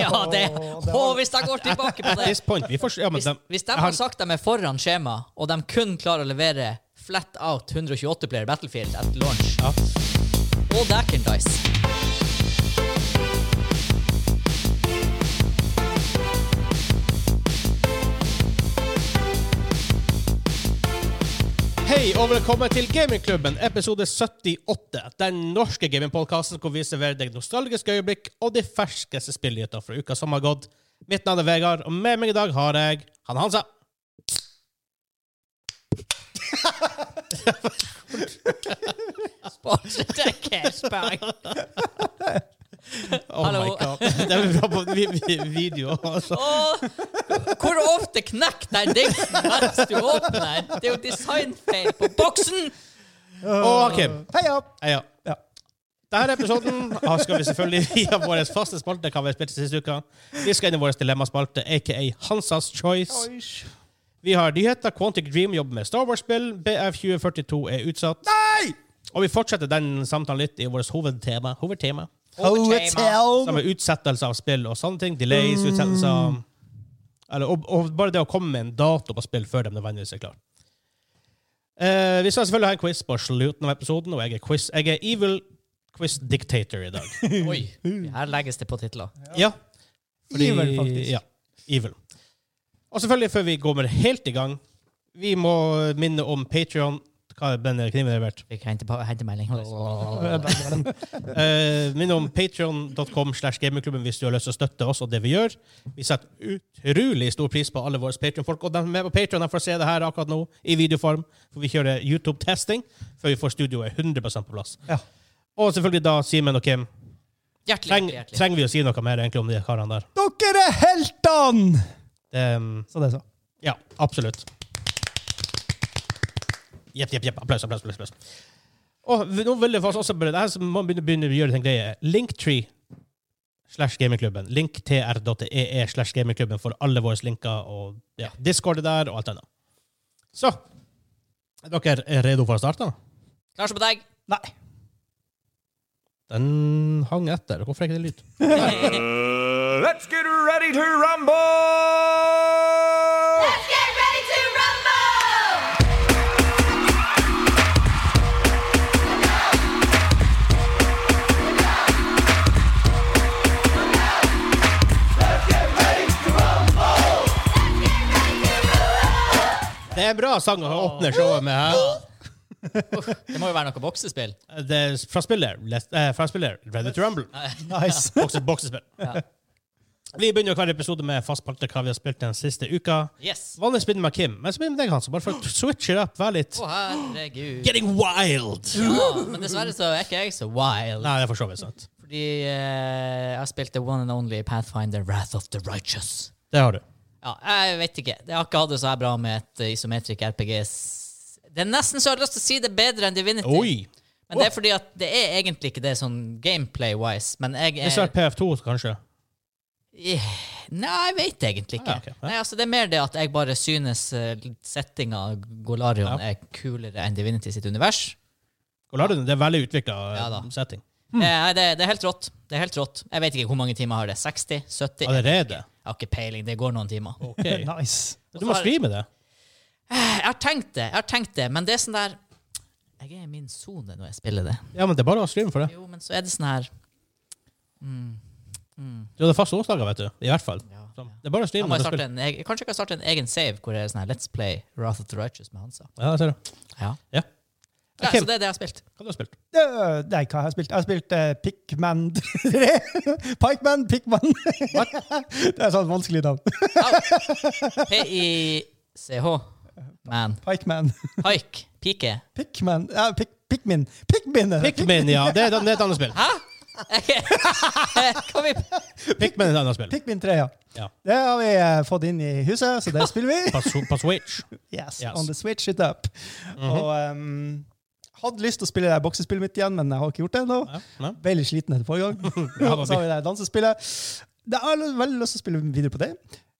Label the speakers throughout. Speaker 1: Ja, det, å, hvis de går tilbake på
Speaker 2: At
Speaker 1: det
Speaker 2: this point, vi får, ja, men
Speaker 1: Hvis,
Speaker 2: dem-
Speaker 1: hvis de
Speaker 2: jeg
Speaker 1: har sagt de er foran skjema, og de kun klarer å levere flat out 128 player Battlefield etter launch
Speaker 2: Ja.
Speaker 1: Og Dacken Dice.
Speaker 2: Hei og velkommen til Gamingklubben, episode 78. Den norske gamingpodkasten hvor vi serverer deg nostalgiske øyeblikk og de ferskeste spillnyheter fra uka som har gått. Mitt navn er Vegard, og med meg i dag har jeg han Hansa.
Speaker 1: Sportsdekkersbang.
Speaker 2: Oh
Speaker 1: Hallo.
Speaker 2: my god. Det blir bra på vi, vi, video. Altså.
Speaker 1: Og hvor ofte knekker den dingsen mens du åpner den? Det er jo designfeil på boksen!
Speaker 2: Og Kim.
Speaker 3: Heia!
Speaker 2: Ja.
Speaker 3: Ja.
Speaker 2: Denne episoden ah, skal vi selvfølgelig via vår faste spalte hva vi har spilt siste uka. Vi skal inn i vår dilemmaspalte, aka Hansas Choice. Vi har nyheter. Quantic Dream jobber med Star Wars-spill. BF2042 er utsatt.
Speaker 3: Nei!
Speaker 2: Og vi fortsetter den samtalen litt i vårt hovedtema, hovedtema
Speaker 3: Hotel!
Speaker 2: som er utsettelse av spill og sånne ting. Delays, utsettelser eller, og, og bare det å komme med en dato på spill før de nødvendigvis er klare. Eh, vi skal selvfølgelig ha en quiz på slutten av episoden, og jeg er, quiz, jeg er evil quiz dictator i dag.
Speaker 1: Oi, her legges det på titler.
Speaker 2: ja.
Speaker 3: Evil, faktisk.
Speaker 2: Ja, evil. Og selvfølgelig, før vi kommer helt i gang, vi må minne om Patrion. Hva er denne kniven levert?
Speaker 1: Vi kan hente, pa- hente melding.
Speaker 2: Eh, Minn om patreon.com slash gamingklubben hvis du har lyst til å støtte oss og det vi gjør. Vi setter utrolig stor pris på alle våre Patreon-folk. Og de som er med på Patreon, de får se det her akkurat nå i videoform. For vi kjører YouTube-testing før vi får studioet 100 på plass.
Speaker 3: Ja.
Speaker 2: Og selvfølgelig da Simen og Kim.
Speaker 1: Hjertelig,
Speaker 2: Treng,
Speaker 1: hjertelig. hjertelig.
Speaker 2: trenger vi å si noe mer egentlig om de karene der?
Speaker 3: Dere er heltene!
Speaker 2: Det, um,
Speaker 3: Så det er så.
Speaker 2: ja, absolutt. Jepp, jepp, jepp. Applaus, applaus, applaus. applaus. Og vi- nå vil jeg faktisk også bare, det her som man begynner, begynner å gjøre en greie. Linktree slash gamingklubben. Linktr.ee slash gamingklubben for alle våre linker og ja, Discord er der og alt annet. Så, er dere er redo for å starte?
Speaker 1: Klar som på deg.
Speaker 3: Nei.
Speaker 2: Den hang etter. Hvorfor er ikke det lyd?
Speaker 4: Uh, let's get ready to rumble!
Speaker 5: Let's get ready to rumble!
Speaker 2: Det er en bra sang å åpne showet med her.
Speaker 1: Det må jo være noe boksespill.
Speaker 2: Det er fra spillet, Les- eh, fra spillet Ready to Rumble.
Speaker 3: Nice.
Speaker 2: Bokse, boksespill. Vi begynner hver episode med fast spalte hva vi har spilt den siste uka.
Speaker 1: Yes. Å,
Speaker 2: Vanligvis begynner med Kim, men så begynner vi med deg, Hans. Bare for å switche det opp. Vær litt
Speaker 1: herregud.
Speaker 2: Getting wild!
Speaker 1: Ja, men dessverre så er ikke jeg så wild.
Speaker 2: Nei, det er for så vidt sant.
Speaker 1: Fordi eh, jeg spilte one and only Pathfinder Wrath of the Righteous.
Speaker 2: Det har du.
Speaker 1: Ja, jeg vet ikke. Det har ikke hatt det så her bra med et eh, isometric RPG. S- Det er nesten så jeg har lyst til å si det bedre enn Divinity.
Speaker 2: Oi!
Speaker 1: Men det er fordi at det er egentlig ikke det sånn gameplay-wise. Men jeg
Speaker 2: Hvis det
Speaker 1: er
Speaker 2: er PF2, kanskje.
Speaker 1: Eh, Nei, jeg vet egentlig ikke.
Speaker 2: Ah, ok.
Speaker 1: Nei, altså Det er mer det at jeg bare synes eh, settinga Golarion er kulere enn Divinity sitt univers.
Speaker 2: Golarden, det er veldig utvikla
Speaker 1: Ja da.
Speaker 2: setting.
Speaker 1: Eh, det, det er helt rått. Det er helt rått. Jeg vet ikke hvor mange timer har det. 60? 70?
Speaker 2: Allerede?
Speaker 1: Jeg har ikke peiling. Det går noen timer.
Speaker 2: Ok.
Speaker 3: Nice.
Speaker 2: Du må streame det.
Speaker 1: Jeg har tenkt det, jeg har tenkt det, men det er sånn der Jeg er i min sone når jeg spiller det.
Speaker 2: Ja, men det er bare å streame for det.
Speaker 1: Jo, men så er det sånn her
Speaker 2: Du hadde faste onsdager, vet du. I hvert fall. Så, Det er bare å
Speaker 1: da
Speaker 2: streame.
Speaker 1: må jeg
Speaker 2: når du
Speaker 1: starte
Speaker 2: spiller.
Speaker 1: en, jeg, Kanskje jeg kan starte en egen save hvor det er sånn her Let's play Wrath of the Righteous med Hansa.
Speaker 2: Ja, jeg ser det.
Speaker 1: Ja.
Speaker 2: Ja.
Speaker 1: Nei,
Speaker 2: Kim.
Speaker 1: så det er det jeg har spilt.
Speaker 2: Hva du har spilt?
Speaker 3: Det, nei, hva har jeg spilt? Jeg har spilt eh, Pikman 3. Pikeman, Pikman. det er sånn vanskelig navn.
Speaker 1: P-I-C-H. Man.
Speaker 3: Pikeman.
Speaker 1: Haik. Pike.
Speaker 3: Pikman. Ja, pik, Pikmin. Pikmin! eh, er det.
Speaker 2: Pikmin, ja. Det er, det er et annet spill.
Speaker 1: Kan vi
Speaker 2: Pikmin er et annet spill.
Speaker 3: Pikmin 3, ja.
Speaker 2: Ja.
Speaker 3: Det har vi eh, fått inn i huset, så det spiller vi.
Speaker 2: På, Sw- på Switch.
Speaker 3: Yes,
Speaker 2: Yes. Mhm.
Speaker 3: on the switch it up. Og um, hadde lyst til å spille det her boksespillet mitt igjen, men jeg har ikke gjort det ennå.
Speaker 2: Ja, ja.
Speaker 3: Ble litt sliten etter forrige gang.
Speaker 2: Ja, da
Speaker 3: så har vi det her dansespillet. Da har jeg veldig lyst til å spille videre på det.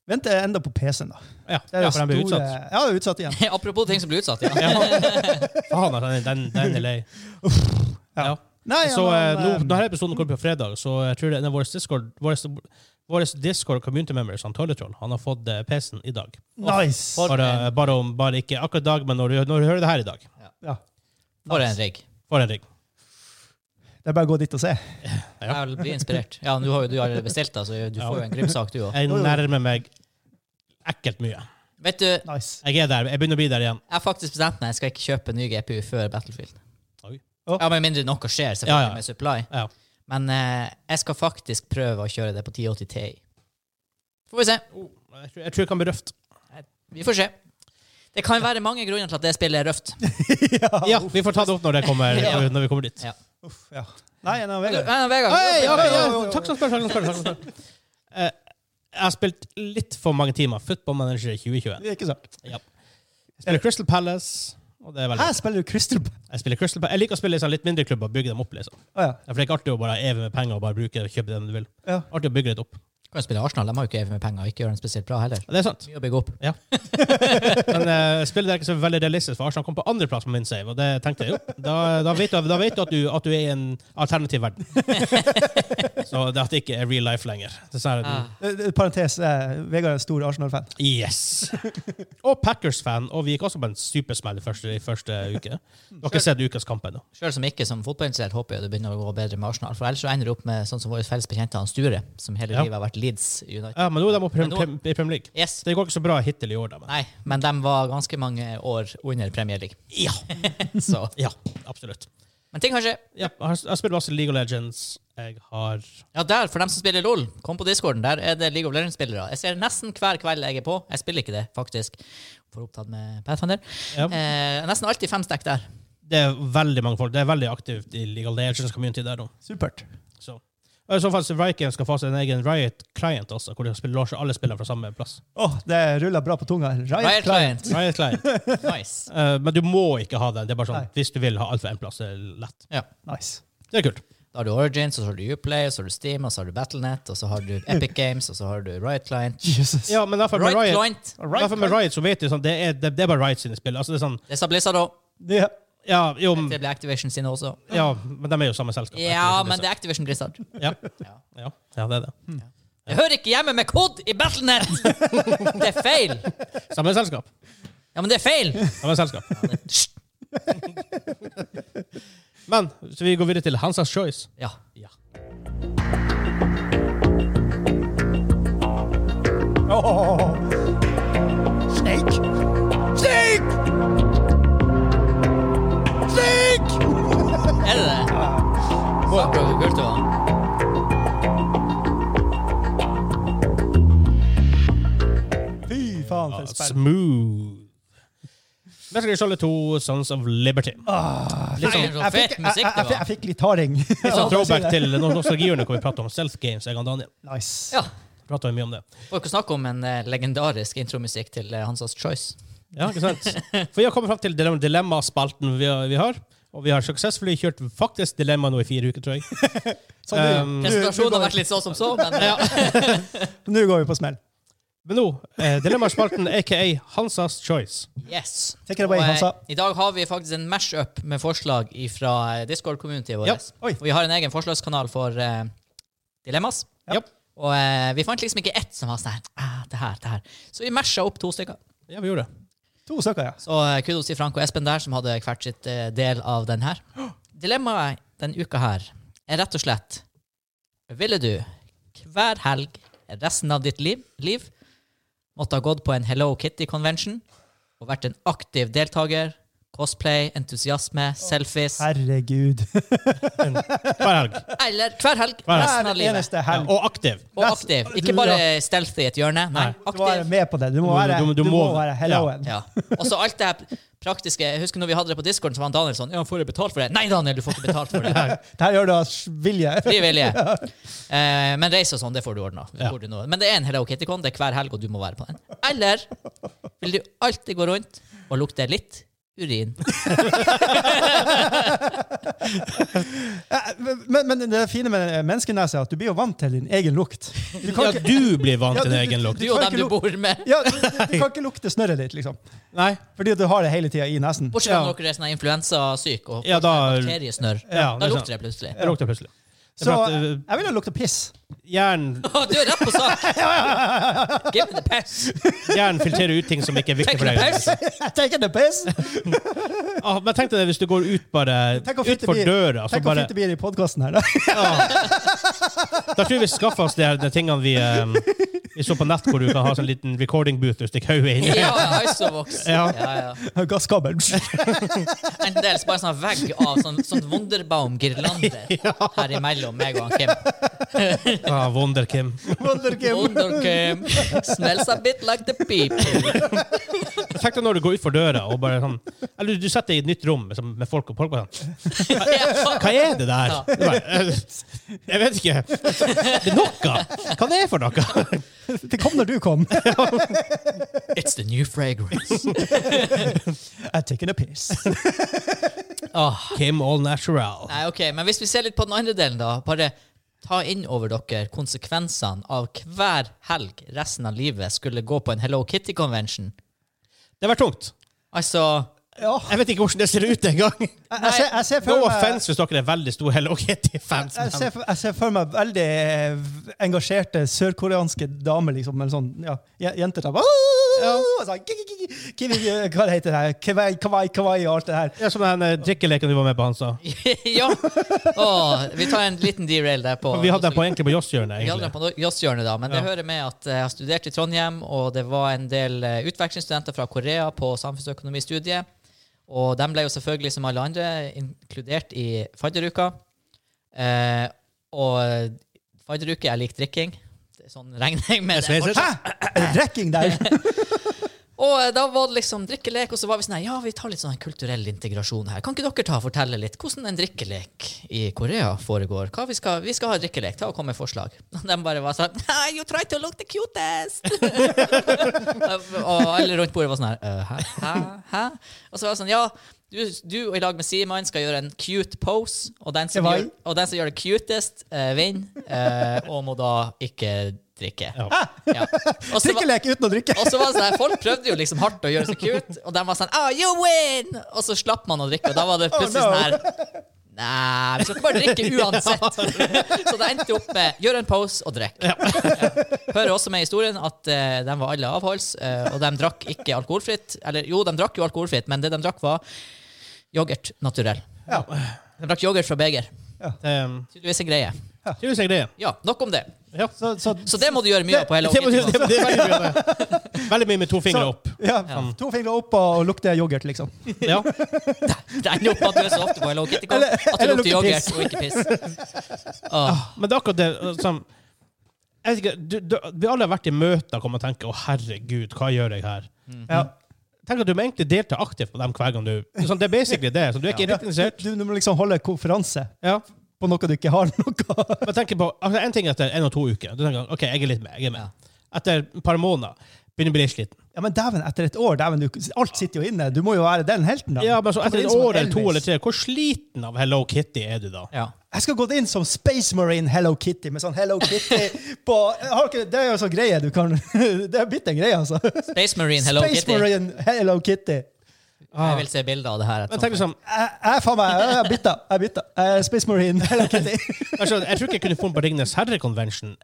Speaker 3: Venter jeg enda på PC-en, da.
Speaker 2: Ja,
Speaker 3: Det er
Speaker 2: ja,
Speaker 3: jo
Speaker 2: for den ble
Speaker 3: store-
Speaker 2: utsatt.
Speaker 3: Ja, det er utsatt igjen.
Speaker 1: Apropos ting som blir utsatt, ja.
Speaker 2: Faen, altså, den, den, den er lei. Ja.
Speaker 3: Nei,
Speaker 2: Så eh,
Speaker 3: men,
Speaker 2: nå,
Speaker 3: um,
Speaker 2: eh, denne episoden kommer på fredag, så jeg tror det er en av våre Discord vår, Vår Discord community members, han Tolletroll, han har fått eh, PC-en i dag.
Speaker 3: Nice!
Speaker 1: For
Speaker 2: Bare,
Speaker 1: en-
Speaker 2: bare, om, bare ikke akkurat i dag, men når du, når du hører det her i dag.
Speaker 3: Ja.
Speaker 1: For en rigg.
Speaker 2: For en rigg.
Speaker 3: Det er bare å gå dit og se.
Speaker 1: Jeg vil bli inspirert. Ja, nå har jo du allerede bestilt det, så du får jo en Grim-sak, du òg.
Speaker 2: Jeg nærmer meg ekkelt mye.
Speaker 1: Vet du, jeg
Speaker 3: Nice.
Speaker 2: Jeg er der. Jeg begynner å bli der igjen.
Speaker 1: har faktisk bestemt meg. Jeg skal ikke kjøpe ny GPU før Battlefield.
Speaker 2: Oi.
Speaker 1: Ja, Med mindre noe skjer, selvfølgelig,
Speaker 2: Ja, ja.
Speaker 1: med supply.
Speaker 2: Ja.
Speaker 1: Men eh, jeg skal faktisk prøve å kjøre det på 1080 Ti. Får vi se.
Speaker 2: Oh, Jeg tror, jeg tror det kan bli røft.
Speaker 1: Vi får se. Det kan være mange grunner til at det spillet er røft.
Speaker 3: Ah,
Speaker 2: Ja, vi får ta det opp når, det kommer,
Speaker 1: Ja.
Speaker 2: når vi kommer dit.
Speaker 1: Ja.
Speaker 3: Uff, ja. Nei, nei,
Speaker 1: Men,
Speaker 3: Vegard.
Speaker 1: eh, Vegard,
Speaker 2: Hei, ja,
Speaker 1: du har
Speaker 2: ja,
Speaker 1: spilt-
Speaker 2: ja. Takk som spør. Takk som spør, takk som spør. Eh, Jeg har spilt litt for mange timer Football Manager 2021.
Speaker 3: Det er ikke sant.
Speaker 2: Jeg spiller Crystal Palace. Og det er veldig.
Speaker 3: Her spiller du Crystal Ball.
Speaker 2: Jeg, spiller Crystal Palace. jeg liker å spille i sånn litt mindre klubber og bygge dem opp. liksom.
Speaker 3: Å ja.
Speaker 2: Ja, For Det er ikke artig å bare eve med penger og bare bruke og kjøpe dem du vil.
Speaker 3: Ja.
Speaker 2: Artig å bygge litt opp.
Speaker 1: Kan jo spille Arsenal. De har jo ikke evig med penger og ikke gjør den spesielt bra heller.
Speaker 2: Og Det er sant.
Speaker 1: Mye å bygge opp.
Speaker 2: Men eh, spillet er ikke så veldig realistisk, for Arsenal kom på andreplass på min save, og det tenkte jeg jo. Da, da vet du, da vet du, at, du at du er i en alternativ verden. Så det at det ikke er real life lenger. Det er sånn,
Speaker 1: Ah.
Speaker 3: Eh, eh, Parentes, eh, Vegard er stor Arsenal-fan.
Speaker 2: Yes! Og Packers-fan, og vi gikk også på en supersmell i første, i første uke.
Speaker 1: Mm.
Speaker 2: Du har ikke sett ukas kamp ennå.
Speaker 1: Selv som ikke som fotballinteressert håper jeg det begynner å gå bedre med Arsenal. For ellers så ender det opp med sånn som vår felles bekjente han Sture, som hele
Speaker 2: Ja.
Speaker 1: livet har vært Leeds United.
Speaker 2: Ja, men nå er de oppe i
Speaker 1: Men nå-
Speaker 2: Prem- i Premier League.
Speaker 1: Yes.
Speaker 2: Det går ikke så bra hittil i år, da. Men.
Speaker 1: Nei, men de var ganske mange år under Premier League.
Speaker 2: Ja.
Speaker 1: Så.
Speaker 2: ja, absolutt.
Speaker 1: Men ting kan skje.
Speaker 2: Ja, jeg har- jeg har spilt masse League of Legends. Jeg har
Speaker 1: Ja, der, for dem som spiller LOL, kom på discorden. Der er det League of Legends-spillere. Jeg ser nesten hver kveld jeg er på. Jeg spiller ikke det, faktisk. For opptatt med Pathfinder.
Speaker 2: Ja.
Speaker 1: Eh, nesten alltid fem stek der.
Speaker 2: Det er veldig mange folk. Det er veldig aktivt i League of Legends-community der nå.
Speaker 3: Supert.
Speaker 2: Så. Og I så fall så Viking skal få seg en egen Riot-client også, hvor de spiller, lar seg alle spiller fra samme plass.
Speaker 3: Åh, det ruller bra på tunga. Riot
Speaker 1: Riot Client.
Speaker 3: Client.
Speaker 2: Riot-client.
Speaker 1: Nice.
Speaker 2: Eh, men du må ikke ha den. Det er bare sånn,
Speaker 3: Nei.
Speaker 2: Hvis du vil ha alt fra én plass, det er lett.
Speaker 1: Ja.
Speaker 3: Nice.
Speaker 2: Det er kult.
Speaker 1: Da har du Origins, og så har du Uplay, og så har du Steam, og så har du Battlenet, og så har du Epic Games, og så har du Riot Client.
Speaker 3: Jesus.
Speaker 2: Ja, men derfor med
Speaker 1: Riot
Speaker 2: Riot,
Speaker 1: Client!
Speaker 2: Right, Derfor med Riot så vet du sånn, det er, det, det er bare Riot sine spill. Altså, det er sånn,
Speaker 1: Det sa Blizzard òg.
Speaker 3: Ja.
Speaker 2: ja, jo, m-
Speaker 1: Det blir Activation sine også.
Speaker 2: ja, men de er jo samme selskap.
Speaker 1: Ja, men det er Activation Blizzard.
Speaker 2: ja. Ja. ja, det er det.
Speaker 1: Jeg hører ikke hjemme med kod i Battlenet! Det er feil!
Speaker 2: Samme selskap.
Speaker 1: Ja, men det er feil!
Speaker 2: Samme selskap.
Speaker 1: Hysj.
Speaker 2: Men så vi går videre til Hansas Choice.
Speaker 1: Ja.
Speaker 3: Åh. Snake! Snake! Snake!
Speaker 1: Er det det? Fuck, hvor kult det var.
Speaker 3: Fy faen, for
Speaker 2: Ja,
Speaker 3: et spill.
Speaker 2: smooth. Metal Gear Solid 2, Sons of Liberty.
Speaker 1: Litt
Speaker 3: Nei,
Speaker 1: sånn så
Speaker 3: jeg fikk-
Speaker 1: fet musikk
Speaker 3: jeg-
Speaker 1: det
Speaker 3: jeg- jeg
Speaker 1: var.
Speaker 3: fikk litt harding.
Speaker 2: Litt sånn throwback til no- nostalgihjørnet hvor vi prater om Self Games. Jeg og Daniel
Speaker 3: Nice.
Speaker 1: Ja.
Speaker 2: prater mye om det.
Speaker 1: Får ikke snakke om en eh, legendarisk intromusikk til eh, Hansas Choice.
Speaker 2: Ja, ikke sant? For vi har kommet fram til dilemma- dilemmaspalten vi har, vi har. Og vi har suksessfully kjørt faktisk dilemma nå i fire uker, tror jeg.
Speaker 3: Så nå-
Speaker 2: Um,
Speaker 3: nå- nå
Speaker 1: Presentasjonen har
Speaker 3: går
Speaker 1: vært litt så som så, men eh,
Speaker 3: vi- Nå går vi på smell.
Speaker 2: Men nå, eh, dilemmaspalten aka Hansas Choice.
Speaker 1: yes.
Speaker 3: Take it away,
Speaker 1: Og, eh,
Speaker 3: Hansa.
Speaker 1: I dag har vi faktisk en mash-up med forslag fra Discord-communityet vår.
Speaker 2: Ja.
Speaker 3: Oi.
Speaker 1: Og vi har en egen forslagskanal for eh, dilemmas.
Speaker 3: Ja.
Speaker 2: Ja.
Speaker 1: Og eh, vi fant liksom ikke ett som var sånn her, ah, det her, det her. Så vi masha opp to stykker.
Speaker 2: Ja, vi gjorde det.
Speaker 3: To stykker, ja.
Speaker 1: Så eh, kudos til Frank og Espen der, som hadde hvert sitt eh, del av den her. Dilemmaet denne uka her er rett og slett Ville du hver helg resten av ditt liv, liv måtte ha gått på en Hello Kitty-convention og vært en aktiv deltaker, cosplay, entusiasme, selfies
Speaker 3: Herregud.
Speaker 2: Hver helg.
Speaker 1: Eller hver helg
Speaker 2: Hver
Speaker 1: resten av
Speaker 3: Hver
Speaker 1: livet.
Speaker 3: eneste
Speaker 2: Ja,
Speaker 3: helg.
Speaker 2: og aktiv.
Speaker 1: Og
Speaker 3: Rest-
Speaker 1: aktiv.
Speaker 3: du-
Speaker 1: Ikke bare stealthy i et hjørne. Nei,
Speaker 2: Nei.
Speaker 3: Du må være
Speaker 1: aktiv.
Speaker 3: med på det. Du må
Speaker 2: Du-
Speaker 3: være,
Speaker 2: du- du
Speaker 3: du må
Speaker 2: må-
Speaker 3: være helloen.
Speaker 1: Ja. Og så alt det her praktiske. Jeg husker når vi hadde det på discorden, så var han Daniel sånn Ja, får jeg betalt for det? Nei, Daniel, du får ikke betalt for det.
Speaker 3: Det her gjør du av vilje.
Speaker 1: Fri vilje. Eh, men reise og sånn, det får du ordna.
Speaker 2: Ja.
Speaker 1: Men det er en Hello Kitty-con, det er hver helg, og du må være på den. Eller vil du alltid gå rundt og lukte litt urin?
Speaker 3: Men, men det fine med menneskenese er at du blir jo vant til din egen lukt. Du kan
Speaker 2: Ja,
Speaker 3: ikke,
Speaker 2: du blir vant
Speaker 3: Ja,
Speaker 2: til
Speaker 3: du-
Speaker 2: din egen
Speaker 3: du-
Speaker 2: lukt.
Speaker 1: Du
Speaker 3: kan
Speaker 1: og
Speaker 3: ikke
Speaker 1: dem du
Speaker 3: lu-
Speaker 1: bor med.
Speaker 3: ja, du, du kan ikke lukte snørret ditt, liksom.
Speaker 2: Nei.
Speaker 3: Fordi at du har det hele tida i nesen.
Speaker 1: Bortsett fra
Speaker 2: Ja.
Speaker 1: når dere er sånn influensasyke og
Speaker 2: Ja, da
Speaker 1: bakteriesnørr.
Speaker 2: ja,
Speaker 1: Da lukter det plutselig.
Speaker 2: Det lukter plutselig.
Speaker 3: Så
Speaker 2: for at,
Speaker 3: jeg
Speaker 2: eh,
Speaker 3: jeg ville lukte piss.
Speaker 2: Jern,
Speaker 1: Å, du er rett på sak! Give me the piss!
Speaker 2: jern filtrerer ut ting som ikke er
Speaker 1: Take
Speaker 2: viktig for
Speaker 1: the
Speaker 2: deg.
Speaker 1: piss!
Speaker 3: Taking the piss!
Speaker 2: Ah, men tenk deg det hvis du går ut bare
Speaker 3: Tenk å fint det
Speaker 2: utfor
Speaker 3: blir-
Speaker 2: døra. Så
Speaker 3: tenk hvor
Speaker 2: bare,
Speaker 3: fint det blir i podkasten her, da.
Speaker 2: da tror jeg vi skaffer oss de, her- de tingene vi, eh, vi så på nett, hvor du kan ha sånn liten recording booth og stikke hodet inn. i.
Speaker 1: Ja, Isovox.
Speaker 2: Ja.
Speaker 1: Ja, ja.
Speaker 3: Gasskabel.
Speaker 1: En del bare sånn vegg av sånn, sånn Wunderbaum-girlander her imellom meg og han Kim.
Speaker 2: Ah, Wonder Kim.
Speaker 3: Wundergame.
Speaker 1: Wonder Kim smells a bit like the people.
Speaker 2: Tenk deg når du går utfor døra og bare sånn Eller du, du setter deg i et nytt rom liksom, med folk, og folk bare sånn Hva er det der?
Speaker 1: Ja.
Speaker 2: Du Bare, «Eh, jeg vet ikke. Det er noe. Hva det er for noe?
Speaker 3: Det kom når du kom.
Speaker 1: It's the new fragrance.
Speaker 3: I'm taking a piss.
Speaker 1: Åh.
Speaker 2: Kim all natural.
Speaker 1: Ah, Nei, ok, Men hvis vi ser litt på den andre delen, da. Bare ta inn over dere konsekvensene av hver helg resten av livet skulle gå på en Hello Kitty-convention.
Speaker 2: Det var tungt.
Speaker 1: Altså
Speaker 3: Ja.
Speaker 2: Jeg vet ikke hvordan det ser ut engang.
Speaker 3: Jeg, jeg, ser, jeg ser
Speaker 2: No
Speaker 3: for meg
Speaker 2: offense hvis dere er veldig store Hello Kitty-fans.
Speaker 3: jeg ser,
Speaker 2: men-
Speaker 3: for- jeg ser for meg veldig eh, engasjerte sørkoreanske damer, liksom. Med sånn, ja, je- jenter som ja. sånn, ki- ki- ki- ki- ki- Hva heter det her? Kawaii, kawaii, kawaii og alt det her.
Speaker 2: Ja, Som den eh, drikkeleken du var med på, han sa.
Speaker 1: Ja! Åh, vi tar en liten derail der på
Speaker 2: Vi hadde den på, egentlig på Joss-hjørnet.
Speaker 1: Vi hadde den
Speaker 2: egentlig.
Speaker 1: på Jåsshjørnet, da, men det
Speaker 2: Ja.
Speaker 1: hører med at eh, jeg har studert i Trondheim, og det var en del eh, utvekslingsstudenter fra Korea på samfunnsøkonomistudiet. Og de ble jo selvfølgelig, som alle andre, inkludert i fadderuka. Eh, og fadderuke er lik drikking. Det er Sånn regner jeg med.
Speaker 2: Jeg
Speaker 1: det.
Speaker 2: ser-
Speaker 3: Hæ? Er det Drikking der?
Speaker 1: Og eh, da var det liksom drikkelek, og så var vi sånn her, ja, vi tar litt sånn kulturell integrasjon her. Kan ikke dere ta og fortelle litt hvordan en drikkelek i Korea foregår? Hva vi skal, vi skal ha drikkelek, ta og kom med forslag. Og de bare var sånn, nei, you try to look the cutest! og alle rundt bordet var sånn her, «Øh, hæ, hæ, hæ? Og så var det sånn, ja, du, du og i lag med Simon skal gjøre en cute pose, og den som,
Speaker 3: Kawaii.
Speaker 1: gjør, og den som gjør det cutest eh, vinner, eh, og må da ikke drikke.
Speaker 2: Ja.
Speaker 1: Ja. Og så var-
Speaker 3: Drikkelek uten å drikke.
Speaker 1: og så var det sånn her, Folk prøvde jo liksom hardt å gjøre seg cute, og de var sånn oh, you win! Og så slapp man å drikke, og da var det plutselig
Speaker 3: Oh, no.
Speaker 1: sånn her Nei, vi skal ikke bare drikke uansett. Så det endte opp med gjør en pose og drikk. Ja. Hører også med i historien at eh, de var alle avholds, eh, og de drakk ikke alkoholfritt. Eller jo, de drakk jo alkoholfritt, men det de drakk, var yoghurt naturell.
Speaker 3: Ja.
Speaker 1: De drakk yoghurt fra beger.
Speaker 2: Ehm,
Speaker 1: Tydeligvis en greie.
Speaker 2: Tror jeg det.
Speaker 1: Ja, nok om det.
Speaker 2: Ja.
Speaker 3: Så, så,
Speaker 1: Så det må du gjøre mye av på Hello
Speaker 2: Det var-
Speaker 1: Kitty.
Speaker 2: det var- det var veldig mye av det. Veldig mye med to fingre
Speaker 3: Så-
Speaker 2: opp.
Speaker 3: ja, to fingre opp og lukte yoghurt, liksom.
Speaker 2: Ja.
Speaker 1: Det ender opp med at du er så ofte på Hello Kitty Con at du lukter
Speaker 3: eller lukter
Speaker 1: yoghurt
Speaker 3: piss.
Speaker 1: og ikke piss. Ah, Åh,
Speaker 2: Men det er akkurat det som jeg vet ikke, du, du, Vi alle har vært i møter og tenker 'Å, herregud, hva gjør jeg her?'
Speaker 3: Ja.
Speaker 2: Tenk at Du må egentlig delta aktivt på dem hver gang du sånn, Det er basically det. Så du er ikke riktig interessert.
Speaker 3: Du, du må liksom holde konferanse
Speaker 2: Ja.
Speaker 3: på noe du ikke har noe av.
Speaker 2: Men tenk på, altså, en ting er etter en og to uker. Du tenker, ok, jeg er litt med, jeg er med. Etter et par måneder begynner jeg å bli litt sliten.
Speaker 3: Ja, men dæven, etter et år, dæven, du, alt sitter jo inne. Du må jo være den helten, da.
Speaker 2: Ja, men så
Speaker 3: Kommer
Speaker 2: etter
Speaker 3: inn
Speaker 2: et
Speaker 3: som
Speaker 2: år eller to
Speaker 3: Elvis.
Speaker 2: eller tre, hvor sliten av Hello Kitty er du da?
Speaker 1: ja.
Speaker 3: Jeg skal gå inn som Space Marine Hello Kitty, med sånn Hello Kitty på har ikke, Det er jo sånn greie du kan Det er blitt en greie, altså.
Speaker 1: Space Marine, Hello
Speaker 3: Space
Speaker 1: Kitty.
Speaker 3: Marine Hello Kitty.
Speaker 1: Jeg vil se bilder av det her. Sånn.
Speaker 2: Men tenk liksom,
Speaker 3: Jeg, jeg faen meg, jeg er bytta. Jeg er bytta. Jeg er Space Marine Hello Kitty.
Speaker 2: altså, jeg tror ikke jeg kunne funnet på Ringnes Herre-konvensjon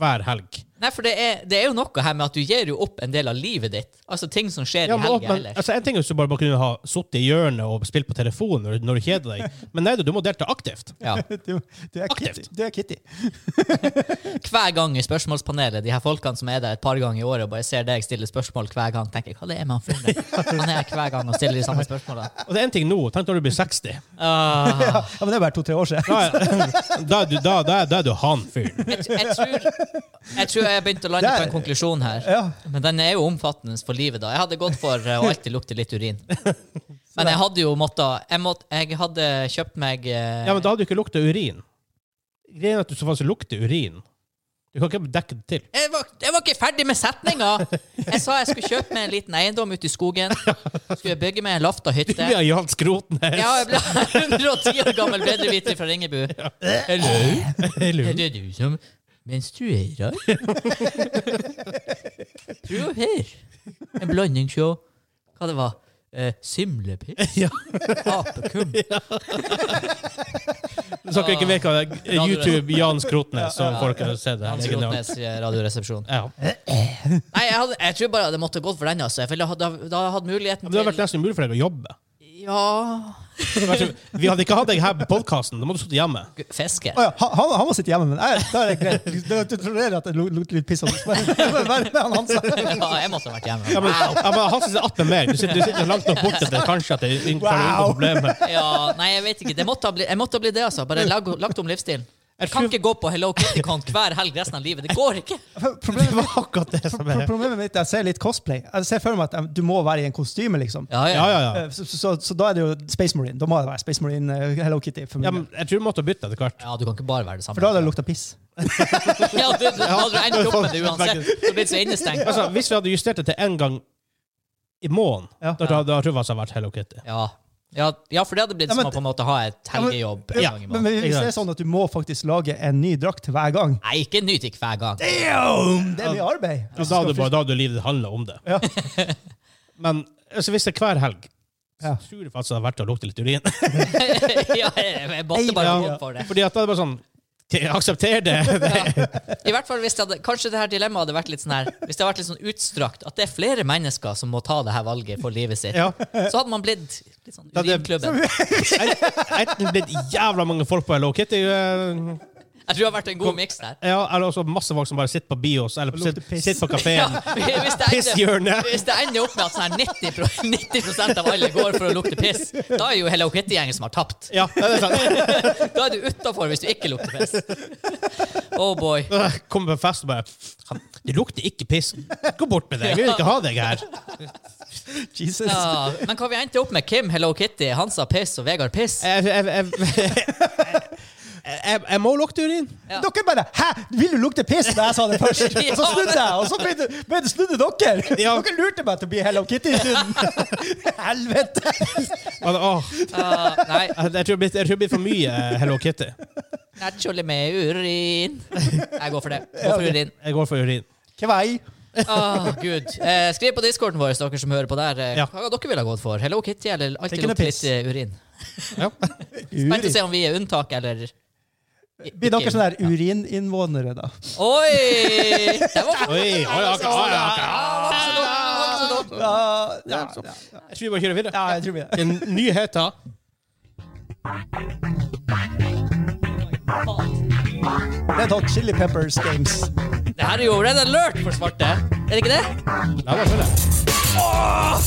Speaker 2: hver helg.
Speaker 1: Nei, for det er, det er jo noe her med at du gir jo opp en del av livet ditt. Altså ting som skjer
Speaker 2: Ja,
Speaker 1: i
Speaker 2: men,
Speaker 1: helga
Speaker 2: men,
Speaker 1: ellers.
Speaker 2: altså, en ting er hvis du bare, bare kunne ha sittet i hjørnet og spilt på telefonen når, når du kjeder deg, men nei, du, du må delta aktivt.
Speaker 1: Ja.
Speaker 3: Du, du er Kitty.
Speaker 2: Aktivt.
Speaker 3: Du er Kitty.
Speaker 1: Hver gang i spørsmålspanelet, de her folkene som er der et par ganger i året og bare ser deg stille spørsmål hver gang, tenker jeg, hva det er med han fyren der? Han er her hver gang og stiller de samme spørsmålene. Ah.
Speaker 2: Og det er en ting nå, tenk når du blir 60. Ah.
Speaker 1: Åh.
Speaker 3: Ja, men det er bare to-tre år siden.
Speaker 2: Da er, da er, du, da, da er, da er du han fyren.
Speaker 1: Jeg, jeg, tror, jeg tror jeg begynte å lande
Speaker 3: Det er-
Speaker 1: på en konklusjon her.
Speaker 3: Ja.
Speaker 1: Men den er jo omfattende for livet, da. Jeg hadde gått for eh, å alltid lukte litt urin. Men jeg hadde jo måttet Jeg, måtte, jeg hadde kjøpt meg eh,
Speaker 2: Ja, men da hadde du ikke lukta urin. Greia er at du så faktisk lukter urin. Du kan ikke dekke det til.
Speaker 1: jeg, var, jeg var ikke ferdig med setninga! Jeg sa jeg skulle kjøpe meg en liten eiendom ute i skogen. Skulle jeg bygge meg en lafta hytte.
Speaker 2: Vi har Jan Skrotnes.
Speaker 1: Ja, jeg ble 110 år gammel bedreviter fra Ringebu. Er det du som menstruerer? Prøv her. En blanding sjå. Hva det var? Eh, simlepiss?
Speaker 2: Ja.
Speaker 1: Apekum?
Speaker 2: Så dere ikke vet hva det er. YouTube Jan Skrotnes, som folk har sett. det her.
Speaker 1: Hans
Speaker 2: Legendar.
Speaker 1: Rotnes eh, radioresepsjon.
Speaker 2: Ja.
Speaker 1: Nei, jeg, hadde, jeg tror bare det måtte gått for den, altså. For da hadde da hadde muligheten
Speaker 2: Men det har vært nesten umulig for deg å jobbe.
Speaker 1: til Ja
Speaker 2: Det hadde vært så- Vi hadde ikke hatt deg her på podkasten. Da måtte du sittet hjemme.
Speaker 1: Fiske.
Speaker 3: Å ja, han, han han må sitte hjemme, men jeg, da er det greit. Du, du tolererer at det lu- lukter litt piss av oss. Bare- bare- bare med han Hansa.
Speaker 1: Ja, jeg måtte ha vært hjemme.
Speaker 2: Ja, men, ja, men han sitter attmed meg. Du sitter, du sitter langt nok borte til kanskje at det er ingen
Speaker 3: Wow.
Speaker 2: problemer.
Speaker 1: Ja, nei, jeg vet ikke. Det måtte ha bli, jeg måtte ha blitt det, altså. Bare lag, lagt om livsstilen. Jeg kan
Speaker 2: tror-
Speaker 1: ikke gå på Hello Kitty-kont hver helg resten av livet. Det går ikke.
Speaker 3: Problemet,
Speaker 2: var akkurat det som
Speaker 3: pro- problemet mitt er at jeg ser litt cosplay. Jeg ser for meg at eh, du må være i en kostyme, liksom.
Speaker 1: Ja,
Speaker 2: Ja,
Speaker 1: ja.
Speaker 2: ja, ja.
Speaker 3: Eh, Så, så, så, så da er det jo Space Marine. Da må det være Space Marine eh, Hello Kitty. For, min
Speaker 2: ja men,
Speaker 3: del.
Speaker 2: jeg tror vi måtte bytte etter hvert.
Speaker 1: Ja, du kan ikke bare være det samme.
Speaker 3: for da hadde det lukta piss.
Speaker 1: Ja, du, du, da hadde du endt opp med det uansett. Du hadde blitt så innestengt.
Speaker 2: Altså, hvis vi hadde justert det til én gang i måneden,
Speaker 3: Ja.
Speaker 2: da, da, da tror jeg det hadde vært Hello Kitty.
Speaker 1: Ja. Ja, ja, for det hadde blitt
Speaker 3: Ja, men-
Speaker 1: som å på en måte ha et
Speaker 3: men-
Speaker 1: helgejobb. en
Speaker 2: Ja,
Speaker 1: gang i
Speaker 3: Men
Speaker 1: måneden.
Speaker 3: hvis det er sånn at du må faktisk lage en ny drakt til hver gang
Speaker 1: Nei, ikke nyt ikke hver gang.
Speaker 3: Damn! Det er mye arbeid.
Speaker 2: Da hadde, bare, da hadde livet handla om det.
Speaker 3: Ja.
Speaker 2: Men altså, hvis det er hver helg, så
Speaker 3: Ja.
Speaker 2: tror jeg faktisk det hadde vært å lukte litt urin.
Speaker 1: Ja, jeg jeg måtte bare gå for det.
Speaker 2: Fordi at da er det bare sånn «Ok, Aksepter det!
Speaker 1: I hvert fall hvis det hadde, Kanskje det her dilemmaet hadde vært litt sånn her Hvis det hadde vært litt sånn utstrakt, at det er flere mennesker som må ta det her valget for livet sitt,
Speaker 2: Ja.
Speaker 1: så hadde man blitt litt sånn
Speaker 2: Da det-
Speaker 1: urinklubben.
Speaker 2: Enten blitt jævla mange folk på Hello Kitty, eh,
Speaker 1: Jeg tror det har vært en god miks der.
Speaker 2: ja, eller også masse folk som bare sitter på bios eller
Speaker 3: lukter
Speaker 2: sitter,
Speaker 3: piss.
Speaker 2: sitter på
Speaker 1: Ja,
Speaker 2: kafeen.
Speaker 1: hvis, det
Speaker 2: Pisshjørnet.
Speaker 1: ender, hvis det ender opp med at sånn her 90, pro- 90 av alle går for å lukte piss, da er jo Hello Kitty-gjengen som har tapt.
Speaker 2: Ja, det er sant.
Speaker 1: Da er du utafor hvis du ikke lukter piss. Oh boy.
Speaker 2: sånn, Kommer på fest og bare «Han- Det lukter ikke piss. Gå bort med deg. Jeg vil ikke ha deg her.
Speaker 3: Jesus.
Speaker 1: Ja, men hva vi endte opp med? Kim, Hello Kitty, Hansa Piss og Vegard Piss.
Speaker 2: Jeg, jeg, jeg,
Speaker 3: Eh,
Speaker 2: jeg, jeg må lukte urin.
Speaker 1: Ja.
Speaker 3: Dere bare 'hæ, vil du lukte piss?' da jeg sa det først. Og så snudde jeg, og så begynte, begynte snudde dere.
Speaker 2: Ja.
Speaker 3: Dere lurte meg til å bli Hello Kitty i stunden. Helvete!
Speaker 2: Men, åh,
Speaker 1: Ah, nei,
Speaker 2: jeg, jeg tror det er blitt for mye eh, Hello Kitty.
Speaker 1: naturlig med urin. Jeg går for det. Går for urin.
Speaker 2: Jeg går for urin.
Speaker 3: Kvei.
Speaker 1: Ah, Gud. Eh, skriv på discorden vår, dere som hører på der, eh,
Speaker 2: Ja.
Speaker 1: hva dere ville ha gått for. Hello Kitty eller alltid
Speaker 3: Ikke noe
Speaker 1: lukte
Speaker 3: piss.
Speaker 1: litt eh, urin.
Speaker 2: Ja.
Speaker 1: Spent å se om vi er unntak eller i-
Speaker 3: Blir dere
Speaker 1: ikke.
Speaker 3: sånne der urininnvånere, da?
Speaker 1: Oi! Det var
Speaker 2: Oi, oi, ok, oi, ok.
Speaker 3: Ja, ja, ja.
Speaker 2: Jeg tror vi bare kjører videre.
Speaker 3: ja jeg tror vi det.
Speaker 2: En nyhet, da.
Speaker 3: Red Hot Chili Peppers Games.
Speaker 1: Det her er jo Red Alert for svarte. Er det ikke det?
Speaker 2: Nei, bare kjør det.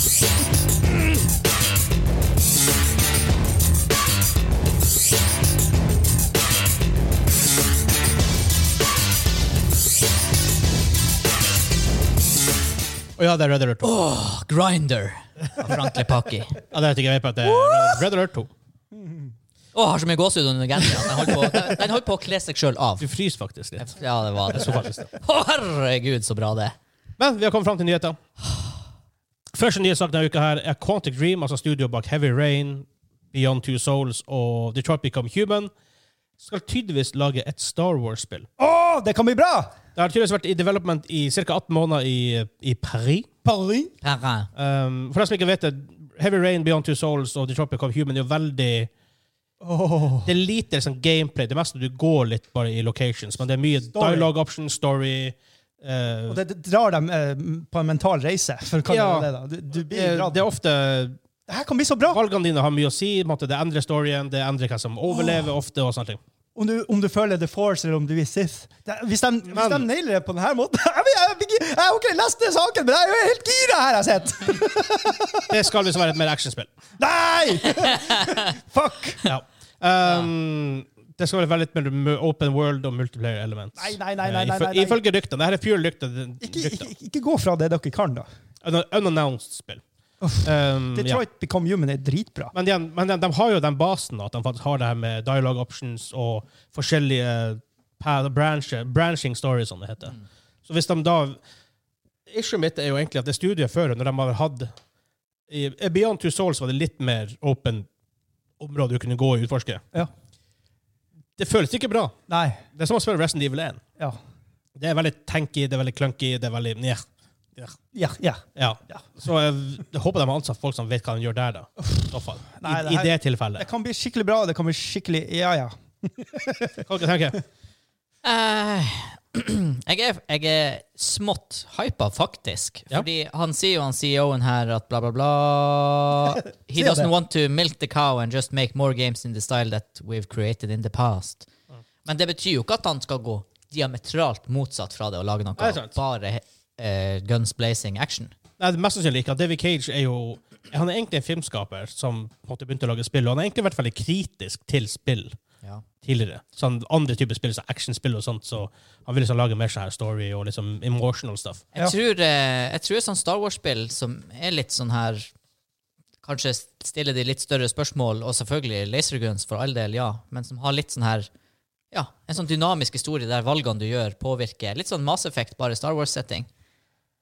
Speaker 3: Oh,
Speaker 2: Å ja, det er Red Alert 2.
Speaker 1: Grinder av Frank Lepaki.
Speaker 2: Ja, det vet ikke jeg på at det er Red Alert 2.
Speaker 1: Å, har så mye gåsehud under genseren. Den holdt på, den- den holdt på å kle seg sjøl av.
Speaker 2: Du fryser faktisk litt.
Speaker 1: Ja, det var det.
Speaker 2: Så faktisk det.
Speaker 1: Å, herregud, så bra det.
Speaker 2: Men vi har kommet fram til nyheter. Første nye sak denne uka her er Quantic Dream, altså studio bak Heavy Rain, Beyond Two Souls og Detroit Become Human, skal tydeligvis lage et Star Wars-spill.
Speaker 3: Å, det kan bli bra!
Speaker 2: Det har tydeligvis vært i development i ca. 18 måneder i, i Paris.
Speaker 3: Paris.
Speaker 1: Terrain.
Speaker 2: Um, for de som ikke vet det, Heavy Rain, Beyond Two Souls og Detroit Become Human er jo veldig Det er lite liksom, gameplay. Det meste du går litt bare i locations, men det er mye
Speaker 3: Story.
Speaker 2: dialogue option, story eh,
Speaker 3: Og det, det drar dem eh, på en mental reise. For hva
Speaker 2: Ja.
Speaker 3: det er, da. Du, du
Speaker 2: det,
Speaker 3: blir
Speaker 2: Eh, det
Speaker 3: glad.
Speaker 2: er ofte
Speaker 3: Det her kan bli så bra!
Speaker 2: Valgene dine har mye å si. på en måte. Det endrer storyen, det endrer hva som overlever ofte. og sånne ting.
Speaker 3: om du, om du føler The Force eller om du er Sith. Det, hvis, de, hvis de
Speaker 2: Men-
Speaker 3: nailer det på denne måten Jeg, vet- jeg, vet ikke- jeg har ikke lest den saken, men jeg er jo helt gira her, jeg har sett!
Speaker 2: Det skal visst være et mer actionspill.
Speaker 3: Nei! Fuck!
Speaker 2: Ja. Um, det skal være veldig mer mu- open world og multiplayer elements.
Speaker 3: Nei, nei, nei, nei,
Speaker 2: Eh,
Speaker 3: nei,
Speaker 2: ifø-
Speaker 3: nei.
Speaker 2: Ifølge ryktene. Det her er pure rykter.
Speaker 3: Ikke, ikke, ikke gå fra det dere kan, da.
Speaker 2: Un unannounced spill. Um, Mm, ja.
Speaker 3: Detroit Become Human er dritbra.
Speaker 2: Men, igjen, men de, de har jo den basen, da, at de faktisk har det her med dialogue options og forskjellige pa- branch, branching stories, som det heter.
Speaker 3: Mm.
Speaker 2: Så hvis de da Issue mitt er jo egentlig at det studiet før, når de har hatt i i Beyond Two Souls var det litt mer åpen område du kunne gå og utforske.
Speaker 3: Ja.
Speaker 2: Det føles ikke bra.
Speaker 3: Nei.
Speaker 2: Det er som å spille Resident Evil 1.
Speaker 3: Ja.
Speaker 2: Det er veldig tanky, det er veldig clunky, det er veldig njeh.
Speaker 3: Ja. ja.
Speaker 2: Ja.
Speaker 3: Ja.
Speaker 2: Så jeg, jeg håper de har ansatt folk som vet hva de gjør der, da. I, så fall.
Speaker 3: Nei,
Speaker 2: I,
Speaker 3: det her-
Speaker 2: I det tilfellet.
Speaker 3: Det kan bli skikkelig bra. Det kan bli skikkelig Ja, ja.
Speaker 2: Hva dere tenker
Speaker 1: Eh, jeg, er, jeg er smått hypa, faktisk.
Speaker 2: Ja.
Speaker 1: Fordi han sier jo, han CEO-en her, at bla, bla, bla He
Speaker 3: Sier det.
Speaker 1: doesn't want to milk the cow and just make more games in the style that we've created in the past. Men det betyr jo ikke at han skal gå diametralt motsatt fra det og lage
Speaker 2: Nei,
Speaker 1: noe
Speaker 2: sant.
Speaker 1: bare eh, guns blazing action.
Speaker 2: Nei, det er Mest sannsynlig ikke. at David Cage er jo Han er egentlig en filmskaper som på en måte begynte å lage spill, og han er egentlig i hvert fall kritisk til spill
Speaker 1: Ja.
Speaker 2: tidligere. Sånn andre typer spill, som actionspill og sånt, så han vil liksom lage mer sånn her story og liksom emotional stuff.
Speaker 1: Jeg,
Speaker 3: Ja.
Speaker 1: tror, eh, jeg tror sånn Star Wars-spill som er litt sånn her Kanskje stiller de litt større spørsmål, og selvfølgelig laserguns for all del, ja, men som har litt sånn her Ja, en sånn dynamisk historie der valgene du gjør, påvirker. Litt sånn Mass Effect, bare Star Wars-setting.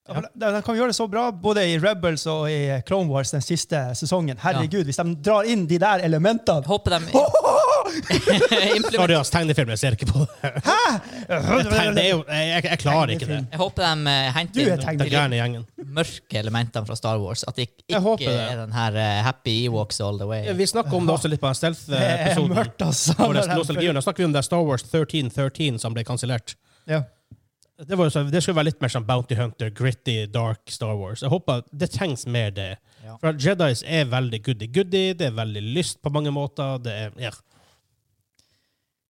Speaker 3: Ja, men De de kan gjøre det så bra, både i Rebels og i Clone Wars den siste sesongen. Herregud, hvis de drar inn de der elementene
Speaker 1: Håper de implemen-
Speaker 2: Sorry, ass, tegnefilmer, jeg ser ikke på det. Tegn- det er jo, jeg, jeg, jeg klarer ikke det.
Speaker 1: Jeg håper de eh,
Speaker 3: Du er
Speaker 1: henter inn
Speaker 3: tegner.
Speaker 2: Den
Speaker 1: de litt
Speaker 2: gærne gjengen.
Speaker 1: mørke elementene fra Star Wars. At det ikke,
Speaker 2: Jeg håper
Speaker 1: ikke
Speaker 2: det.
Speaker 1: er den her eh, happy Ewoks all the way.
Speaker 2: Vi snakker om det også litt på eh, den
Speaker 3: Det er
Speaker 2: stealth-episoden.
Speaker 3: mørkt, altså.
Speaker 2: Vår nostalgi. Da snakker vi om det Star Wars 1313 som ble kansellert.
Speaker 3: Ja.
Speaker 2: Det, var jo så, det skulle være litt mer sånn Bounty Hunter, gritty, dark Star Wars. Jeg håper Det trengs mer det.
Speaker 1: Ja.
Speaker 2: For at Jedis er veldig goody-goody, det er veldig lyst på mange måter. Det er, ja.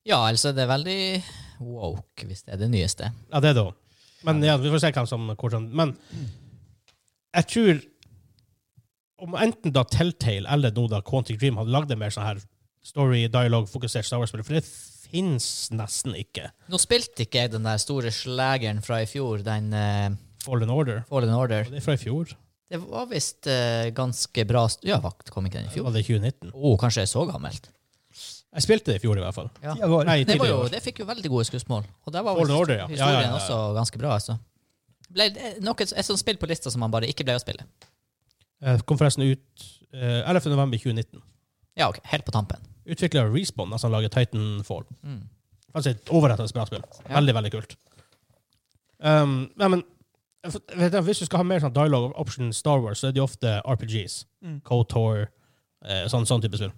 Speaker 1: Ja, altså, det er veldig woke, hvis det er det nyeste.
Speaker 2: ja, det da. Men ja, vi får se hvem som hvordan. Men jeg tror om enten da Telltale eller nå da Quantic Dream hadde lagd en mer sånn her story, dialog, fokusert Star Wars-spill, for det fins nesten ikke.
Speaker 1: Nå spilte ikke jeg den der store slageren fra i fjor, den eh,
Speaker 2: Fallen Order.
Speaker 1: Fallen Order.
Speaker 2: Og det er fra i fjor.
Speaker 1: Det var visst eh, ganske bra st Ja, vakt kom ikke den i fjor?
Speaker 2: Var det 2019?
Speaker 1: Å, kanskje jeg så gammelt.
Speaker 2: Jeg spilte det i fjor, i hvert fall.
Speaker 1: Ja.
Speaker 3: Tida går.
Speaker 2: Nei,
Speaker 1: Det, var
Speaker 2: tidligere i
Speaker 1: jo,
Speaker 2: år.
Speaker 1: det fikk jo veldig gode skussmål. Og der var
Speaker 2: Fallen
Speaker 1: visst
Speaker 2: Order, ja. Ja,
Speaker 1: historien
Speaker 2: ja, ja, ja.
Speaker 1: også ganske bra, altså. Ble det noe, et sånt spill på lista som han bare ikke ble å spille?
Speaker 2: Eh, Kom forresten ut eh, 11. november 2019.
Speaker 1: Ja, ok. Helt på tampen.
Speaker 2: Utvikla Respawn, altså han lager Titanfall.
Speaker 1: Mm.
Speaker 2: Altså et overrettende bra spill.
Speaker 1: Ja.
Speaker 2: Veldig, veldig kult. Um, nei, men jeg vet- vet du, hvis du skal ha mer sånn dialogue option Star Wars, så er det jo ofte RPGs.
Speaker 3: Mm.
Speaker 2: KOTOR, eh, sånn, sånn type spill.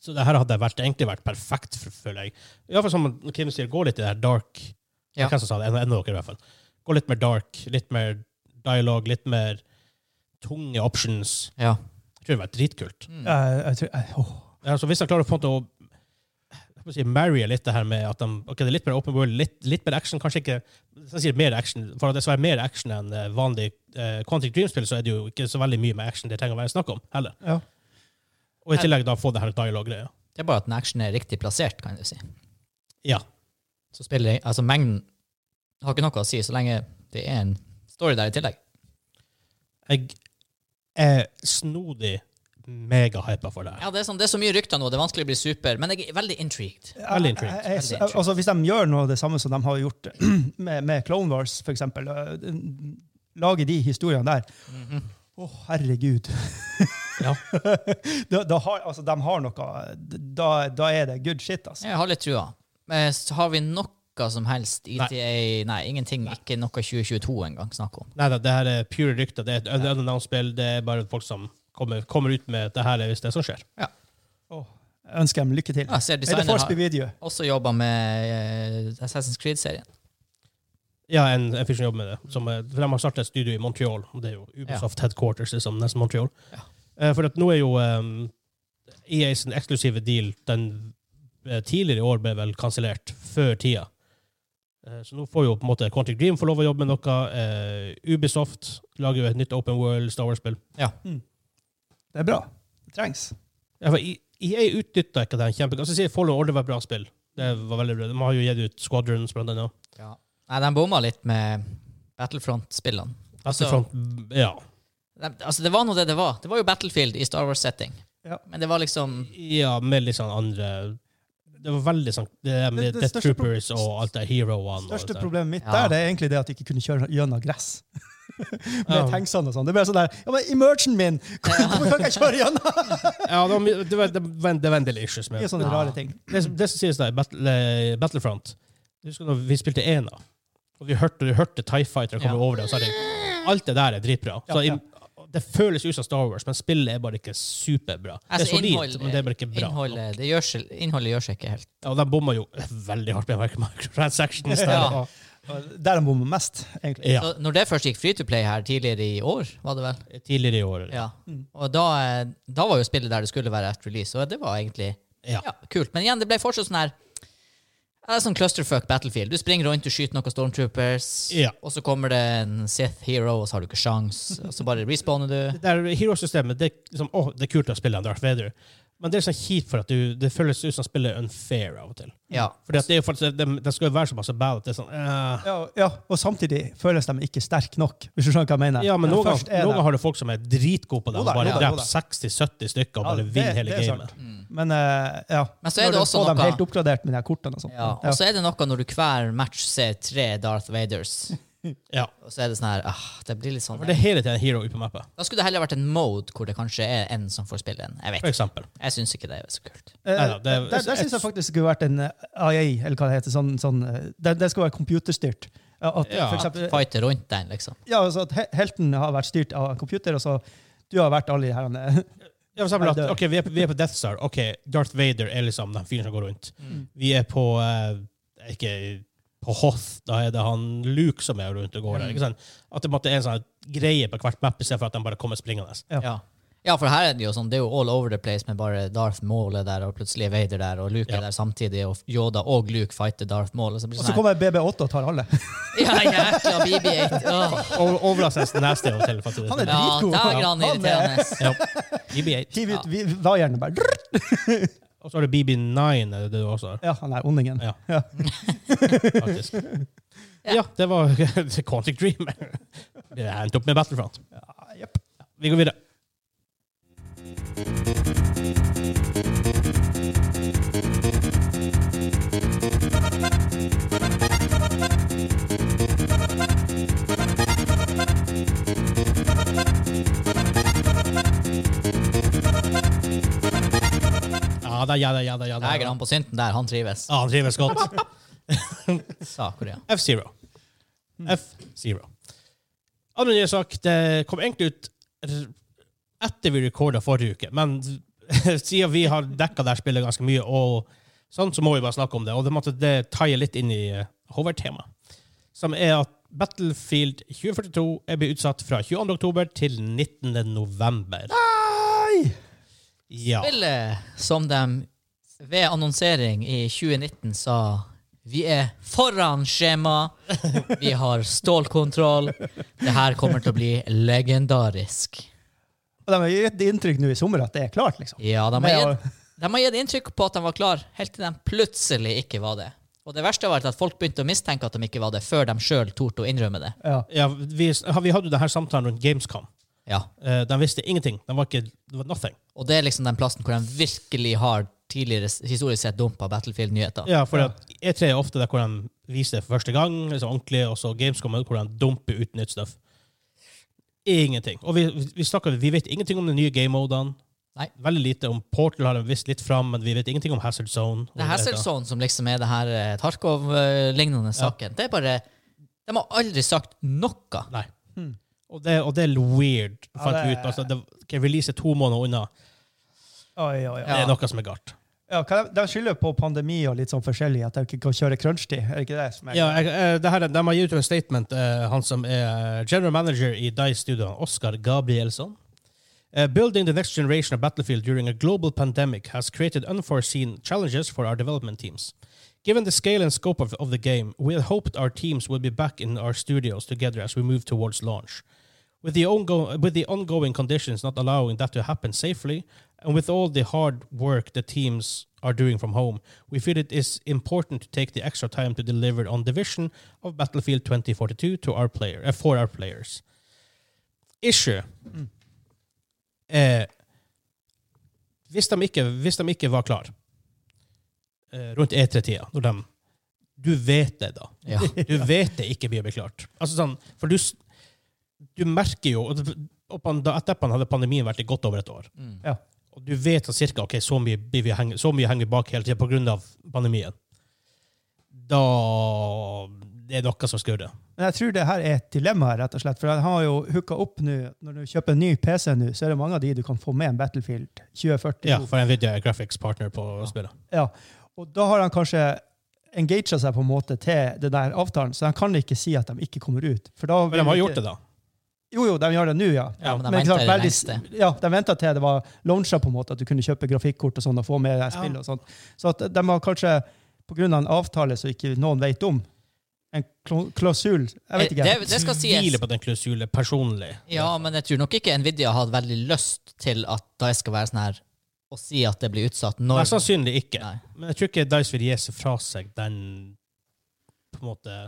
Speaker 2: Så det her hadde vært, egentlig vært perfekt, f- føler jeg. Iallfall som Kim sier, gå litt i det her dark
Speaker 1: Ja.
Speaker 2: Hvem som sa det? En, en av dere, i hvert fall. Gå litt mer dark, litt mer dialog, litt mer tunge options.
Speaker 1: Ja.
Speaker 2: Jeg tror det var dritkult.
Speaker 3: Ja, jeg tror, jeg, åh.
Speaker 2: Ja, så hvis han klarer på en måte å jeg må si, marry litt det her med at de, ok, det er litt mer open world, litt, litt mer action, kanskje ikke hvis jeg sier mer action, For at det skal være mer action enn eh, vanlig eh, Quantic Dream-spill, så er det jo ikke så veldig mye med action det trenger å være snakk om heller.
Speaker 3: Ja.
Speaker 2: Og i tillegg da få det her dialoggreia.
Speaker 1: Det er bare at den actionen er riktig plassert, kan du si.
Speaker 2: Ja.
Speaker 1: Så spiller Altså, mengden har ikke noe å si så lenge det er en story der i tillegg.
Speaker 2: Jeg er snodig megahypa for det her.
Speaker 1: Ja, Det er, sånn, det er så mye rykter nå, det er vanskelig å bli super, men jeg er veldig intrigued.
Speaker 2: Veldig intrigued.
Speaker 3: Jeg- jeg-
Speaker 1: Veldig intrigued.
Speaker 3: Altså, hvis de gjør noe av det samme som de har gjort med, med Clone Wars, for eksempel, øh, d- lager de historiene der
Speaker 1: Mhm.
Speaker 3: Å, herregud.
Speaker 2: Ja.
Speaker 3: da, da har, altså, de har noe da, da er det good shit, altså.
Speaker 1: Jeg har litt trua. Men så har vi noe som helst ETA Nei, ingenting. Ikke noe 2022 engang snakk om.
Speaker 2: Nei da, det her er pure rykter. Det er et unannounced-spill. Det er bare folk som kommer, kommer ut med det her hvis det er som skjer.
Speaker 3: Åh, jeg ønsker dem lykke til.
Speaker 1: Ja, jeg Ah, ser
Speaker 3: er det
Speaker 1: designeren
Speaker 3: Forsby
Speaker 1: har-
Speaker 3: Video?
Speaker 1: Også jobba med eh, Assassin's Creed-serien.
Speaker 2: Ja, en, en fyr som jobber med det. Som, eh, for de har startet et studio i Montreal. og Det er jo Ubisoft headquarters, liksom, nesten Montreal.
Speaker 1: Ja.
Speaker 2: Eh, for at nå er jo um, EA sin eksklusive deal den eh, tidligere i år ble vel kansellert før tida. Eh, så nå får jo på en måte Quantic Dream få lov å jobbe med noe. eh, Ubisoft lager jo et nytt Open World Star Wars-spill.
Speaker 3: Det er bra. Det trengs.
Speaker 2: Ja, for I- EA utnytta ikke den kjempegodt. Altså, sier Follow Order var et bra spill. Det var veldig bra. De har jo gitt ut Squadrons, blant annet.
Speaker 1: Nei, de bomma litt med Battlefront-spillene.
Speaker 2: Battlefront, ja.
Speaker 1: De, altså, det var nå det det var. Det var jo Battlefield i Star Wars-setting.
Speaker 3: Ja.
Speaker 1: Men det var liksom
Speaker 2: Ja, med litt sånn andre Det var veldig sånn Det, der med
Speaker 3: Det- det
Speaker 2: Death
Speaker 3: største pro-
Speaker 2: Troopers og alt det heroene. og alt
Speaker 3: Største
Speaker 2: det der.
Speaker 3: problemet mitt
Speaker 1: Ja.
Speaker 3: der det er egentlig det at de ikke kunne kjøre gjennom gress.
Speaker 2: Ja.
Speaker 3: med tanksene og sånn. Det ble sånn der Ja, men immersion min! Hvorfor kan ikke jeg kjøre gjennom?
Speaker 2: Ja, det var, mye- det var, det var, en- det var en del issues med
Speaker 3: Det er sånn-
Speaker 2: det.
Speaker 3: sånne
Speaker 1: Ja.
Speaker 3: rare ting.
Speaker 2: Det, som- det som sies der, battle, eh, Battlefront Jeg Husker når vi spilte ena, og vi hørte, vi hørte Tie Fighter
Speaker 1: Ja.
Speaker 2: komme over det, og så er det Alt det der er dritbra.
Speaker 3: Ja,
Speaker 2: Så i,
Speaker 3: ja.
Speaker 2: det føles ut som Star Wars, men spillet er bare ikke superbra. det er
Speaker 1: Altså,
Speaker 2: solid,
Speaker 1: innhold-
Speaker 2: men det er bare ikke bra.
Speaker 1: Innholdet, det gjør seg, innholdet gjør seg ikke helt.
Speaker 2: Ja, og de bomma jo veldig hardt med microtransactions. Der.
Speaker 1: Ja.
Speaker 2: Ja.
Speaker 3: Der de bommer mest, egentlig.
Speaker 2: Ja,
Speaker 1: Så når det først gikk free to play her tidligere i år, var det vel?
Speaker 2: tidligere i år.
Speaker 1: Ja.
Speaker 2: Mm.
Speaker 1: Og da, eh, da var jo spillet der det skulle være et release, og det var egentlig
Speaker 2: Ja.
Speaker 1: ja, kult. Men igjen, det ble fortsatt sånn her ja, det er Sånn clusterfuck battlefield. Du springer rundt, du skyter noen stormtroopers,
Speaker 2: Ja.
Speaker 1: og så kommer det en Sith hero, og så har du ikke sjans, og så bare respawner du.
Speaker 2: Det der hero-systemet, det, er liksom, åh, det er kult å spille en Darth Vader, men det er så kjipt for at du, det føles ut som spillet er unfair av og til.
Speaker 1: Ja.
Speaker 2: Fordi at det, er jo faktisk, det, det skal jo være såpass bad at det er sånn eh,
Speaker 3: Ja, ja, og samtidig føles de ikke sterke nok, hvis du skjønner hva jeg mener.
Speaker 2: Ja, men noen,
Speaker 3: først er
Speaker 2: ganger- noen
Speaker 3: det-
Speaker 2: ganger har du folk som er dritgode på det,
Speaker 3: Jo
Speaker 2: og
Speaker 3: da,
Speaker 2: bare
Speaker 3: jo da, jo
Speaker 2: dreper 60-70 stykker og
Speaker 3: Ja,
Speaker 2: bare
Speaker 3: det-
Speaker 2: vinner hele
Speaker 3: det er
Speaker 2: gamet.
Speaker 3: sant. Men eh, ja.
Speaker 1: Men så er
Speaker 3: Når
Speaker 1: det
Speaker 3: du
Speaker 1: også
Speaker 3: får dem
Speaker 1: noe-
Speaker 3: helt oppgradert med de her kortene og sånn. sånt.
Speaker 1: Ja, og så er det noe når du hver match ser tre Darth Vaders,
Speaker 2: Ja.
Speaker 1: og så er det sånn her ah, Det blir litt sånn
Speaker 2: For det er hele tiden en hero ute på mappa,
Speaker 1: Da skulle det heller vært en mode hvor det kanskje er en som får spille en. Jeg vet
Speaker 2: for
Speaker 1: ikke.
Speaker 2: eksempel.
Speaker 1: Jeg syns ikke det er så kult.
Speaker 3: Eh,
Speaker 2: Neida, det er-
Speaker 3: der der syns jeg faktisk det skulle vært en eh, IA, eller hva det heter. Sånn, sånn, eh, det, det skal være computerstyrt. Ja, At,
Speaker 2: Ja.
Speaker 3: for eksempel,
Speaker 1: Fighter rundt den, liksom.
Speaker 3: ja, altså at he- helten har vært styrt av en computer, og så du har vært alle de her eh,
Speaker 2: Ja, for eksempel at,
Speaker 3: Nei, det-
Speaker 2: ok, vi er, på- vi er på Death Star. Ok, Darth Vader er liksom den fyren som går rundt. Vi er på eh, Ikke på Hoth, da er det han Luke som er rundt og går der. ikke sant? At det måtte er en sånn greie på hvert map, istedenfor at de bare kommer springende.
Speaker 3: Ja.
Speaker 1: Ja. ja, for her er det jo sånn, det er jo all over the place med bare Darth Maul er der, og plutselig er Vader der, og Luke
Speaker 2: Ja.
Speaker 1: er der samtidig, og Yoda og Luke fighter Darth Maul. Og så blir
Speaker 3: Og
Speaker 1: det
Speaker 3: så
Speaker 1: sånn her.
Speaker 3: kommer BB8 og tar alle.
Speaker 1: Ja, jækla BB-8. åh.
Speaker 2: Og Overraskende neste år til. faktisk.
Speaker 3: Han er
Speaker 1: Ja,
Speaker 3: dritgod.
Speaker 1: der er han
Speaker 3: Han er-
Speaker 1: irriterende.
Speaker 2: Ja. BB-8.
Speaker 3: Hiv ut vi- vaierne bare drrrt.
Speaker 2: Og så har du BB9, er det det du også har.
Speaker 3: Ja, han er ondingen.
Speaker 2: Ja.
Speaker 3: Ja.
Speaker 2: Faktisk. Ja, det var Quantic Dream. Vi endte opp med Battlefront.
Speaker 3: Ja, jepp.
Speaker 2: Vi går videre. Ja da, ja da, ja da. ja da.
Speaker 1: Legger han på synten der, han trives.
Speaker 2: Ja, han trives godt.
Speaker 1: Sa Korea.
Speaker 2: F-Zero. F-Zero. Andre nye sak, det kom egentlig ut r- etter vi recorda forrige uke, men siden vi har dekka det her spillet ganske mye, og sånn, så må vi bare snakke om det. Og det måtte det taie litt inn i eh, hovedtemaet, som er at Battlefield 2042 er blitt utsatt fra 22. oktober til 19. november.
Speaker 3: Ai!
Speaker 2: Ja.
Speaker 1: Spillet eh, som de ved annonsering i 2019 sa Vi er foran skjema. Vi har stålkontroll. Det her kommer til å bli legendarisk.
Speaker 3: Og de har gitt inntrykk nå i sommer at det er klart, liksom.
Speaker 1: Ja, de har,
Speaker 3: Men-
Speaker 1: gitt, de har gitt inntrykk på at de var klar helt til de plutselig ikke var det. Og det verste var at folk begynte å mistenke at de ikke var det, før de sjøl torde å innrømme det.
Speaker 3: Ja.
Speaker 2: ja vi, vi hadde jo denne samtalen rundt Gamescom.
Speaker 1: Ja.
Speaker 2: Eh, De visste ingenting. De var ikke, det var nothing.
Speaker 1: Og det er liksom den plassen hvor de virkelig har tidligere historisk sett dumpa Battlefield-nyheter.
Speaker 2: Ja, for at E3 er ofte der hvor de viser det for første gang, liksom ordentlig, og så Gamescom er hvor de dumper ut nytt stuff. Ingenting. Og vi, vi, snakker, vi vet ingenting om de nye game-modene.
Speaker 1: Nei.
Speaker 2: Veldig lite om Portal har de visst litt fram, men vi vet ingenting om Hazard Zone.
Speaker 1: Det her ser ut sånn som liksom er det her eh, Tarkov-lignende saken. Det er bare De har aldri sagt noe.
Speaker 2: Nei. Og det, og det er weird, fant
Speaker 3: det
Speaker 2: vi ut.
Speaker 3: er-
Speaker 2: Altså, det, ok, release er to måneder unna.
Speaker 3: Oi, oi, oi.
Speaker 2: Det er noe som er galt.
Speaker 3: Ja, hva de, de skylder på pandemi og litt sånn forskjellig, at de ikke kan kjøre crunchtid. Er det ikke det som er
Speaker 2: Ja, jeg, eh, det her, De har gitt ut en statement, eh, han som er general manager i Dice-studioene, Oscar Gabrielsson. Eh, building the next generation of Battlefield during a global pandemic has created unforeseen challenges for our development teams. Given the scale and scope of, of the game, we had hoped our teams would be back in our studios together as we move towards launch. With the, ongo- with the ongoing conditions not allowing that to happen safely, and with all the hard work the teams are doing from home, we feel it is important to take the extra time to deliver on the vision of Battlefield 2042 to our player, uh, for our players. Issue eh, hvis, de ikke, hvis de ikke var klar eh, rundt E3-tida, når de Du vet det, da.
Speaker 1: Ja.
Speaker 2: Du vet det ikke blir klart. Altså sånn, for du, s- du merker jo og det- og pan- da Etterpå hadde pandemien vært i godt over et år.
Speaker 1: Mm.
Speaker 3: Ja.
Speaker 2: Og du vet sånn cirka ok, så mye, blir vi henge, så mye henger vi bak hele tida pga. pandemien. Da det er noe som skurrer.
Speaker 3: Men jeg tror det her er et dilemma, her, rett og slett. For jeg har jo hooka opp nå. Når du kjøper en ny PC nå, så er det mange av de du kan få med en Battlefield 2040.
Speaker 2: Ja, for Nvidia er graphics partner på spillet.
Speaker 3: Ja. Og da har han kanskje engaga seg på en måte til den der avtalen, så han kan ikke si at de ikke kommer ut. For da
Speaker 2: Men de har gjort det, da.
Speaker 3: Jo, jo, de gjør det nå, ja.
Speaker 1: Ja, men de
Speaker 3: ikke sant,
Speaker 1: venter i det
Speaker 3: veldig-
Speaker 1: lengste.
Speaker 3: Ja, de venta til det var launcha, på en måte, at du kunne kjøpe grafikkort og sånn og få med deg spill og sånt. Så at de har kanskje, på grunn av en avtale som ikke noen vet om, en klo- klausul Jeg vet ikke.
Speaker 1: Eh, Det, det skal sies.
Speaker 2: Tviler på den klausulen personlig.
Speaker 1: Ja, men jeg tror nok ikke Nvidia har hatt veldig lyst til at DICE skal være sånn her og si at det blir utsatt når
Speaker 2: Mest sannsynlig ikke.
Speaker 1: Nei.
Speaker 2: Men jeg tror ikke Dice vil gi seg fra seg den på en måte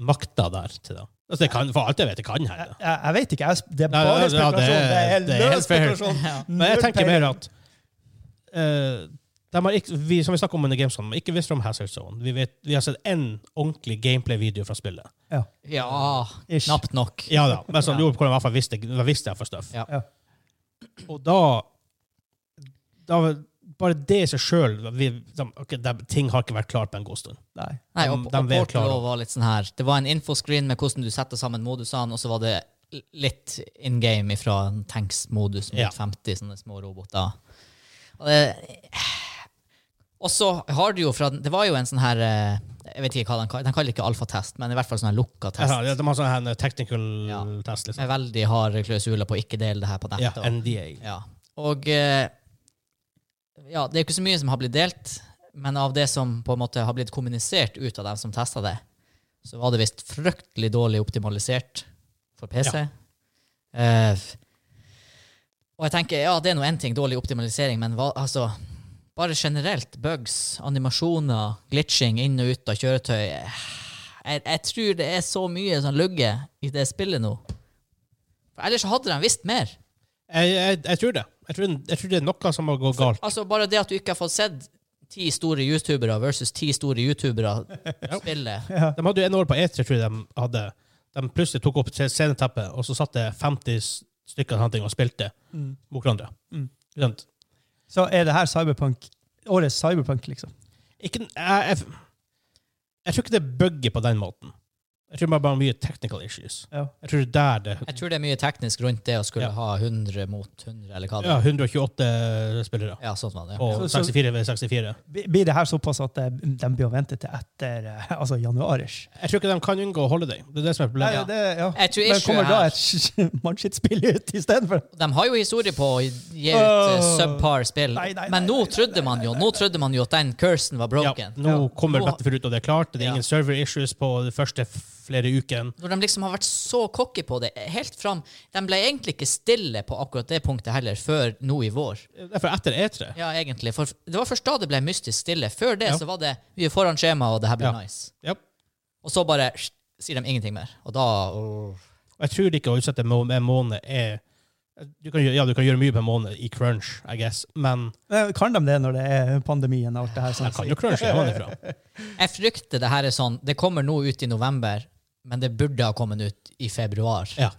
Speaker 2: makta der til det. Altså, det kan, for alt jeg vet, det kan hende.
Speaker 3: Jeg, jeg vet ikke. Jeg, sp- det er
Speaker 2: Nei,
Speaker 3: bare
Speaker 2: ja, det- ja,
Speaker 3: spekulasjon.
Speaker 2: det
Speaker 3: det,
Speaker 2: er-
Speaker 3: er
Speaker 2: det er
Speaker 3: løs
Speaker 2: helt fair.
Speaker 3: spekulasjon.
Speaker 2: Men jeg
Speaker 3: Null
Speaker 2: tenker
Speaker 3: peiling.
Speaker 2: mer at eh, de har ikke, vi, Som vi snakket om under Gamescom, de har ikke visst om Hazard Zone. Vi, vet, vi har sett én ordentlig gameplay-video fra spillet.
Speaker 3: Ja.
Speaker 1: Ja,
Speaker 3: Ish.
Speaker 1: knapt nok.
Speaker 2: Ja da, men som gjorde hvordan i hvert fall visste, da visste jeg for stuff.
Speaker 1: Ja.
Speaker 3: Ja.
Speaker 2: Og da, da Bare det i seg sjøl Ting har ikke vært klart på en god stund.
Speaker 3: Nei.
Speaker 1: Nei, og,
Speaker 2: De-
Speaker 1: og
Speaker 2: de vet
Speaker 1: Portal
Speaker 2: klart.
Speaker 1: også var litt sånn her. Det var en infoscreen med hvordan du setter sammen modusene, og så var det litt in game ifra en tanks-modus mot
Speaker 2: Ja.
Speaker 1: 50 sånne små roboter. Og det- Og så har du jo fra Det var jo en sånn her eh, Jeg vet ikke hva den kaller Den kaller ikke alfatest, men i hvert fall sånn her lukka test.
Speaker 2: Ja, de har sånn her en technical
Speaker 1: Ja.
Speaker 2: test, liksom.
Speaker 1: Med veldig harde klausuler på å ikke dele det her på
Speaker 2: Ja,
Speaker 1: nettet. og-
Speaker 2: NDA.
Speaker 1: Ja. Og eh, ja, det er jo ikke så mye som har blitt delt, men av det som på en måte har blitt kommunisert ut av dem som testa det, så var det visst fryktelig dårlig optimalisert for PC. Eh, og jeg tenker, ja, det er nå én ting, dårlig optimalisering, men hva, altså Bare generelt, bugs, animasjoner, glitching inn og ut av kjøretøy eh, Jeg, jeg tror det er så mye som lugger i det spillet nå. For ellers så hadde de visst mer.
Speaker 2: Jeg, jeg, jeg tror det. Jeg tror, jeg tror det er noe som må gå galt.
Speaker 1: Altså Bare det at du ikke har fått sett ti store youtubere versus ti store youtubere spille.
Speaker 2: De hadde jo en år på E3, tror jeg de hadde. De plutselig tok opp sceneteppet, og så satt det 50 stykker sånne ting og spilte mot hverandre.
Speaker 1: Mm.
Speaker 2: Ikke sant?
Speaker 3: Mm. Så er det her cyberpunk, årets cyberpunk, liksom.
Speaker 2: Ikke, jeg, jeg, jeg tror ikke det er buggy på den måten. Jeg tror bare bare mye technical issues.
Speaker 3: Ja.
Speaker 2: Jeg tror det er der det
Speaker 1: Jeg tror det er mye teknisk rundt det å skulle
Speaker 2: Ja.
Speaker 1: ha 100 mot 100, eller hva det
Speaker 2: Ja,
Speaker 1: er.
Speaker 2: 128 spillere.
Speaker 1: Ja, sånn var det.
Speaker 2: Og
Speaker 3: Så- så-
Speaker 2: 64 ved 64.
Speaker 3: Blir blir det her såpass at eh, de blir å vente til etter eh, altså januarish?
Speaker 2: Jeg tror ikke de kan unngå holiday. Det er det som er
Speaker 3: Nei,
Speaker 2: problemet.
Speaker 3: det, ja.
Speaker 1: Jeg tror
Speaker 3: Men
Speaker 1: issue
Speaker 3: kommer da
Speaker 1: her-
Speaker 3: et mannskittspill ut istedenfor?
Speaker 1: De har jo historie på å gi ut eh,
Speaker 3: Åh.
Speaker 1: subpar spill,
Speaker 3: Nei, nei,
Speaker 1: men
Speaker 3: nei,
Speaker 1: nå trodde man jo Nå trodde man jo at den cursen var
Speaker 2: Ja,
Speaker 1: broken.
Speaker 2: nå kommer
Speaker 1: Nå-
Speaker 2: Battlefield ut, og det er klart. Det er
Speaker 1: Ja.
Speaker 2: ingen server issues på de første flere ukene.
Speaker 1: Når de liksom har vært så cocky på det helt fram De ble egentlig ikke stille på akkurat det punktet heller før nå i vår.
Speaker 2: Derfor etter E E3
Speaker 1: Ja, egentlig. For det var først da det ble mystisk stille. Før det
Speaker 2: Ja.
Speaker 1: så var det Vi er foran skjema, og det her blir
Speaker 2: Ja.
Speaker 1: nice.
Speaker 2: ja.
Speaker 1: Og så bare sj, sier de ingenting mer. Og da åh.
Speaker 2: Og jeg tror ikke å utsette må- en måned er du kan, gjøre- Ja, du kan gjøre mye på en måned i crunch, I guess, men
Speaker 3: Eh, Kan de det når det er pandemien og alt det her?
Speaker 2: jeg
Speaker 3: Sånn,
Speaker 2: kan jo crunche hjemmefra.
Speaker 1: Jeg frykter det her er sånn Det kommer nå ut i november, men det burde ha kommet ut i februar.
Speaker 2: Ja.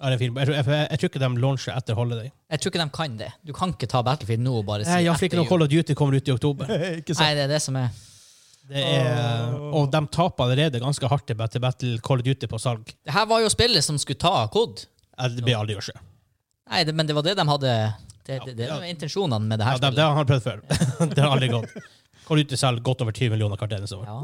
Speaker 2: Ja, det er fint. Jeg, tror- jeg, jeg tror ikke de launcher etter holiday.
Speaker 1: Jeg tror ikke de kan det. Du kan ikke ta Battlefield nå og bare si
Speaker 2: Nei, jeg fikk
Speaker 1: etter
Speaker 2: noe
Speaker 1: jul.
Speaker 2: Call of Duty kommer ut i oktober.
Speaker 3: ikke
Speaker 1: Nei,
Speaker 3: sant?
Speaker 1: det er det som er
Speaker 2: Det er, og de taper allerede ganske hardt til Battle- Battle Call of Duty på salg.
Speaker 1: Det her var jo spillet som skulle ta kod.
Speaker 2: Ja, Det blir aldri å skje.
Speaker 1: Nei, det, men det var det de hadde Det, det, det
Speaker 2: Ja.
Speaker 1: var intensjonene med det
Speaker 2: Ja,
Speaker 1: her
Speaker 2: det, det
Speaker 1: spillet.
Speaker 2: har han prøvd før. det har aldri gått. Call of Duty selger godt over 20 millioner hvert eneste år.
Speaker 1: Ja.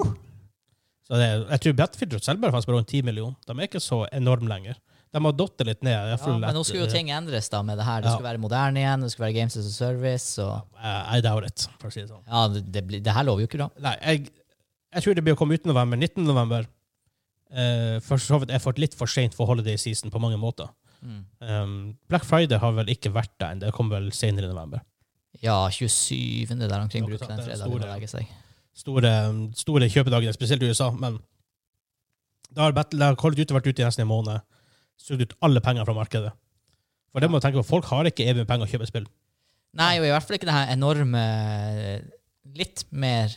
Speaker 2: Så det, er- jeg tror Battlefield selv bare fanns på rundt 10 millioner. De er ikke så enorme lenger. De har datt litt ned. i hvert
Speaker 1: Ja,
Speaker 2: fall
Speaker 1: men nå
Speaker 2: etter-
Speaker 1: skulle jo ting endres da med det her. Det
Speaker 2: Ja.
Speaker 1: skulle være moderne igjen, det skulle være Games as a Service. Og
Speaker 2: Eh, I doubt it, for å si det sånn.
Speaker 1: Ja, det, det, blir- det her lover jo ikke bra.
Speaker 2: Nei, jeg, jeg tror det blir å komme ut i november. 19. november. Eh, for så vidt er fått litt for sent for holiday season på mange måter. Um, Black Friday har vel ikke vært der ennå. Det kommer vel senere i november.
Speaker 1: Ja, 27. der omkring
Speaker 2: Noe
Speaker 1: bruker
Speaker 2: sånt,
Speaker 1: den
Speaker 2: det er
Speaker 1: fredagen å
Speaker 2: store.
Speaker 1: legge seg.
Speaker 2: store, store kjøpedager, spesielt i USA, men da har Battle, da har Call of Duty vært ute i nesten en måned, sugd ut alle penger fra markedet. For det må du tenke på, folk har ikke evig med penger å kjøpe spill.
Speaker 1: Nei, og i hvert fall ikke det her enorme Litt mer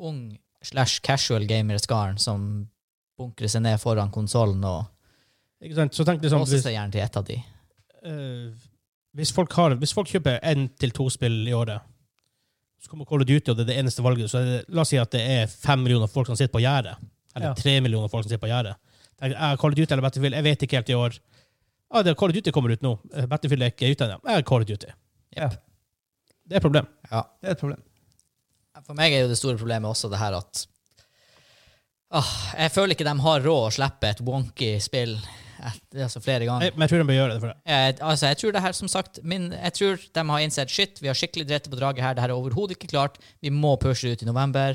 Speaker 1: ung slash casual gamer-skaren som bunkrer seg ned foran konsollen og
Speaker 2: Ikke sant? Så tenk liksom,
Speaker 1: låser
Speaker 2: hvis,
Speaker 1: seg gjerne til ett av de.
Speaker 2: eh, hvis, folk har, hvis folk kjøper én til to spill i året, så kommer Call of Duty, og det er det eneste valget, så er det, la oss si at det er fem millioner folk som sitter på gjerdet. Eller
Speaker 3: Ja.
Speaker 2: tre millioner folk som sitter på gjerdet. Tenker, Jeg har Call of Duty eller Battlefield, jeg vet ikke helt i år. Ja, det er Call of Duty kommer ut nå. Eh, Battlefield er ikke ute ennå. Jeg har Call of Duty.
Speaker 3: Ja.
Speaker 2: Det er et problem.
Speaker 1: Ja.
Speaker 3: Det er et problem.
Speaker 1: For meg er jo det store problemet også det her at Åh, Jeg føler ikke de har råd å slippe et wonky spill et, altså flere ganger.
Speaker 2: Jeg, men jeg tror de bør gjøre det for det.
Speaker 1: Jeg, altså, jeg tror det her, som sagt, min, jeg tror de har innsett shit. Vi har skikkelig drept på draget her. Det her er overhodet ikke klart. Vi må pushe det ut i november.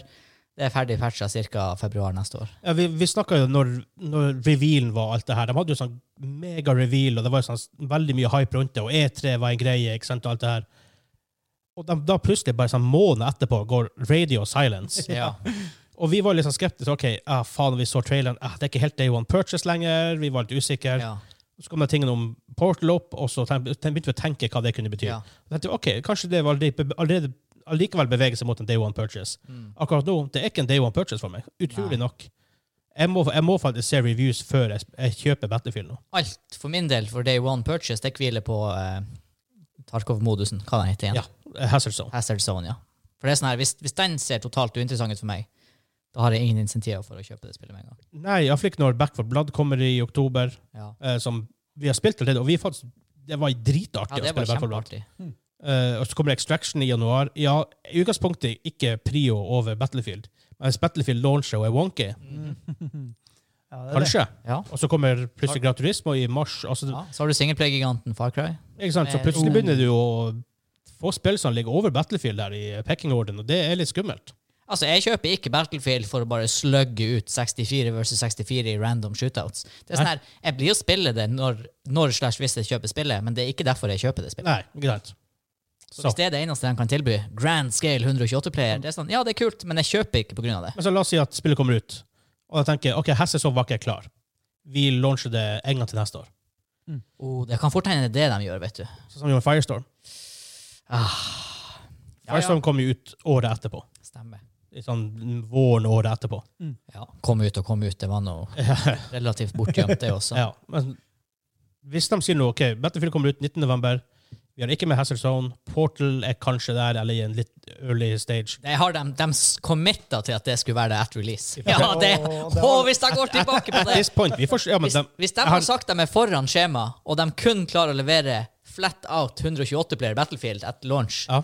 Speaker 1: Det er ferdig patcha ca. februar neste år.
Speaker 2: Ja, vi vi snakka jo når, når revealen var alt det her. De hadde jo sånn mega-reveal, og det var jo sånn veldig mye hype rundt det, og E3 var en greie, ikke sant, og alt det her. Og de, da plutselig, bare sånn måned etterpå, går radio silence.
Speaker 1: Ja.
Speaker 2: Og vi var litt sånn skeptiske. OK, ah, faen, vi så traileren. Ah, det er ikke helt Day One Purchase lenger. Vi var litt usikre.
Speaker 1: Ja.
Speaker 2: Så kom det tingene om Portal opp, og så ten- ten- begynte vi å tenke hva det kunne bety.
Speaker 1: Ja.
Speaker 2: Og tenkte, ok, Kanskje det var allerede, allerede, allikevel beveger seg mot en Day One Purchase.
Speaker 1: Mm.
Speaker 2: Akkurat nå det er ikke en Day One Purchase for meg. Utrolig nok. Jeg må, jeg må faktisk se reviews før jeg, jeg kjøper Battlefield nå.
Speaker 1: Alt for min del for day one purchase, det hviler på eh, Tarkov-modusen. Hva den heter igjen?
Speaker 2: Ja, Hazard Zone.
Speaker 1: Hazard Zone, ja. For det er sånn her, hvis, hvis den ser totalt uinteressant ut for meg, da har jeg ingen insentiver for å kjøpe det spillet med en gang.
Speaker 2: Nei, iallfall ikke når Back for Blood kommer i oktober,
Speaker 1: Ja,
Speaker 2: eh, som vi har spilt allerede. Og vi faktisk, det var
Speaker 1: ja
Speaker 2: dritartig
Speaker 1: det var
Speaker 2: å spille Back for Blood.
Speaker 1: kjempeartig.
Speaker 2: Eh, og så kommer Extraction i januar. Ja, i utgangspunktet ikke prio over Battlefield. Men hvis Battlefield launcher og er wonky,
Speaker 3: Ja, det er det.
Speaker 2: kanskje.
Speaker 1: Mm. Ja.
Speaker 2: Og så kommer plutselig Gran Turismo i mars. Altså,
Speaker 1: ja. Så har du singleplay-giganten Far Cry.
Speaker 2: ikke sant? Så plutselig begynner du å få spill som ligger over Battlefield der i pecking-orden, og det er litt skummelt.
Speaker 1: Altså, Jeg kjøper ikke Battlefield for å bare slugge ut 64 versus 64 i random shootouts. Det er sånn her, Jeg blir jo spille det når, når slash hvis jeg kjøper spillet, men det er ikke derfor jeg kjøper det spillet.
Speaker 2: Nei, ikke sant.
Speaker 1: Så
Speaker 2: Så.
Speaker 1: Hvis det er det eneste de kan tilby, grand scale 128-player, det er sånn, ja, det er kult, men jeg kjøper ikke pga. det.
Speaker 2: Men så la oss si at spillet kommer ut, og jeg tenker ok, Hessesov var ikke klar. Vi launcher det en gang til neste år.
Speaker 1: Oh, det kan fort hende det er det de gjør, vet du.
Speaker 2: Sånn som vi gjorde med Firestorm.
Speaker 1: Ah.
Speaker 2: Firestorm kom jo ut året etterpå.
Speaker 1: Stemmer.
Speaker 2: I sånn våren året etterpå.
Speaker 1: Ja, Kom ut og kom ut, det var noe relativt bortgjemt, det også.
Speaker 2: Ja, men hvis de sier nå ok, Battlefield kommer ut 19. november, vi har ikke med Hazard Zone, Portal er kanskje der, eller i en litt early stage.
Speaker 1: Det har de, de s- committa til at det skulle være det at release.
Speaker 2: Ja.
Speaker 1: Ja, det,
Speaker 3: Åh,
Speaker 1: Å,
Speaker 3: det var-
Speaker 1: hvis jeg går tilbake på
Speaker 2: At
Speaker 1: det!
Speaker 2: this point, vi får, ja, men
Speaker 1: Hvis,
Speaker 2: de,
Speaker 1: hvis de
Speaker 2: jeg
Speaker 1: har sagt de er foran skjema, og de kun klarer å levere flat out 128 player Battlefield at launch,
Speaker 2: ja,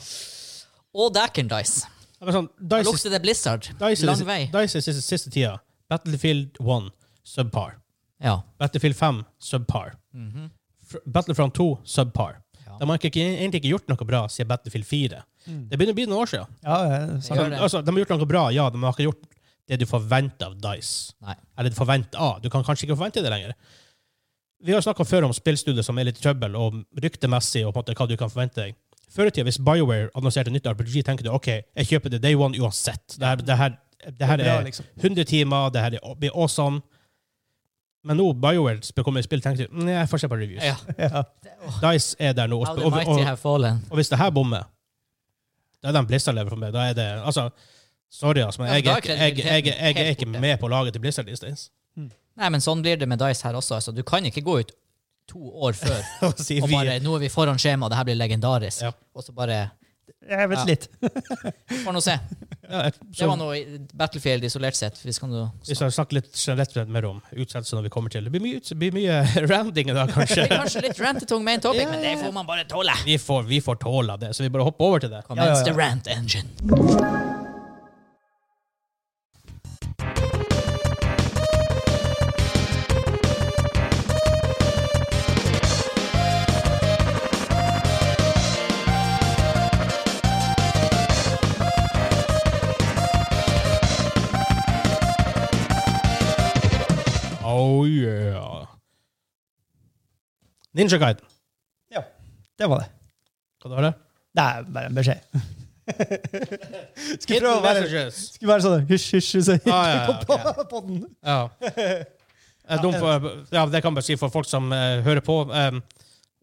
Speaker 1: og Dacken Dice
Speaker 2: Ja, men sånn,
Speaker 1: Da
Speaker 2: Dice,
Speaker 1: lukter det Blizzard.
Speaker 2: Dice,
Speaker 1: Lang
Speaker 2: Dice,
Speaker 1: vei.
Speaker 2: Dice er siste, siste tida. Battlefield 1, subpar.
Speaker 1: Ja.
Speaker 2: Battlefield 5, subpar. Fr- Battlefront 2, subpar.
Speaker 1: Mhm. Ja.
Speaker 2: De har ikke, egentlig ikke gjort noe bra siden Battlefield 4. Det begynner å bli noen år siden.
Speaker 3: Ja, eh, sant.
Speaker 1: gjør det.
Speaker 2: Altså, de har gjort noe bra, ja, de har ikke gjort det du forventer av Dice.
Speaker 1: Nei.
Speaker 2: Eller forvent av. Du kan kanskje ikke forvente det lenger. Vi har snakka før om spillstudier som er litt i trøbbel, og ryktemessig, og på en måte hva du kan forvente deg. Før i tida, hvis BioWare annonserte nytt RPG, tenker du OK, jeg kjøper det day one uansett. Det her, det her, det her
Speaker 3: Det er bra,
Speaker 2: er
Speaker 3: liksom.
Speaker 2: 100 timer, det her er- blir awesome. Men nå, BioWare sp- kommer i spill, tenker du nei, jeg får se på reviews.
Speaker 1: Ja.
Speaker 3: Ja.
Speaker 2: Dice er der nå. Og,
Speaker 1: How
Speaker 2: sp-
Speaker 1: the
Speaker 2: og,
Speaker 1: mighty
Speaker 2: og,
Speaker 1: have fallen.
Speaker 2: og hvis det her bommer, da er det en Blizzard-lever for meg. Da er det Altså, sorry, ass, men
Speaker 1: Ja, men
Speaker 2: jeg,
Speaker 1: da
Speaker 2: er
Speaker 1: er
Speaker 2: ikke- jeg, jeg, jeg, jeg er
Speaker 1: helt
Speaker 2: ikke
Speaker 1: borte.
Speaker 2: med på laget til Blizzard these days.
Speaker 1: Nei, men sånn blir det med Dice her også. Altså, du kan ikke gå ut to år før
Speaker 2: Og si
Speaker 1: og
Speaker 2: vi-
Speaker 1: bare Nå er vi foran skjema, det her blir legendarisk.
Speaker 2: Ja.
Speaker 1: Og så bare
Speaker 3: Jeg vet
Speaker 1: Ja.
Speaker 3: litt.
Speaker 1: Får nå se.
Speaker 2: Ja, jeg,
Speaker 1: Det var
Speaker 2: så,
Speaker 1: noe i Battlefield isolert sett. Hvis kan du
Speaker 2: vi skal snakke litt generelt mer om utsettelser når vi kommer til det. blir mye, uts- blir mye randing i dag,
Speaker 1: Det
Speaker 2: kanskje.
Speaker 1: er kanskje litt rantetung main topic, men det får man bare tåle.
Speaker 2: Vi får, vi får tåle det, så vi bare hopper over til det.
Speaker 1: Commence
Speaker 3: ja.
Speaker 1: the rant engine.
Speaker 2: Oh yeah. Ninja Guiden.
Speaker 3: Ja, det var det.
Speaker 2: Hva var det?
Speaker 3: Det er bare en beskjed. Skulle prøve å være,
Speaker 2: messages.
Speaker 3: skulle være sånn hysj, hysj, så gikk
Speaker 2: Ah, ja,
Speaker 3: vi på,
Speaker 2: ja,
Speaker 3: på den.
Speaker 2: Ja. Jeg er dum for, ja, det kan jeg bare si for folk som eh, hører på. em,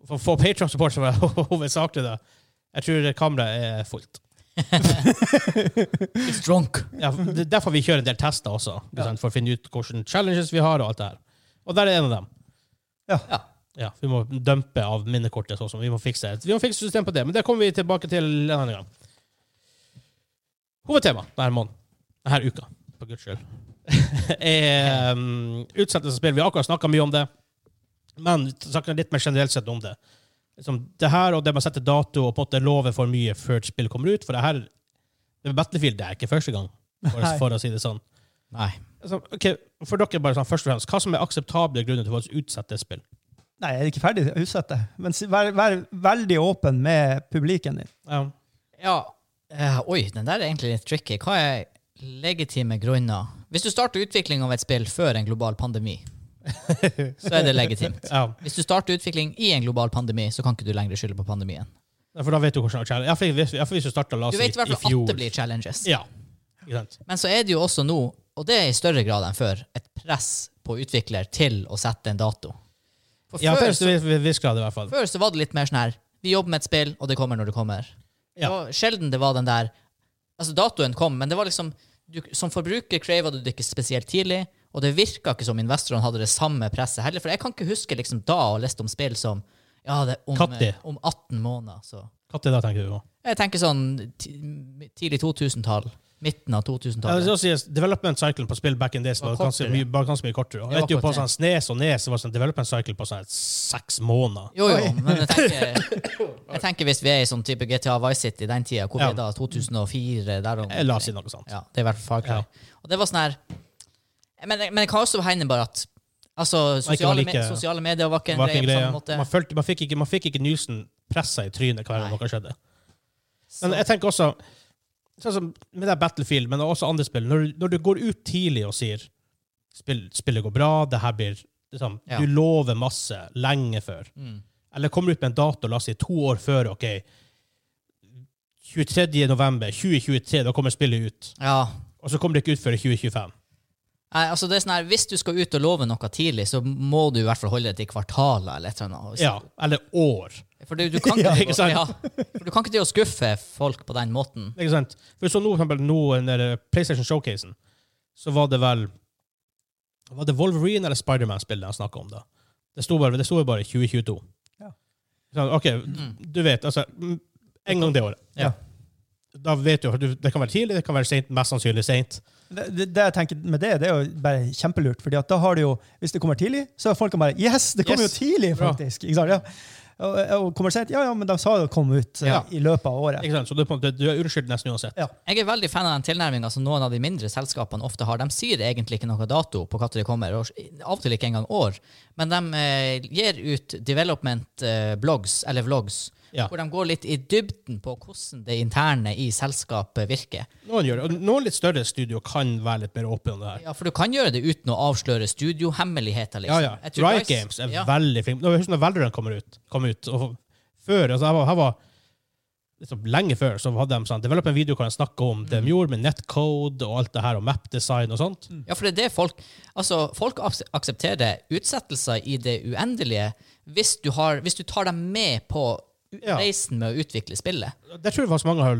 Speaker 2: for for Patreon-support som er hovedsakelig det. Jeg tror kameraet er fullt.
Speaker 1: It's drunk.
Speaker 2: Ja, det er derfor vi kjører en del tester også, ikke sant, for å finne ut hvilke challenges vi har. Og alt det her. Og der er en av dem.
Speaker 1: Ja.
Speaker 2: Ja, Vi må dumpe av minnekortet. sånn som Vi må fikse Vi må fikse system på det, men det kommer vi tilbake til en annen gang. Hovedtema denne måneden, denne uka, for guds skyld, er um, utsettelsesspill. Vi har akkurat snakka mye om det, men snakker litt mer generelt sett om det. Liksom, det her og det med å sette dato og på en måte love for mye før et spill kommer ut, for det her det med Battlefield det er ikke første gang, for, å-
Speaker 3: Nei.
Speaker 2: for å si det sånn.
Speaker 1: Nei.
Speaker 2: Altså, ok, for dere bare sånn, først og fremst, Hva som er akseptable grunner til å utsette et spill?
Speaker 3: Nei, jeg er ikke ferdig utsatt det. Men si- vær, vær veldig åpen med publiken din.
Speaker 2: Ja.
Speaker 1: Ja. eh, oi, den der er egentlig litt tricky. Hva er legitime grunner? Hvis du starter utvikling av et spill før en global pandemi, så er det legitimt.
Speaker 2: ja.
Speaker 1: Hvis du starter utvikling i en global pandemi, så kan ikke du lenger skylde på pandemien.
Speaker 2: For da vet du hvordan challenge Iallfall hvis i hvert fall hvis du starta la
Speaker 1: Du
Speaker 2: oss si,
Speaker 1: vet i hvert
Speaker 2: Altså, i
Speaker 1: fall at
Speaker 2: fjor.
Speaker 1: det blir challenges.
Speaker 2: Ja. Ikke sant?
Speaker 1: Men så er det jo også nå, og det er i større grad enn før, et press på utvikler til å sette en dato. For
Speaker 2: Ja,
Speaker 1: før,
Speaker 2: først,
Speaker 1: så,
Speaker 2: vi, vi, vi skal det i hvert fall.
Speaker 1: før så var det litt mer sånn her Vi jobber med et spill, og det kommer når det kommer.
Speaker 2: Ja.
Speaker 1: Det var sjelden det var den der Altså, datoen kom, men det var liksom du, Som forbruker crava du det ikke spesielt tidlig, og det virka ikke som investorene hadde det samme presset heller, for jeg kan ikke huske liksom da å leste om spill som Ja, det er om,
Speaker 2: Katti.
Speaker 1: eh, om 18 måneder, så
Speaker 2: Når da, tenker du på?
Speaker 1: Jeg tenker sånn ti- tidlig 2000-tall. Midten av
Speaker 2: Ja, det
Speaker 1: 2000-tallet.
Speaker 2: skal sies, development cycle på spill back in days var
Speaker 1: Var
Speaker 2: ganske
Speaker 1: kortere.
Speaker 2: mye, var ganske mye kortere. Og
Speaker 1: Det var
Speaker 2: vet jo på
Speaker 1: kortere.
Speaker 2: sånn Snes og Nes så var sånn development cycle på sånn seks måneder.
Speaker 1: Jo, jo, men jeg tenker, jeg tenker hvis vi er i sånn type GTA Vice City den tida, hvor
Speaker 2: Ja.
Speaker 1: vi er da 2004 der om-
Speaker 2: La oss si noe sånt.
Speaker 1: Ja, det er i hvert fall Far Cry. Og det var sånn her Men, men jeg kan også hende bare at Altså,
Speaker 2: var ikke
Speaker 1: sosiale,
Speaker 2: like-
Speaker 1: me sosiale medier var ikke
Speaker 2: Det
Speaker 1: en
Speaker 2: var
Speaker 1: greie
Speaker 2: ikke en
Speaker 1: på
Speaker 2: greie.
Speaker 1: samme måte.
Speaker 2: Man, følte, man, fikk ikke, man fikk ikke nysen pressa i trynet hver
Speaker 1: Nei.
Speaker 2: gang noe skjedde.
Speaker 1: Så,
Speaker 2: Men jeg tenker også Sånn som med det er Battlefield, men også andre spill. Når, du- når du går ut tidlig og sier spill, 'Spillet går bra', det her blir liksom,
Speaker 1: Ja.
Speaker 2: Du lover masse lenge før.
Speaker 1: mm,
Speaker 2: Eller kommer ut med en dato, la oss si to år før, OK 23. november 2023, da kommer spillet ut.
Speaker 1: ja.
Speaker 2: Og så kommer det ikke ut før i 2025.
Speaker 1: Nei, altså det er sånn her, Hvis du skal ut og love noe tidlig, så må du i hvert fall holde det til kvartaler eller et eller annet.
Speaker 2: Ja, eller år.
Speaker 1: For du, du kan
Speaker 2: Ja,
Speaker 1: ikke,
Speaker 2: ikke sant?
Speaker 1: ja, for du kan ikke til å skuffe folk på den måten.
Speaker 2: Ikke sant? For så nå, for eksempel, nå under PlayStation Showcasen, så var det vel Var det Wolverine eller Spiderman-spillet han snakka om, da? Det sto bare, det sto jo bare 2022.
Speaker 3: Ja.
Speaker 2: Så, OK, du vet, altså mm, En gang det året.
Speaker 1: Ja.
Speaker 2: Da vet du, du Det kan være tidlig, det kan være sent, mest sannsynlig sent.
Speaker 3: Det, det, det jeg tenker med det, det er jo bare kjempelurt. fordi at da har du jo, Hvis det kommer tidlig, så er folk bare Yes, det kommer
Speaker 2: Yes.
Speaker 3: jo tidlig!
Speaker 2: Bra.
Speaker 3: faktisk. Ikke sant? Ja. Og, og kommer sent, ja, ja, men de sa det kom ut eh,
Speaker 2: Ja.
Speaker 3: i løpet av året.
Speaker 2: Ikke sant? Så du, er på en måte- du er unnskyldt nesten uansett.
Speaker 3: Ja.
Speaker 1: Jeg er veldig fan av den tilnærminga som noen av de mindre selskapene ofte har. De sier egentlig ikke noe dato på når det kommer, og av og til ikke engang år. Men de eh, gir ut development-blogs, eller vlogs,
Speaker 2: Ja.
Speaker 1: hvor de går litt i dybden på hvordan det interne i selskapet virker.
Speaker 2: Noen gjør det. Og noen litt større studio kan være litt mer åpne om det her.
Speaker 1: Ja, For du kan gjøre det uten å avsløre studiohemmeligheter,
Speaker 2: Ja,
Speaker 1: liksom.
Speaker 2: ja.
Speaker 1: Jeg tror
Speaker 2: Riot
Speaker 1: Dice-
Speaker 2: Games er
Speaker 1: ja.
Speaker 2: veldig flink. Nå, jeg husker når Valorant kom ut, kom ut og før, altså, jeg var, jeg var liksom, Lenge før så hadde de sånn, developet en video hvor de snakket om
Speaker 1: Mm.
Speaker 2: det de gjorde med netcode og alt det her, og mapdesign og sånt.
Speaker 1: Ja, for det er det folk Altså, folk aks- aksepterer utsettelser i det uendelige hvis du, har, hvis du tar dem med på u-
Speaker 2: Ja.
Speaker 1: reisen med å utvikle spillet.
Speaker 2: Det tror jeg faktisk mange har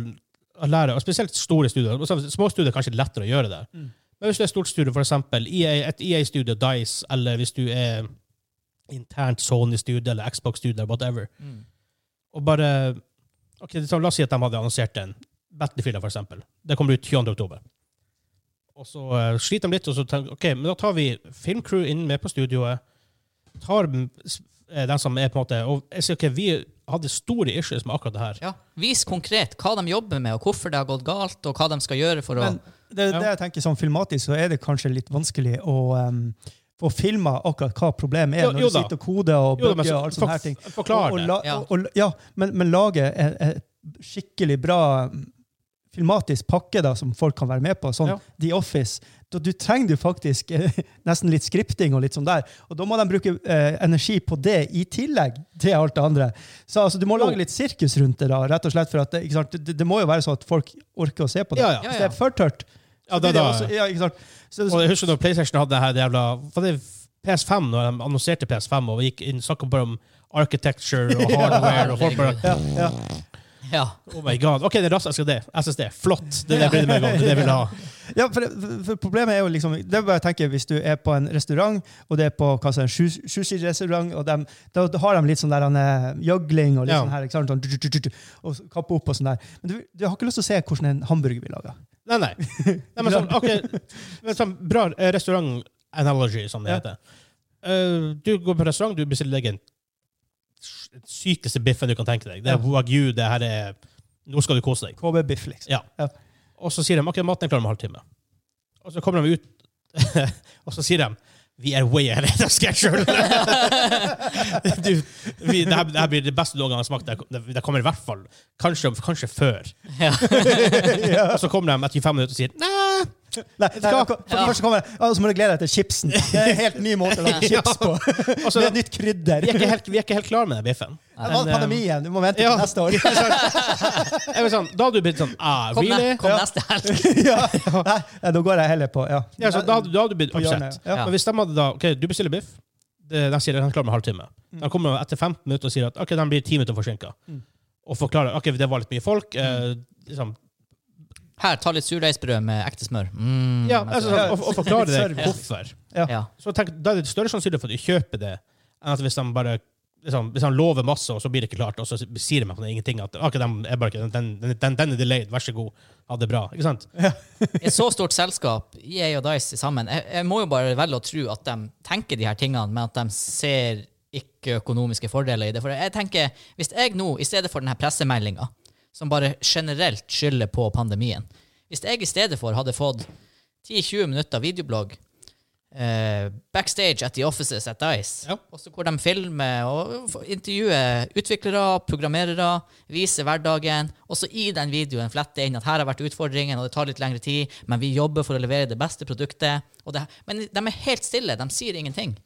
Speaker 2: har lært, og spesielt store studier. Altså, Små studier er kanskje lettere å gjøre det. Men hvis du er et stort studio, for eksempel EA, et EA-studio, Dice, eller hvis du er internt Sony-studio eller Xbox-studio, eller whatever, og bare ok, så La oss si at de hadde annonsert en Battlefield, for eksempel. Det kommer ut 22. oktober. Og så eh, sliter de litt, og så tenker ok, men da tar vi filmcrew inn med på studioet. Tar mm, s- eh, den som er på en måte Og jeg sier, ok, vi hadde store issues med akkurat det her.
Speaker 1: Ja. Vis konkret hva de jobber med, og hvorfor det har gått galt, og hva de skal gjøre for å
Speaker 3: Men det, det jeg tenker sånn filmatisk, så er det kanskje litt vanskelig å em, få filma akkurat hva problemet er,
Speaker 2: Jo-
Speaker 3: når
Speaker 2: jo
Speaker 3: du
Speaker 2: da.
Speaker 3: sitter og koder og
Speaker 2: Jo da, men
Speaker 3: bugger
Speaker 2: så-
Speaker 3: og alt sånne
Speaker 2: for-
Speaker 3: her ting.
Speaker 2: forklar
Speaker 3: og, og,
Speaker 2: det.
Speaker 3: la,
Speaker 1: Ja.
Speaker 3: og, og, ja, men, men lage et, et skikkelig bra em, filmatisk pakke da, som folk kan være med på, sånn
Speaker 2: Ja.
Speaker 3: The Office. Da, du trenger du faktisk eh, nesten litt skripting og litt sånn der. Og da må de bruke eh, energi på det i tillegg til alt det andre. Så altså, du må lage litt sirkus rundt det, da, rett og slett, for at det, ikke sant? Det, det må jo være sånn at folk orker å se på det.
Speaker 2: Ja, ja.
Speaker 3: Hvis det er for tørt, så
Speaker 2: Ja, da-
Speaker 3: blir det
Speaker 2: da-
Speaker 3: også, ja, ikke sant? Så,
Speaker 2: Og jeg husker når PlayStation hadde det her det jævla Var det PS5, når de annonserte PS5 og gikk inn snakka bare om architecture og hardware og folk bare
Speaker 3: ja, ja.
Speaker 1: Ja.
Speaker 2: Oh my god. OK, det er raskt SSD. SSD. Flott. Det er det jeg brydde meg om. Det er det jeg ville ha.
Speaker 3: ja for, det- for problemet er jo liksom Det er bare å tenke hvis du er på en restaurant, og det er på hva som er en shus- sushi-restaurant, og dem, da da har de litt sånn der han, eh, juggling og litt
Speaker 2: Ja.
Speaker 3: sånn her, ikke sant? Sånn, du- du- du- du, og så kappe opp og sånn der. Men du, du har ikke lyst til å se hvordan en hamburger blir laga.
Speaker 2: Nei, nei. nei men sånn, akkurat, men sånn bra eh, restaurant-analogy, som det
Speaker 3: Ja.
Speaker 2: heter. Eh, du går på restaurant, du bestiller deg den sykeste biffen du kan tenke deg. Det
Speaker 3: Ja.
Speaker 2: er wagyu, det her er Nå skal du kose deg.
Speaker 3: KB Biff, liksom.
Speaker 2: Ja.
Speaker 3: Ja.
Speaker 2: Og så sier de akkurat maten er klar om en halvtime. Og så kommer de ut, og så sier de vi er way ahead of schedule! du, vi, det, her, det her blir det beste noen gang jeg har smakt. Det, det kommer i hvert fall kanskje, kanskje før.
Speaker 1: Ja.
Speaker 2: Og så kommer de etter 25 minutter og sier nei,
Speaker 3: Nei, nei, akkurat- for det første kommer det, «Å, så må du glede deg til chipsen. Det er en helt ny måte å lage chips på.
Speaker 2: Og så
Speaker 3: Med
Speaker 2: er
Speaker 3: et
Speaker 2: det-
Speaker 3: nytt
Speaker 2: altså,
Speaker 3: krydder.
Speaker 2: vi er ikke helt, vi er ikke helt klar med den biffen.
Speaker 3: Det var
Speaker 2: Men, eh,
Speaker 3: pandemien. Du må vente
Speaker 2: ja.
Speaker 3: til neste år.
Speaker 2: jeg var sånn, da hadde du blitt sånn ah,
Speaker 1: Kom, ne
Speaker 2: really?
Speaker 1: kom neste helg.
Speaker 3: ja. Nei, nei, da går jeg heller på ja.
Speaker 2: Ja, så sånn, da, hadde- da hadde du blitt
Speaker 3: På hjørnet,
Speaker 2: oppsett.
Speaker 3: ja.
Speaker 1: Ja.
Speaker 2: Men hvis de hadde da OK, du bestiller biff. Det- De sier den er klar med en halvtime. De kommer etter 15 minutter og sier at OK, den blir 10 minutter forsinka. Og forklarer OK, det var litt mye folk. Eh, liksom,
Speaker 1: Her, ta litt surdeigsbrød med ekte smør. Mm,
Speaker 2: ja,
Speaker 1: men
Speaker 2: altså,
Speaker 1: så-
Speaker 2: sånn, og, og forklarer
Speaker 3: Litt
Speaker 2: deg
Speaker 3: service.
Speaker 2: hvorfor.
Speaker 1: ja.
Speaker 2: Så tenk, Da er det større sannsynlighet for at du kjøper det, enn at hvis de bare liksom, hvis de lover masse, og så blir det ikke klart, og så sier de at det er ingenting at ok, de er bare ikke, den, den, den, den er delayed, vær så god, ha det bra. Ikke sant?
Speaker 1: I et så stort selskap, EA og Dice sammen, jeg, jeg må jo bare velge å tro at de tenker de her tingene, men at de ser ikke økonomiske fordeler i det. For jeg tenker, hvis jeg nå, i stedet for denne pressemeldinga, som bare generelt skylder på pandemien Hvis jeg i stedet for hadde fått 10-20 minutter videoblogg eh, backstage at the offices at Dice,
Speaker 2: Ja.
Speaker 1: også hvor de filmer og f- intervjuer utviklere, programmerere, viser hverdagen, og så i den videoen flette inn at her har vært utfordringen, og det tar litt lengre tid, men vi jobber for å levere det beste produktet. Og det, men de er helt stille, de sier ingenting.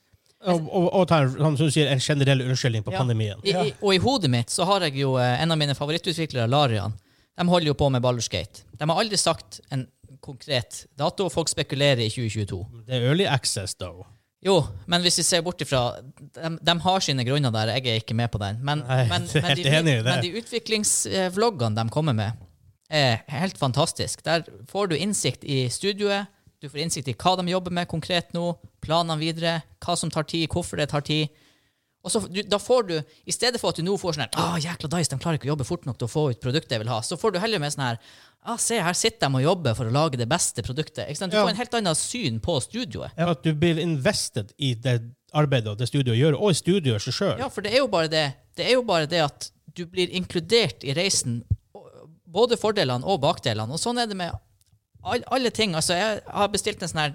Speaker 2: Og, og, og ta en, som du sier, en generell unnskyldning på
Speaker 1: Ja.
Speaker 2: pandemien.
Speaker 1: I, i, og i hodet mitt så har jeg jo eh, en av mine favorittutviklere, Larian. De holder jo på med Ballerskate. De har aldri sagt en konkret dato, og folk spekulerer i 2022.
Speaker 2: Det er early access, though.
Speaker 1: Jo, men hvis vi ser bort ifra de, de har sine grunner der, jeg er ikke med på den. Men,
Speaker 2: Nei,
Speaker 1: men,
Speaker 2: jeg er
Speaker 1: men,
Speaker 2: helt
Speaker 1: de,
Speaker 2: enig i det.
Speaker 1: men de utviklingsvloggene de kommer med, er helt fantastisk. Der får du innsikt i studioet, du får innsikt i hva de jobber med konkret nå, planene videre, hva som tar tid, hvorfor det tar tid. Og så, du, da får du, I stedet for at du nå får sånn her Å, jækla Dice, de klarer ikke å jobbe fort nok til å få ut produktet jeg vil ha. Så får du heller med sånn her ah, Se, her sitter de og jobber for å lage det beste produktet. Ikke sant? Du
Speaker 2: Ja.
Speaker 1: får en helt annet syn på studioet.
Speaker 2: At du blir invested i det arbeidet og det studioet gjør, og i studioet seg sjøl.
Speaker 1: Ja, for det er jo bare det Det er jo bare det at du blir inkludert i reisen. og- Både fordelene og bakdelene. Og sånn er det med all, alle ting. Altså, jeg har bestilt en sånn her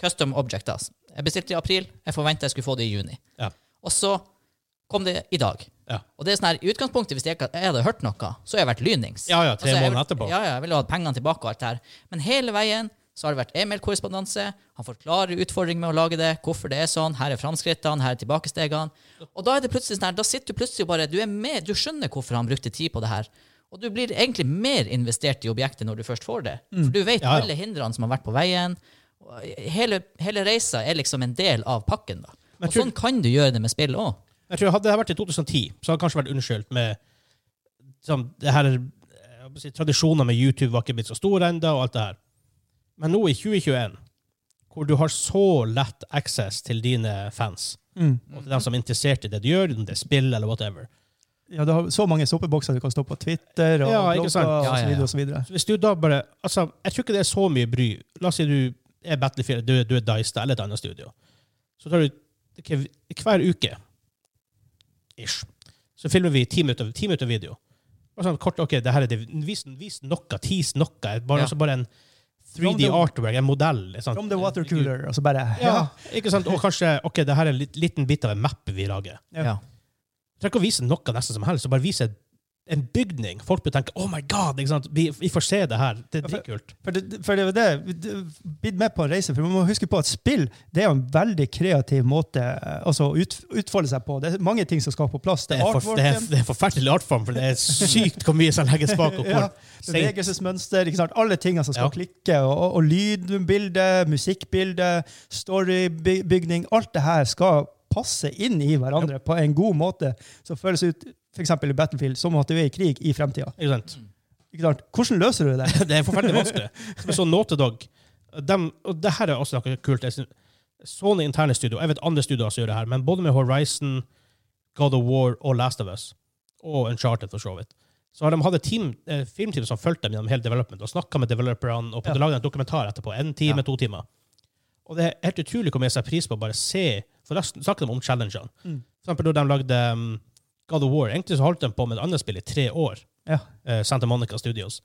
Speaker 1: custom object. Altså. Jeg bestilte i april. Jeg forventa jeg skulle få det i juni.
Speaker 2: Ja.
Speaker 1: Og så kom det i dag.
Speaker 2: Ja.
Speaker 1: Og det er sånn her, i utgangspunktet, Hvis jeg ikke jeg hadde hørt noe, så har jeg vært lynings. Altså,
Speaker 2: Ja, ja, tre
Speaker 1: jeg-
Speaker 2: måneder etterpå.
Speaker 1: Ja, ja, jeg ville hatt pengene tilbake og alt det her. Men hele veien så har det vært e-mail-korrespondanse. Han forklarer utfordringen med å lage det, hvorfor det er sånn, her er framskrittene, her er tilbakestegene. Og da er det plutselig sånn her, da sitter du plutselig bare, du er med, du skjønner hvorfor han brukte tid på det her. Og du blir egentlig mer investert i objektet når du først får det. For du vet
Speaker 2: Mm. Ja, ja.
Speaker 1: alle hindrene som har vært på veien. Og eh, Hele, hele reisa er liksom en del av pakken. da.
Speaker 2: Men
Speaker 1: Og
Speaker 2: tror-
Speaker 1: sånn kan du gjøre det med spill òg.
Speaker 2: Jeg tror Hadde det her vært i 2010, så hadde det kanskje vært unnskyldt med sånn, det her, jeg holdt på å si, Tradisjoner med YouTube var ikke blitt så store ennå, og alt det her. Men nå i 2021, hvor du har så lett access til dine fans,
Speaker 3: Mm.
Speaker 2: og til dem som er interessert i det du gjør, om det er spill eller whatever
Speaker 3: Ja, du har så mange soppebokser du kan stå på Twitter og
Speaker 2: Ja, ikke
Speaker 3: blogger
Speaker 2: sant?
Speaker 3: og
Speaker 1: Ja, ja,
Speaker 3: så
Speaker 1: ja.
Speaker 3: videre. Og så videre.
Speaker 2: Så Hvis du da bare altså, Jeg tror ikke det er så mye bry. La oss si du er Battlefield, du, du er Dice da, eller et annet studio. Så tar du ok, hver uke ish, så filmer vi ti minutter, ti minutter video. Bare sånn kort, ok, det her er det. Vis, vis noe, tis noe. Bare,
Speaker 1: Ja.
Speaker 2: altså bare en 3D
Speaker 3: From the-
Speaker 2: artwork, en modell. ikke sant?
Speaker 3: From the water cooler, og så bare
Speaker 2: Ja, ikke sant? Og kanskje ok, det her er en lit- liten bit av en map vi lager.
Speaker 3: Ja.
Speaker 1: Ja.
Speaker 2: Du trenger ikke å vise noe nesten som helst, så bare vise en bygning. Folk bør tenke 'oh my god', ikke sant? Vi, vi får se det her. Det er
Speaker 3: for-
Speaker 2: dritkult.
Speaker 3: For det, for det var det det- Bitt med på en reise. For man må huske på at spill det er jo en veldig kreativ måte eh, altså, å ut, utfolde seg på. Det er mange ting som skal på plass.
Speaker 2: Det
Speaker 3: Det
Speaker 2: er,
Speaker 3: er
Speaker 2: for, det, er,
Speaker 3: artworken,
Speaker 2: det er forferdelig artform, for det er sykt hvor mye som legges bak. Og hvor
Speaker 3: Ja,
Speaker 2: sent-
Speaker 3: bevegelsesmønster, ikke sant? alle tingene som skal
Speaker 2: Ja.
Speaker 3: klikke. Og, og, og lydbilde, musikkbilde, storybygning. Alt det her skal passe inn i hverandre på en god måte, som føles ut for eksempel i Battlefield som at du er i krig i fremtida.
Speaker 2: Ikke sant?
Speaker 3: Ikke sant? Hvordan løser du det?
Speaker 2: Det er forferdelig vanskelig. Som jeg så Naughty Dog dem, Og det her er også noe kult. Jeg synes, Sony interne studio, jeg vet andre studioer som gjør det her, men både med Horizon, God of War og Last of Us, og Uncharted for så vidt, Så har de hatt et team, eh, filmteam som fulgte dem gjennom hele development og snakka med developerne og ja. lagde en dokumentar etterpå. En time,
Speaker 3: Ja.
Speaker 2: to timer. Og det er helt utrolig hvor mye jeg setter pris på å bare se For da sn- snakket de om challengene.
Speaker 3: Mm.
Speaker 2: For eksempel da de lagde um, God of War. Egentlig så holdt de på med et annet spill i tre år.
Speaker 3: Ja.
Speaker 2: eh, Santa Monica Studios.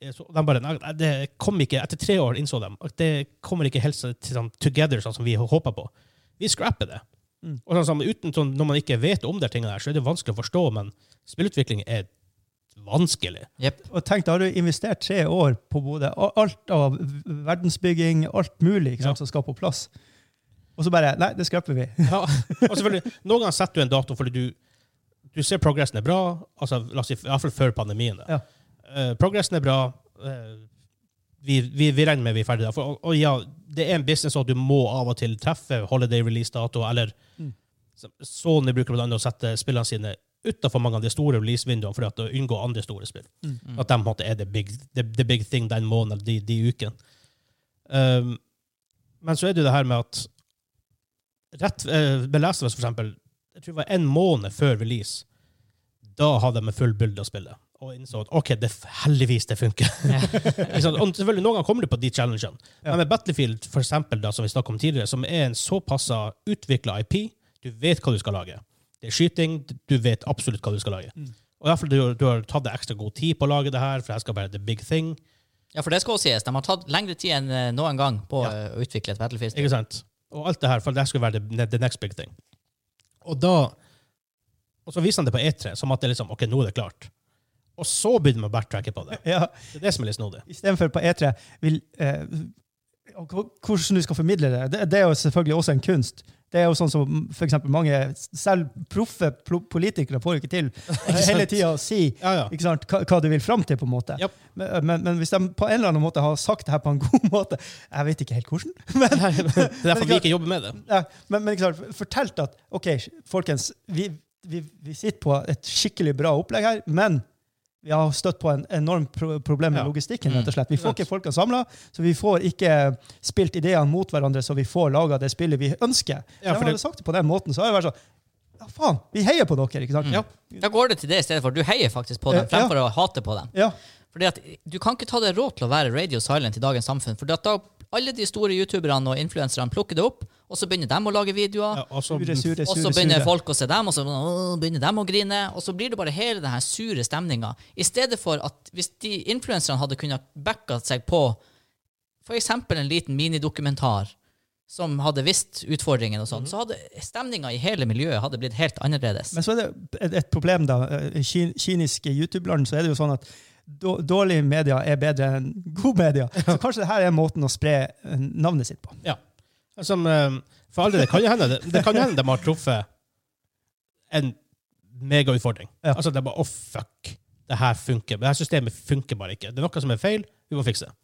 Speaker 2: Eh, Så de bare, nei, det kom ikke, Etter tre år innså de at det kommer ikke helt så- til sånn together sånn som vi håpa på. Vi scrapper det.
Speaker 3: Mm.
Speaker 2: Og sånn, som uten, sånn, når man ikke vet om de tingene der, så er det vanskelig å forstå, men spillutvikling er vanskelig.
Speaker 1: Jepp.
Speaker 3: Og tenk, da har du investert tre år på både a- alt av v- verdensbygging, alt mulig ikke sant,
Speaker 2: Ja.
Speaker 3: som skal på plass. Og så bare Nei, det skrapper vi.
Speaker 2: Ja, og selvfølgelig, Noen ganger setter du en dato fordi du, du ser progressen er bra, altså, la oss si, i hvert fall før pandemien. Da.
Speaker 3: Ja.
Speaker 2: Eh, progressen er bra, eh, vi, vi, vi regner med vi er ferdige. da. For, og, og ja, det er en business at du må av og til treffe holiday release-dato, eller
Speaker 3: Mm.
Speaker 2: så- Sony bruker blant annet å sette spillene sine utenfor mange av de store release-vinduene for at å unngå andre store spill.
Speaker 3: Mm.
Speaker 2: At de på en måte er the big, the, the big thing den måneden, de, de ukene. Um, men så er det jo det her med at rett eh, med Last of Us, for eksempel, jeg tror det var en måned før release, da hadde de en full build av spillet. Og innså at OK, det, heldigvis det funker. Ikke sant? og selvfølgelig, noen ganger kommer du på de challengene. Men med Battlefield, for eksempel, da, som vi snakket om tidligere, som er en såpass utvikla IP, du vet hva du skal lage. Det er skyting, du vet absolutt hva du skal lage. Og i hvert fall du, du har tatt deg ekstra god tid på å lage det her, for det her skal være the big thing.
Speaker 1: Ja, for det skal også sies. De har tatt lengre tid enn eh, noen gang på eh, å utvikle et Battlefield.
Speaker 2: Ikke sant? Og alt det her, for det her skulle være the, the next big thing. Og da Og så viser han det på E3, som at det er liksom, ok, nå er det klart. Og så begynner man å backtracke på det.
Speaker 3: Ja,
Speaker 2: Det er det som er litt snodig.
Speaker 3: Istedenfor på E3 vil, eh, og hva- Hvordan du skal formidle det, det, det er jo selvfølgelig også en kunst. Det er jo sånn som for eksempel mange, Selv proffe plo- politikere får jo ikke til hele tida å si
Speaker 2: Ja, ja.
Speaker 3: ikke sant, hva, hva de vil fram til. på en måte.
Speaker 2: Japp.
Speaker 3: Men, men, men hvis de på en eller annen måte har sagt det her på en god måte Jeg vet ikke helt hvordan. Men,
Speaker 2: Det er derfor vi ikke jobber med det.
Speaker 3: Nei, men, men ikke sant, fortelt at OK, folkens, vi, vi, vi sitter på et skikkelig bra opplegg her, men vi har støtt på en enormt pro problem
Speaker 2: Ja.
Speaker 3: med
Speaker 2: Mm.
Speaker 3: logistikken. rett og slett. Vi får ikke folkene samla, så vi får ikke spilt ideene mot hverandre, så vi får laga det spillet vi ønsker.
Speaker 2: Ja,
Speaker 3: Ja,
Speaker 2: for
Speaker 3: for
Speaker 2: det-
Speaker 3: hadde sagt det på den måten, så hadde det vært sånn Ja, faen, vi heier på dere, ikke sant?
Speaker 2: Mm.
Speaker 3: Ja.
Speaker 1: Da går det til det i stedet for. Du heier faktisk på dem
Speaker 3: Ja, ja.
Speaker 1: fremfor å hate på dem.
Speaker 3: Ja.
Speaker 1: Fordi at Du kan ikke ta deg råd til å være radio silent i dagens samfunn. Fordi at da alle de store youtuberne og influenserne plukker det opp, og så begynner de å lage videoer.
Speaker 2: Ja, og så,
Speaker 3: Sure, sure,
Speaker 1: Og så
Speaker 3: sure,
Speaker 1: begynner
Speaker 3: sure.
Speaker 1: folk å se dem, og så øh, begynner dem å grine. Og så blir det bare hele denne sure stemninga. I stedet for at hvis de influenserne hadde kunnet backa seg på f.eks. en liten minidokumentar som hadde visst utfordringen, og sånn, så hadde stemninga i hele miljøet hadde blitt helt annerledes.
Speaker 3: Men så er det et, et problem, da. I kin- kinesiske YouTube-land så er det jo sånn at då- dårlige medier er bedre enn gode medier. Så kanskje det her er måten å spre eh, navnet sitt på.
Speaker 2: ja. Som, eh, for aldri, det kan jo hende det, det kan jo hende de har truffet en megautfordring.
Speaker 3: Ja.
Speaker 2: Altså, det er bare å, fuck. Det her funker. Det her systemet funker bare ikke. Det er noe som er feil. Vi må fikse det.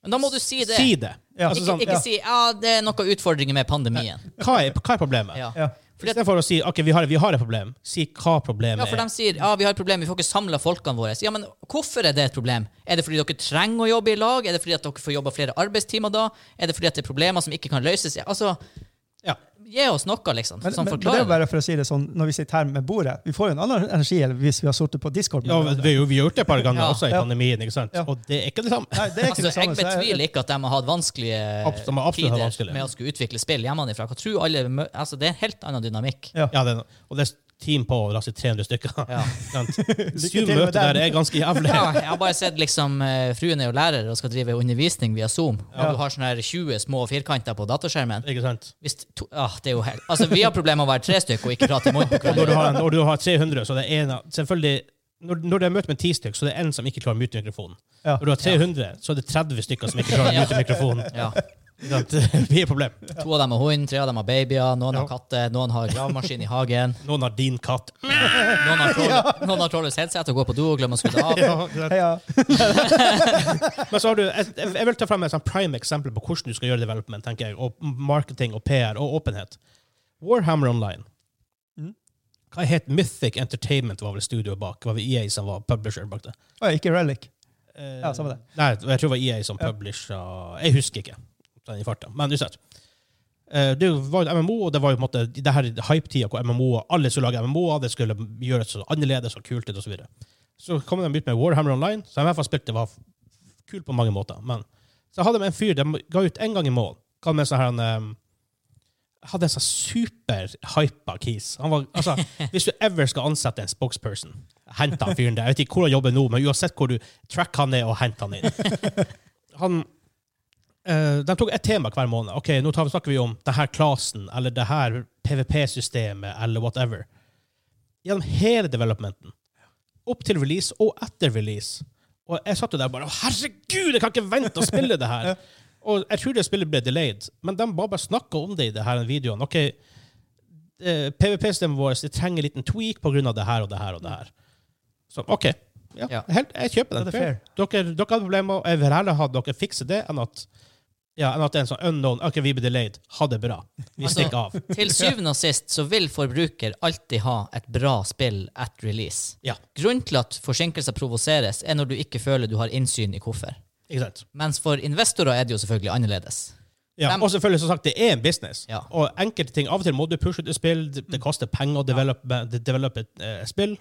Speaker 1: Men da må du si det.
Speaker 2: Si det.
Speaker 3: Ja.
Speaker 2: Altså,
Speaker 1: Ikke,
Speaker 2: sånn,
Speaker 1: ikke si ja, det er noen utfordringer med pandemien.
Speaker 2: hva, er, hva er problemet?
Speaker 1: Ja.
Speaker 3: Ja.
Speaker 2: I stedet for å si ok, vi har, vi har et problem, si hva problemet
Speaker 1: Ja, for de sier ja, vi har et problem, vi får ikke samla folkene våre. Ja, men hvorfor er det et problem? Er det fordi dere trenger å jobbe i lag? Er det fordi at dere får jobba flere arbeidstimer da? Er det fordi at det er problemer som ikke kan løses? Ja, Altså,
Speaker 2: er. Ja.
Speaker 1: gi oss noe, liksom,
Speaker 3: Men,
Speaker 1: som
Speaker 3: men det er
Speaker 1: forklarer
Speaker 3: jo
Speaker 1: det.
Speaker 3: bare for å si det sånn, når vi sitter her med bordet, vi får jo en annen energi enn hvis vi har sittet på Discord. med
Speaker 2: Ja,
Speaker 3: hverandre.
Speaker 2: vi, vi har gjort det et par ganger
Speaker 1: Ja.
Speaker 2: også i
Speaker 3: Ja.
Speaker 2: pandemien, ikke sant?
Speaker 3: Ja.
Speaker 2: Og det er ikke det samme.
Speaker 3: Nei, det er ikke
Speaker 1: Altså,
Speaker 3: det
Speaker 1: jeg
Speaker 3: samme. så
Speaker 1: betviler ikke at de har hatt vanskelige
Speaker 2: Abs- de har absolutt hatt
Speaker 1: tider
Speaker 2: vanskelig.
Speaker 1: med å skulle utvikle spill hjemmefra. Jeg tror alle, mø- altså, det er en helt annen dynamikk.
Speaker 3: Ja.
Speaker 2: Ja, det er, no- og det er team på la oss si 300 stykker.
Speaker 1: Ja.
Speaker 2: Sant?
Speaker 3: til med
Speaker 2: Zoom-møtet der
Speaker 3: den.
Speaker 2: er ganske jævlig.
Speaker 1: Ja, jeg har bare sett liksom eh, fruen er jo lærer og skal drive undervisning via Zoom. Og du har sånne her 20 små firkanter på dataskjermen.
Speaker 2: Ikke sant?
Speaker 1: Hvis to, ah, det er jo helt, altså, vi har problemer med å være tre stykker og ikke prate i munnen på
Speaker 2: Og når du
Speaker 1: hverandre.
Speaker 2: har, når du har 300, så det er en av Selvfølgelig, når, når det er møte med ti stykker, så det er en som ikke klarer å mute mikrofonen.
Speaker 3: Ja.
Speaker 2: Når du har 300, så er det 30 stykker som ikke klarer å
Speaker 1: Ja.
Speaker 2: mute mikrofonen.
Speaker 1: Ja.
Speaker 2: Ikke sant? Det blir et problem.
Speaker 1: To av dem har hund, tre av dem har babyer, noen har katter, noen har gravemaskin i hagen,
Speaker 2: Noen har din katt.
Speaker 1: noen har troll- noen har trollets headset og går på do og glemmer å skru det av.
Speaker 3: Ja,
Speaker 2: Men så har du, jeg, jeg jeg vil ta frem et sånn prime eksempel på hvordan du skal gjøre development, tenker jeg, og marketing og PR og åpenhet. Warhammer Online. Hva het Mythic Entertainment var vel studioet bak? Var det EA som var publisher bak det?
Speaker 3: Å, ikke Relic. Ja, samme det.
Speaker 2: Eh, Nei, jeg tror det var EA som publisha Jeg husker ikke den i farta, men uansett. Eh, Det var jo et MMO, og det var jo på en måte det her hype-tida hvor MMO, alle skulle lage MMO-er, det skulle gjøres så annerledes og kult ut, og så videre. Så kom de ut med Warhammer Online, så jeg i hvert fall spilte det var f- kul på mange måter. Men, så jeg hadde med en fyr de ga ut én gang i måneden. Kom med sånn her en, ehm, hadde en sånn superhypa keys. Han var, altså, hvis du ever skal ansette en spokesperson, hent han fyren der. Jeg vet ikke hvor han jobber nå, men uansett hvor du track han ned og hent han inn. Han, eh, de tok ett tema hver måned. Ok, nå tar, snakker vi om det her klasen, eller det her PVP-systemet, eller whatever. Gjennom hele developmenten. Opp til release og etter release. Og jeg satt jo der bare, «Å, herregud, jeg kan ikke vente å spille det her! Og jeg tror det spillet ble delayed, men de bare, bare snakka om det i det her videoen. Ok, eh, PVP-systemet vårt det trenger en liten tweak på grunn av det her og det her og det her. Så OK. Ja,
Speaker 1: Ja.
Speaker 2: Helt, jeg kjøper den.
Speaker 3: Da er det fair.
Speaker 2: Dere, dere har problemer, og jeg vil heller ha dere fikse det enn at, ja, enn at det er en sånn unknown OK, vi blir delayed. Ha det bra. Vi
Speaker 1: Altså-
Speaker 2: stikker av.
Speaker 1: Til syvende og sist så vil forbruker alltid ha et bra spill at release.
Speaker 2: Ja,
Speaker 1: Grunnen til at forsinkelser provoseres, er når du ikke føler du har innsyn i hvorfor.
Speaker 2: ikke sant?
Speaker 1: Mens for investorer er det jo selvfølgelig annerledes.
Speaker 2: Ja,
Speaker 1: Dem-
Speaker 2: og selvfølgelig, som sagt, det er en business.
Speaker 1: Ja.
Speaker 2: Og enkelte ting, Av og til må du pushe ut et spill. Det,
Speaker 3: Mm.
Speaker 2: det koster penger å develope, develope et eh, spill.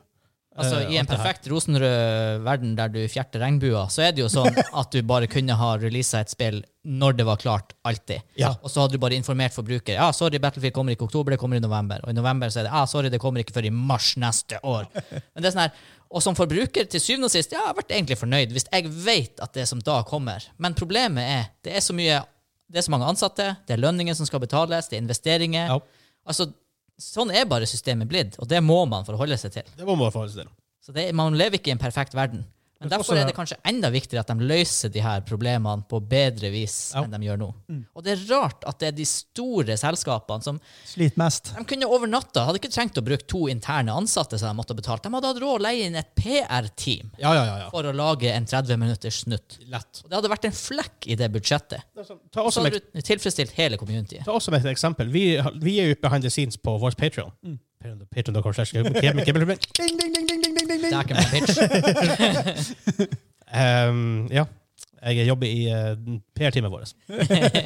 Speaker 1: Altså,
Speaker 2: Eh,
Speaker 1: I en
Speaker 2: alt det her.
Speaker 1: perfekt rosenrød verden der du fjerter regnbuer, så er det jo sånn at du bare kunne ha releasa et spill når det var klart, alltid.
Speaker 2: Ja.
Speaker 1: Og så hadde du bare informert forbruker. Ja, sorry, Battlefield kommer ikke i oktober, det kommer i november. Og i november så er det ja, sorry, det kommer ikke før i mars neste år. Men det er sånn her, Og som forbruker, til syvende og sist, ja, jeg ble egentlig fornøyd hvis jeg vet at det som da kommer. Men problemet er, det er så mye det er så mange ansatte, det er lønninger som skal betales, det er investeringer.
Speaker 2: Ja.
Speaker 1: Altså, Sånn er bare systemet blitt, og det må man forholde seg til.
Speaker 2: Det må man forholde seg til.
Speaker 1: Så det, man lever ikke i en perfekt verden. Men
Speaker 2: tror
Speaker 1: derfor
Speaker 2: også
Speaker 1: er
Speaker 2: det-
Speaker 1: det kanskje enda viktigere at de løser de her problemene på bedre vis
Speaker 2: Ja.
Speaker 1: enn de gjør nå. Og det er rart at det er de store selskapene som
Speaker 3: Sliter mest.
Speaker 1: de kunne over natta hadde ikke trengt å bruke to interne ansatte som de måtte betalt. De hadde hatt råd å leie inn et PR-team
Speaker 2: Ja, ja, ja. ja.
Speaker 1: for å lage en 30 minutters snutt.
Speaker 2: Lett.
Speaker 1: Og det hadde vært en flekk i det budsjettet.
Speaker 3: sånn-
Speaker 2: Ta oss
Speaker 1: Så
Speaker 2: som et
Speaker 1: hadde du tilfredsstilt hele communityet.
Speaker 2: Ta oss som et eksempel. Vi, vi er jo behind the scenes på vår Patreon. Patreon.com slash Kevin- Kevin Kevin.
Speaker 3: Mm. Ding, ding, ding, ding, ding, ding, ding,
Speaker 1: Det er ikke
Speaker 3: ding.
Speaker 1: en pitch.
Speaker 2: Ehm, ja. Jeg jobber i eh, PR-teamet vårt.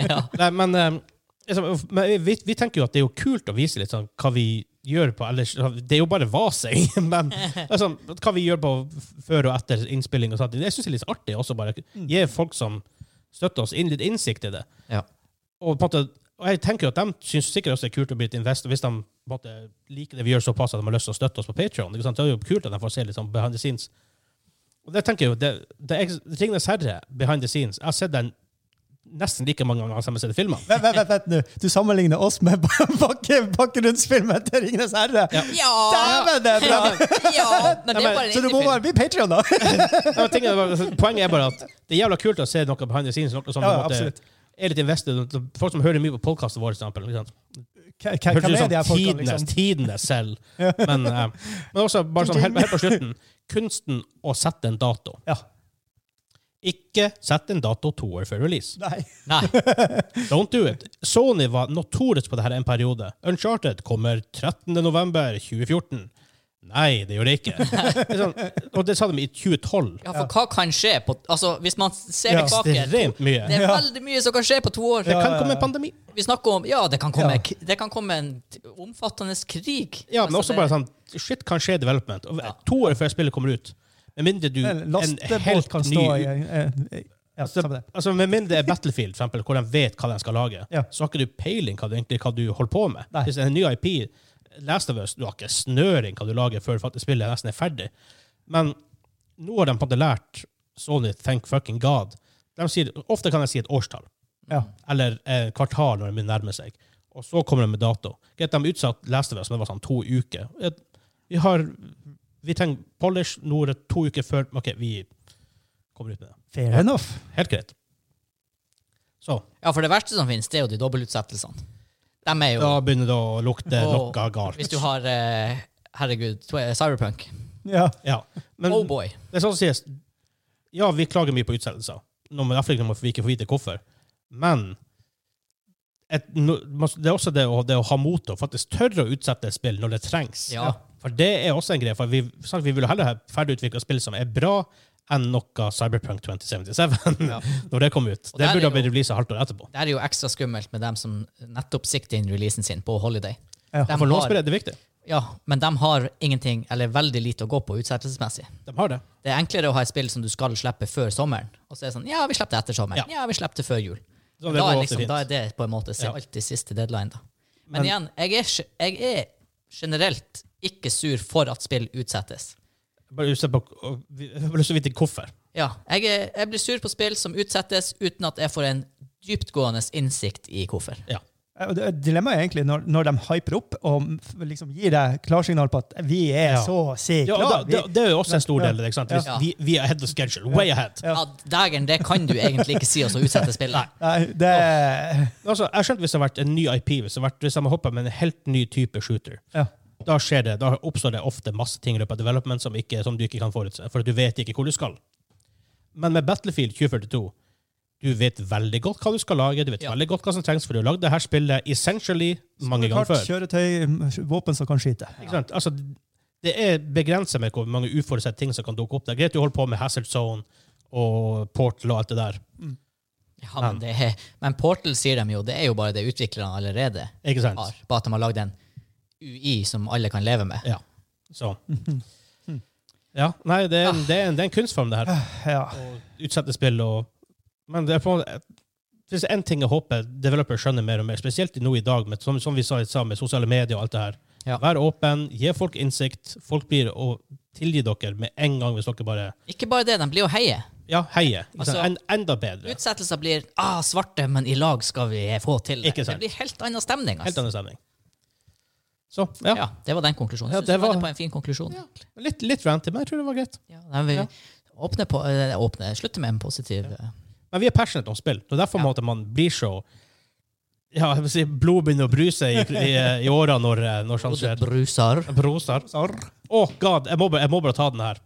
Speaker 1: ja.
Speaker 2: Nei, men, eh, liksom, men vi, vi tenker jo at det er jo kult å vise litt sånn hva vi gjør på ellers. Det er jo bare vasing, men altså, hva vi gjør på f- før og etter innspilling og sånt. Det syns jeg er litt artig også, bare gi folk som støtter oss, inn litt innsikt i det.
Speaker 1: Ja.
Speaker 2: Og, på en måte, og jeg tenker jo at de syns sikkert også det er kult å bli et investor hvis de på en måte, liker det vi gjør såpass at de har lyst til å støtte oss på Patreon. Det er jo kult at de får se litt sånn behind the scenes. Og det tenker jeg jo, det, det er Ringenes herre, behind the scenes. Jeg har sett den nesten like mange ganger som jeg har sett filmen.
Speaker 3: Vent, vent, vent, vent nå. Du sammenligner oss med bakke, bakgrunnsfilmen til Ringenes herre. Dæven, det er bra!
Speaker 1: ja. Men det er jo bare en
Speaker 3: Så du må
Speaker 1: indiefilm.
Speaker 3: bare bli Patreon, da!
Speaker 2: Ja, men tingen er bare- altså, Poenget er bare at det er jævla kult å se noe behind the scenes. Noe som på
Speaker 3: Ja,
Speaker 2: en måte
Speaker 3: absolutt.
Speaker 2: er litt invested. Folk som hører mye på podkasten vår, for eksempel. Ikke sant?
Speaker 3: Hva
Speaker 2: Hørtes
Speaker 3: hva- hvem
Speaker 1: sånn
Speaker 2: ut
Speaker 3: er
Speaker 2: som
Speaker 3: de her folkene,
Speaker 2: tidenes,
Speaker 3: liksom?
Speaker 2: tidenes selv. Men, eh, men også bare sånn helt, helt på slutten. Kunsten å sette en dato.
Speaker 3: Ja.
Speaker 2: Ikke sett en dato to år før release.
Speaker 3: Nei.
Speaker 1: Nei.
Speaker 2: Don't do it. Sony var notorisk på det her en periode. Uncharted kommer 13. november 2014. Nei, det gjør det ikke. Det er sånn, og det sa de i 2012.
Speaker 1: Ja, for hva kan skje på Altså, hvis man ser
Speaker 3: Ja,
Speaker 1: tilbake
Speaker 2: Ekstremt mye.
Speaker 1: Det er veldig mye som kan skje på to år.
Speaker 2: Det kan komme en pandemi.
Speaker 1: Vi snakker om Ja, det kan komme,
Speaker 3: Ja.
Speaker 1: k- det kan komme en t- omfattende krig.
Speaker 2: Ja, men
Speaker 1: Altså,
Speaker 2: også
Speaker 1: det-
Speaker 2: bare sånn Shit kan skje i development. Og To år før spillet kommer ut. Med mindre du
Speaker 3: En Lastebåt kan stå i eh, eh, Ja, samme det.
Speaker 2: Altså, Med mindre det er Battlefield, for eksempel, hvor de vet hva de skal lage,
Speaker 3: Ja.
Speaker 2: så har ikke du peiling hva du egentlig hva du holder på med.
Speaker 3: Nei.
Speaker 2: Hvis det er en ny IP, Last of Us, du har ikke snøring hva du lager før faktisk spillet nesten er ferdig. Men nå har de på en måte lært Sony thank fucking god. De sier, ofte kan de si et årstall
Speaker 3: Ja.
Speaker 2: eller eh, kvartal når de begynner å nærme seg. Og så kommer de med dato. Greit, de utsatt leste vi, som det var sånn to uker. Eh, Vi har vi trenger polish nå er det to uker før OK, vi kommer ut med det.
Speaker 3: Fair enough.
Speaker 2: Helt greit. Så.
Speaker 1: Ja, for det verste som finnes, det er jo de dobbeltutsettelsene. De er jo
Speaker 2: Da begynner det å lukte
Speaker 1: og
Speaker 2: noe galt.
Speaker 1: Hvis du har eh, Herregud, tw- eh, Cyberpunk.
Speaker 3: Ja.
Speaker 2: Ja. Men
Speaker 1: Oh boy.
Speaker 2: det er sånn som sies Ja, vi klager mye på utsettelser. Nå må iallfall ikke vi ikke få vite hvorfor. Men et, no, det er også det å, det å ha mot til å faktisk tørre å utsette et spill når det trengs.
Speaker 1: Ja.
Speaker 2: For det er også en greie. For vi, sant, vi vil jo heller ha ferdigutvikla spill som er bra, enn noe Cyberpunk 2077 når det kom ut.
Speaker 1: Og
Speaker 2: Det
Speaker 1: der er
Speaker 2: burde ha
Speaker 1: jo-
Speaker 2: blitt releasa halvt år etterpå.
Speaker 1: Det er jo ekstra skummelt med dem som nettopp sikter inn releasen sin på holiday.
Speaker 3: Ja,
Speaker 1: De
Speaker 2: For
Speaker 1: har-
Speaker 2: lånspill er det viktig.
Speaker 1: Ja, men de har ingenting, eller veldig lite å gå på utsettelsesmessig.
Speaker 2: De har det.
Speaker 1: Det er enklere å ha et spill som du skal slippe før sommeren, og så er det sånn Ja, vi slipper det etter sommeren. Ja, vi slipper det før jul.
Speaker 2: Så
Speaker 1: da,
Speaker 2: det går
Speaker 1: er
Speaker 2: ofte
Speaker 1: liksom,
Speaker 2: fint.
Speaker 1: da er det på en måte så
Speaker 2: Ja.
Speaker 1: alltid siste deadline, da. Men, igjen, jeg er, ge- jeg er generelt ikke sur for at spill utsettes.
Speaker 2: Bare se på og vi- Jeg har lyst til å vite hvorfor.
Speaker 1: Ja, jeg, er, jeg blir sur på spill som utsettes uten at jeg får en dyptgående innsikt i hvorfor.
Speaker 2: Ja.
Speaker 3: Eh, og det- Dilemmaet er egentlig når, når de hyper opp og f- liksom gir deg klarsignal på at vi er
Speaker 2: Ja.
Speaker 3: så sikre.
Speaker 2: ja og da, det, det er jo også en stor
Speaker 3: Ja.
Speaker 2: del. Ikke sant? Hvis
Speaker 1: Ja.
Speaker 2: Vi, vi er ahead of schedule. Way ahead.
Speaker 1: Ja. Dægeren, det kan du egentlig ikke si, og så utsette spillet.
Speaker 3: Nei, det
Speaker 2: Altså, jeg skjønte hvis det hadde vært en ny IP, hvis det hadde vært hvis de hadde hoppet med en helt ny type shooter.
Speaker 3: ja.
Speaker 2: Da skjer det, da oppstår det ofte masse ting i løpet av development som, ikke, som du ikke kan forutse, for at du vet ikke hvor du skal. Men med Battlefield 2042 du vet veldig godt hva du skal lage, du vet
Speaker 1: Ja.
Speaker 2: veldig godt hva som trengs, for du har lagd det her spillet essentially mange ganger
Speaker 3: Klart,
Speaker 2: før.
Speaker 3: Kjøretøy, m- våpen som kan skyte.
Speaker 2: Ikke sant? Altså, det er begrenset med hvor mange uforutsette ting som kan dukke opp. Det er greit du holder på med Hazard Zone og Portal og alt det der.
Speaker 1: Ja, men, det er, men Portal sier de jo, det er jo bare det utviklerne allerede
Speaker 2: Ikke sant?
Speaker 1: har. Bare at de har lagd en UI som alle kan leve med.
Speaker 2: Ja. Så. Ja, nei, det er,
Speaker 1: Ah.
Speaker 2: en, det, er en, det er en kunstform, det her.
Speaker 3: Ja.
Speaker 2: Og utsette spill og Men det er på en måte hvis det er én ting jeg håper developere skjønner mer og mer, spesielt nå i dag, med, som, som vi sa, sa med sosiale medier og alt det her
Speaker 1: Ja.
Speaker 2: Vær åpen, gi folk innsikt. Folk blir å tilgi dere med en gang hvis dere bare
Speaker 1: Ikke bare det, de blir jo heie.
Speaker 2: Ja, heier. Ikke
Speaker 1: Altså,
Speaker 2: sant? en, enda bedre.
Speaker 1: Utsettelser blir ah, svarte, men i lag skal vi få til det.
Speaker 2: Ikke sant.
Speaker 1: Det blir helt annen stemning.
Speaker 2: Helt
Speaker 1: Altså.
Speaker 2: annen stemning. Så, ja.
Speaker 1: Ja, det var den konklusjonen.
Speaker 2: Ja,
Speaker 1: Jeg synes
Speaker 2: det
Speaker 1: vi var...
Speaker 2: var-
Speaker 1: inne på en fin konklusjon. Ja.
Speaker 2: Litt, litt ranty, men jeg tror det var greit.
Speaker 1: nei, vi
Speaker 2: Ja.
Speaker 1: åpner på, eh, åpner, slutter med en positiv eh,
Speaker 2: Men vi er passionate om spill. Det er derfor
Speaker 1: Ja.
Speaker 2: måte man blir så ja, jeg vil si, Blodet begynner å bruse i, i, i åra når, eh, når sånt skjer.
Speaker 1: bruser.
Speaker 2: Broser. Å, god, jeg må, bare- jeg må bare ta den her.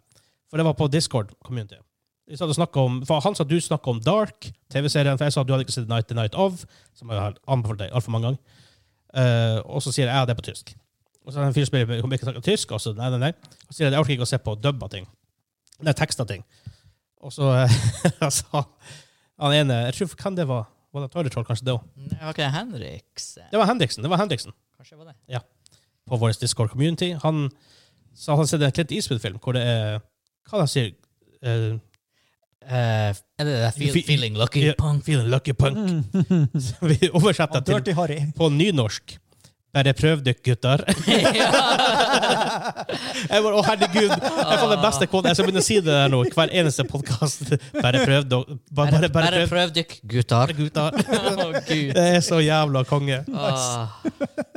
Speaker 2: For det var på Discord-community. Vi satt og snakket om, for Han sa du snakka om Dark, TV-serien. For jeg sa du hadde ikke sett Night the Night Of, som jeg har anbefalt deg altfor mange ganger. Eh, og så sier jeg ja, det er på tysk. Og så er det en fyr som spør om jeg kan snakke tysk. Og så nei, nei, nei. Og så sier jeg jeg orker ikke å se på dubba ting. Nei, teksta ting. Og så eh, sa han ene jeg tror, Hvem det var? Var det Toilet Troll, kanskje det òg?
Speaker 1: Var ikke det Henriks? eh,
Speaker 2: Det var Henriksen. Det var Henriksen
Speaker 1: Kanskje det var det.
Speaker 2: på vår Discord community. Han sa han sett en Clint Eastwood-film hvor det er Hva han sier eh,
Speaker 1: Eh, er det det feel,
Speaker 2: Fe-
Speaker 1: feeling lucky?
Speaker 2: yeah,
Speaker 1: Punk.
Speaker 2: Feeling lucky punk. Så Vi oversetter
Speaker 3: Og
Speaker 2: til
Speaker 3: Mm. Dirty Harry.
Speaker 2: på nynorsk. Bare prøv dere, gutter. Jeg bare, Å, herregud! Jeg får den beste koden. Jeg skal begynne å si det der nå hver eneste podkast. Bare prøv dere. Bare,
Speaker 1: Bare,
Speaker 2: bare,
Speaker 1: bare
Speaker 2: prøv,
Speaker 1: prøv dykk, gutter.
Speaker 2: gutter.
Speaker 1: Å, Gud.
Speaker 2: Det er så jævla konge.
Speaker 1: Ah,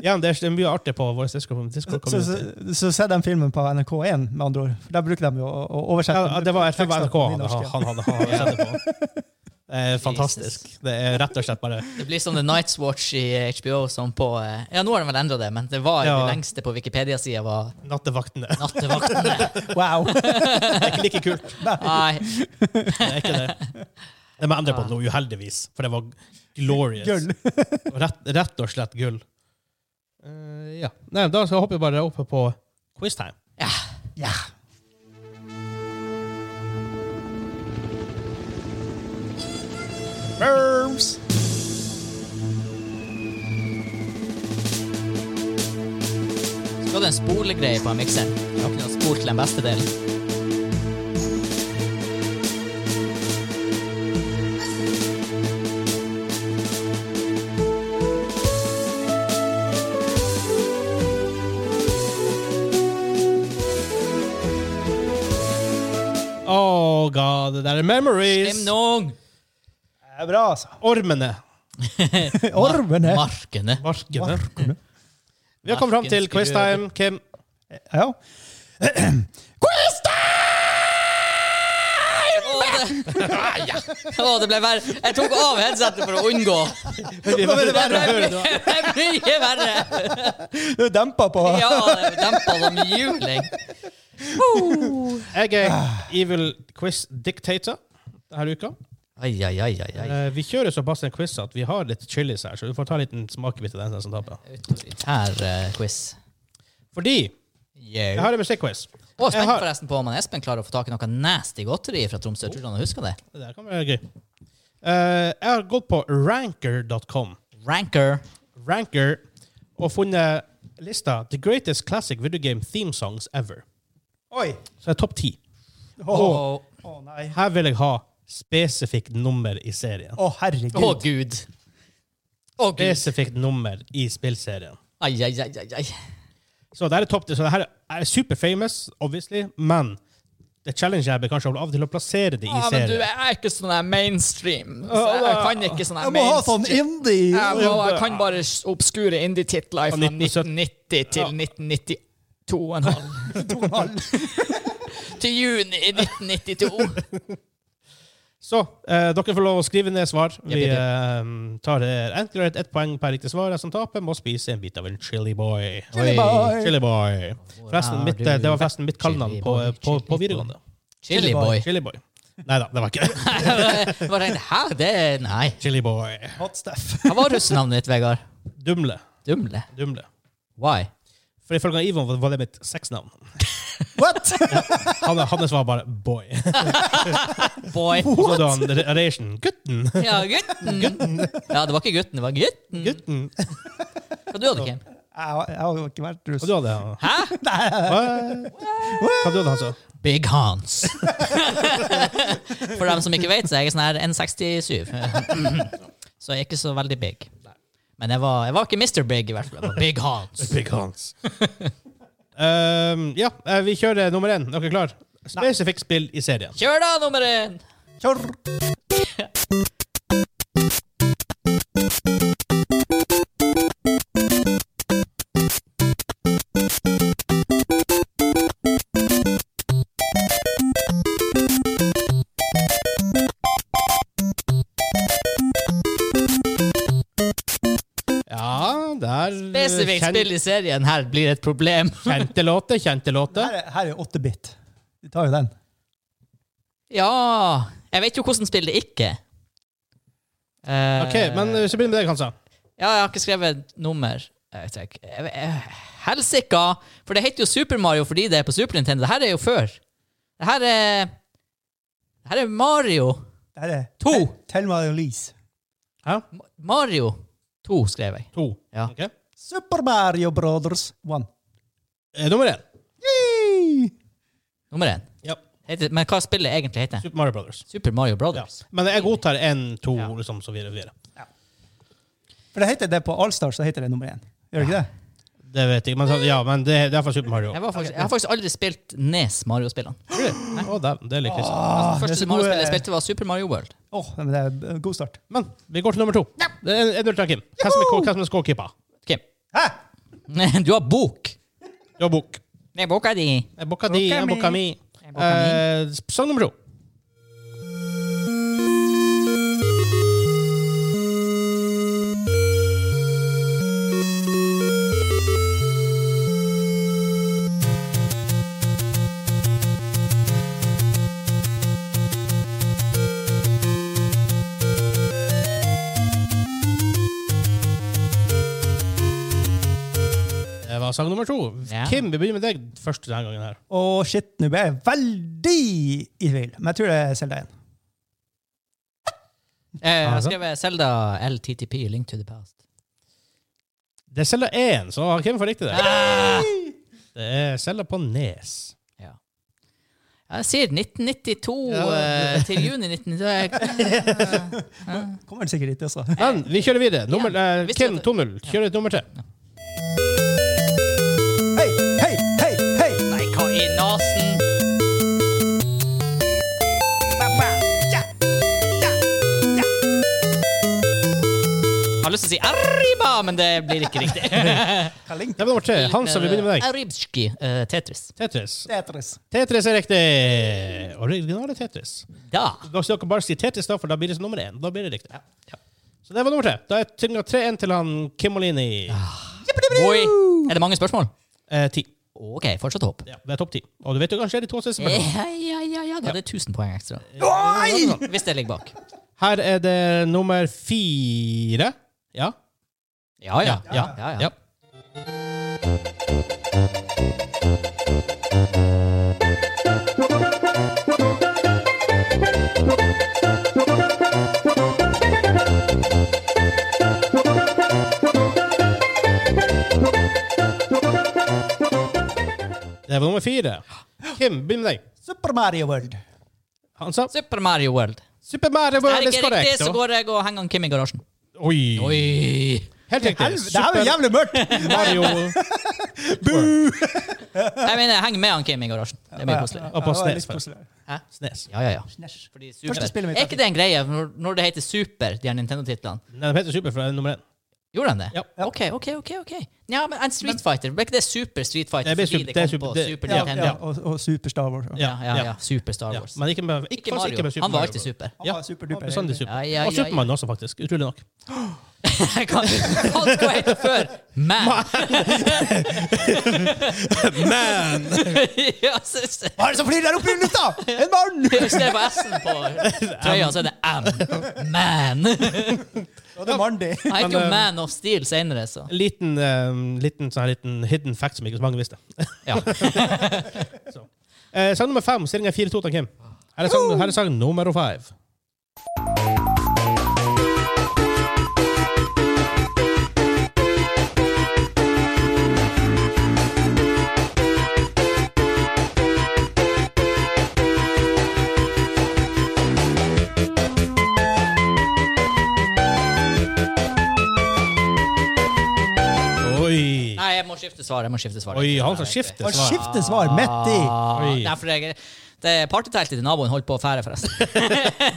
Speaker 2: Ja, men det er det er mye artig på vår Discord Discord
Speaker 3: Så, så,
Speaker 2: community.
Speaker 3: så se den filmen på NRK1, med andre ord. For Der bruker de jo å, å oversette.
Speaker 2: Ja, det var jeg tror det var
Speaker 3: tekster
Speaker 2: NRK
Speaker 3: på
Speaker 2: han
Speaker 3: nynorsk, ja.
Speaker 2: han- han- han hadde sett det på. Det er fantastisk. Det er rett og slett bare
Speaker 1: det blir som The Night's Watch i eh, HBO. Som på, eh, ja, nå har de vel endra det, men det var
Speaker 2: Ja.
Speaker 1: det lengste på Wikipedia-sida var
Speaker 2: Nattevaktene.
Speaker 1: Nattevaktene.
Speaker 3: Wow!
Speaker 2: Det er ikke like kult.
Speaker 1: Nei.
Speaker 2: Det er ikke det. Det må jeg endre på nå, uheldigvis, for det var glorious.
Speaker 3: Gull.
Speaker 2: Og Rett, rett og slett gull. Eh, ja. Nei, da så hopper vi bare opp på quiztime.
Speaker 3: Ja. Verbs.
Speaker 1: Så hadde en spolegreie på mikseren. Jeg har ikke noe spol til den beste delen.
Speaker 2: Oh god, det der er memories!
Speaker 1: Emnung!
Speaker 3: Det er bra, altså.
Speaker 2: Ormene.
Speaker 3: Ormene.
Speaker 1: Markene.
Speaker 2: Markene.
Speaker 3: Markene.
Speaker 2: Vi har kommet fram til
Speaker 1: Marken skulle-
Speaker 2: quiztime. Kim,
Speaker 3: Ja.
Speaker 1: Å, det, Å, det ble verre. Jeg tok av headsetet for å unngå.
Speaker 2: vi var
Speaker 1: Det ble,
Speaker 2: hører du.
Speaker 1: det ble mye verre.
Speaker 3: Du er dempa på.
Speaker 1: Ja, det dempa som juling.
Speaker 2: Jeg er evil quiz dictator denne uka.
Speaker 1: Ai, ai, ai, ai, ai.
Speaker 2: Eh, vi kjører såpass en quiz at vi har litt chilis her, så du får ta en liten smakebit av den som taper.
Speaker 1: Autoritær eh, quiz.
Speaker 2: Fordi jeg
Speaker 1: Yeah.
Speaker 2: har en musikkquiz.
Speaker 1: Og spent
Speaker 2: Jeg har-
Speaker 1: forresten på om han Espen klarer å få tak i noe nasty godteri fra Tromsø. Tror du han husker det?
Speaker 2: Det der kan være gøy. Eh, jeg har gått på ranker.com,
Speaker 1: Ranker.
Speaker 2: ranker, og funnet lista The Greatest Classic Video Game Theme Songs Ever.
Speaker 3: Oi!
Speaker 2: Så det er topp ti.
Speaker 3: Å
Speaker 1: Å,
Speaker 3: å, nei. Å,
Speaker 2: Her vil jeg ha spesifikt nummer i serien.
Speaker 3: herregud.
Speaker 1: å, gud. Å, gud.
Speaker 2: Spesifikt nummer i spillserien.
Speaker 1: Ai, ai, ai, ai, ai.
Speaker 2: Så det her er topp ti. Så det her er super famous, obviously, men det challenger jeg blir kanskje av og til å plassere det i
Speaker 1: Ah, men du,
Speaker 2: serien.
Speaker 1: jeg er ikke sånn der mainstream. Så jeg, jeg kan ikke sånn der
Speaker 3: Jeg må ha sånn
Speaker 1: mainstream.
Speaker 3: indie!
Speaker 1: Jeg, må, jeg kan bare s- obskure indie-titler fra
Speaker 2: 1970.
Speaker 1: 1990 til 1992,5.
Speaker 3: to og en halv.
Speaker 1: Til juni i 1992.
Speaker 2: Så eh, dere får lov å skrive ned svar. Vi
Speaker 1: Jepp, jepp,
Speaker 2: eh, tar det enten eller ett poeng per riktig svar. Den som taper, må spise en bit av en chili boy.
Speaker 3: Chili boy.
Speaker 2: Chili boy. Forresten, mitt, eh, det var forresten mitt kallenavn
Speaker 1: Chili
Speaker 2: på,
Speaker 1: boy,
Speaker 2: på,
Speaker 1: chili boy.
Speaker 2: på videregående.
Speaker 1: Chili boy.
Speaker 2: Chili boy. Nei da, det var ikke det.
Speaker 1: Bare en, Hæ? Det er Nei.
Speaker 2: Chili boy.
Speaker 3: Hot stuff.
Speaker 1: Hva var russenavnet ditt, Vegard?
Speaker 2: Dumle.
Speaker 1: Dumle.
Speaker 2: Dumle.
Speaker 1: Why?
Speaker 2: For ifølge Ivan var- var det mitt sexnavn.
Speaker 3: What?!
Speaker 2: Han, hans var bare boy.
Speaker 1: Boy.
Speaker 2: Og så hadde han Re- Reishen. Gutten!
Speaker 1: Ja, gutten. Ja, det var ikke gutten, det var gutten.
Speaker 2: Gutten.
Speaker 1: Hva du hadde, Kim?
Speaker 3: Jeg, jeg har jo ikke vært russ.
Speaker 2: Hva du hadde han?
Speaker 1: Hæ?
Speaker 2: Hva Hva du hadde han, så?
Speaker 1: Big Hans. For dem som ikke vet, så er jeg sånn her 1,67. Så jeg er ikke så veldig big. Men jeg var, jeg var ikke Mr. Big, i hvert fall. Jeg var Big Hans.
Speaker 2: Big Hans. um, ja, eh, vi kjører nummer én. Dere klar? Spesifikt spill i serien.
Speaker 1: Kjør da, nummer én!
Speaker 3: Kjør!
Speaker 2: Ja, der
Speaker 1: Spesifikt spill i serien her blir et problem.
Speaker 2: Kjente låter, kjente låter.
Speaker 3: Her er, her er 8-bit. Vi tar jo den.
Speaker 1: Ja Jeg vet jo hvordan spill det ikke er. Eh,
Speaker 2: OK, men eh, så begynner vi med deg, Hansa.
Speaker 1: Ja, jeg har ikke skrevet nummer. Eh, Jeg vet ikke. Jeg vet- jeg- Helsika! For det heter jo Super Mario fordi det er på Super Nintendo. Det her er jo før. Det her er Det her er Mario.
Speaker 3: Her er
Speaker 1: To.
Speaker 3: Tell me Elise.
Speaker 2: Hæ?
Speaker 1: Ma- Mario 2 skrev jeg.
Speaker 2: To.
Speaker 1: Ja.
Speaker 2: Ok.
Speaker 3: Super Mario Brothers 1.
Speaker 2: Eh, nummer én.
Speaker 1: Nummer én.
Speaker 2: Ja.
Speaker 1: Heter, men hva spillet egentlig heter?
Speaker 2: Super Mario Brothers.
Speaker 1: Super Mario
Speaker 2: Ja.
Speaker 1: Brothers.
Speaker 2: Men jeg godtar én, to, liksom, så videre. og videre.
Speaker 3: For det heter det på Allstars, så heter det nummer én. Gjør det ikke det?
Speaker 2: Det vet jeg ikke, men, så- ja, men det, det er iallfall Super Mario.
Speaker 1: Jeg, var faktisk, jeg har faktisk aldri spilt Nes Mario-spillene.
Speaker 2: Å, dæven, det er litt trist.
Speaker 3: Ah, det er
Speaker 1: Første
Speaker 3: så
Speaker 1: Mario-spillet
Speaker 3: gode-
Speaker 1: jeg spilte, var Super Mario World.
Speaker 3: Åh, men det er god start.
Speaker 2: Men vi går til nummer to. Det er Edvard Takim. Hvem som er, hvem som er scorekeeper?
Speaker 1: Kim,
Speaker 3: Hæ?
Speaker 1: du har bok!
Speaker 2: Du har bok.
Speaker 1: Det er boka di. Eh,
Speaker 2: Jeg booka di, jeg
Speaker 1: Boka
Speaker 2: booka mi.
Speaker 1: mi. Jeg booka
Speaker 2: Eh, sang nummer to. Det var sang nummer to.
Speaker 1: Ja.
Speaker 2: Kim, vi begynner med deg først denne gangen. her.
Speaker 3: Å, shit, nå ble jeg veldig i tvil. Men jeg tror det er Selda 1.
Speaker 1: Eh, jeg har
Speaker 2: Altså.
Speaker 1: skrevet Zelda LTTP, Link to the Past.
Speaker 2: Det er cella én, så Kim får riktig det.
Speaker 3: Ah!
Speaker 2: Det er cella på Nes.
Speaker 1: Ja. Jeg sier 1992
Speaker 2: Ja.
Speaker 1: eh, til juni 1992.
Speaker 3: Kommer den sikkert dit også.
Speaker 2: Men vi kjører videre. Nummer,
Speaker 1: Ja,
Speaker 2: eh,
Speaker 1: visste
Speaker 2: Kim
Speaker 1: jeg det.
Speaker 2: 2-0. Kjører et nummer tre.
Speaker 3: Hei, hei, hei, hei!
Speaker 1: Nei, hva i nasen? Jeg har lyst til å si Arriba, men det blir ikke riktig.
Speaker 3: Hva link
Speaker 2: Det var nummer tre. Hansa, vi begynner med deg.
Speaker 1: Arribski, eh, Tetris.
Speaker 2: Tetris.
Speaker 3: Tetris?
Speaker 2: Tetris er riktig. Originale Tetris.
Speaker 1: Da.
Speaker 2: Da skal dere bare si Tetris, da, for da blir det som nummer én. Da blir det riktig. Så det var nummer tre. Da er tynga 3-1 til han Kim Olini.
Speaker 1: Oi. Er det mange spørsmål?
Speaker 2: Eh, ti.
Speaker 1: OK, fortsatt håp.
Speaker 2: Ja, det er topp ti. Og du vet jo kanskje de to siste
Speaker 1: Ja,
Speaker 2: spørsmålene.
Speaker 1: ja, ja, ja. Da er det 1000 poeng ekstra.
Speaker 3: Oi!
Speaker 1: Hvis det ligger bak.
Speaker 2: Her er det nummer fire. Ja.
Speaker 1: Ja, ja. ja,
Speaker 2: Ja,
Speaker 1: ja,
Speaker 2: ja. Det var nummer fire. Kim, begynn med deg.
Speaker 3: Super Mario World.
Speaker 2: Han sa
Speaker 1: Super Mario World.
Speaker 2: Super Mario
Speaker 1: Er
Speaker 2: World
Speaker 1: det
Speaker 2: is
Speaker 1: ikke riktig,
Speaker 2: correct.
Speaker 1: så
Speaker 2: da.
Speaker 1: går jeg og henger han Kim i garasjen.
Speaker 2: Oi.
Speaker 1: Oi.
Speaker 2: Helt riktig.
Speaker 3: Helv- Det her var jævlig mørkt!
Speaker 2: Mario
Speaker 1: Jeg mener, jeg henger med han Kim i garasjen. Det blir koseligere.
Speaker 2: Og på
Speaker 3: Ja, det var litt
Speaker 2: Snes.
Speaker 3: koseligere.
Speaker 1: Hæ?
Speaker 2: Snes.
Speaker 1: Ja, ja, ja.
Speaker 3: Snes.
Speaker 1: Fordi
Speaker 3: Første spillet
Speaker 1: super.
Speaker 3: mitt,
Speaker 1: Er ikke det en greie når, når det heter Super, de her Nintendo-titlene?
Speaker 2: Nei, de heter Super for det er nummer én.
Speaker 1: Gjorde han det?
Speaker 2: Ja.
Speaker 1: OK, OK, OK. ok. Ja, men en Street Fighter, ble ikke det Super Street Fighter
Speaker 2: Det blir
Speaker 1: fordi
Speaker 2: Super-
Speaker 1: det kom
Speaker 2: det er Super-
Speaker 1: på
Speaker 2: det-
Speaker 1: Super
Speaker 3: Ja,
Speaker 1: Nintendo?
Speaker 3: ja, og, og Super Star Wars.
Speaker 1: Ja, ja, ja.
Speaker 2: ja.
Speaker 1: Super Star
Speaker 2: Ja,
Speaker 1: Wars.
Speaker 2: men ikke med, ikke,
Speaker 1: Ikke
Speaker 2: faktisk
Speaker 1: Mario.
Speaker 2: ikke med Super
Speaker 1: Han var
Speaker 2: Mario.
Speaker 1: alltid super.
Speaker 2: Ja, Sånn
Speaker 3: var superduper.
Speaker 2: bestandig super.
Speaker 1: Ja, ja,
Speaker 2: Og
Speaker 1: ja,
Speaker 2: Supermann også, faktisk. Utrolig nok.
Speaker 1: Jeg kan Hva skulle jeg hete før? Man!
Speaker 2: Man!
Speaker 1: ja, synes det.
Speaker 3: Hva er det som flyr der oppe i lufta?! En mann!
Speaker 1: I stedet for S-en på trøya, så er det M. Man! Jeg
Speaker 3: Og det er Mandy.
Speaker 1: heter
Speaker 2: eh,
Speaker 1: jo Man of Steel senere, så
Speaker 2: En liten, eh, liten, sånn her liten hidden fact som ikke så mange visste.
Speaker 1: ja.
Speaker 2: Eh, sang nummer fem. Stillingen er 4-2 til Kim. Her er sang, her er sang nummer five. Oi!
Speaker 1: Nei, jeg må skifte svar. jeg må skifte svar.
Speaker 2: Oi, han som skifter
Speaker 3: Og
Speaker 2: svar.
Speaker 3: skifter svar midt i.
Speaker 1: Ah,
Speaker 2: Oi.
Speaker 1: derfor jeg, det Partyteltet til naboen holdt på å fære, forresten.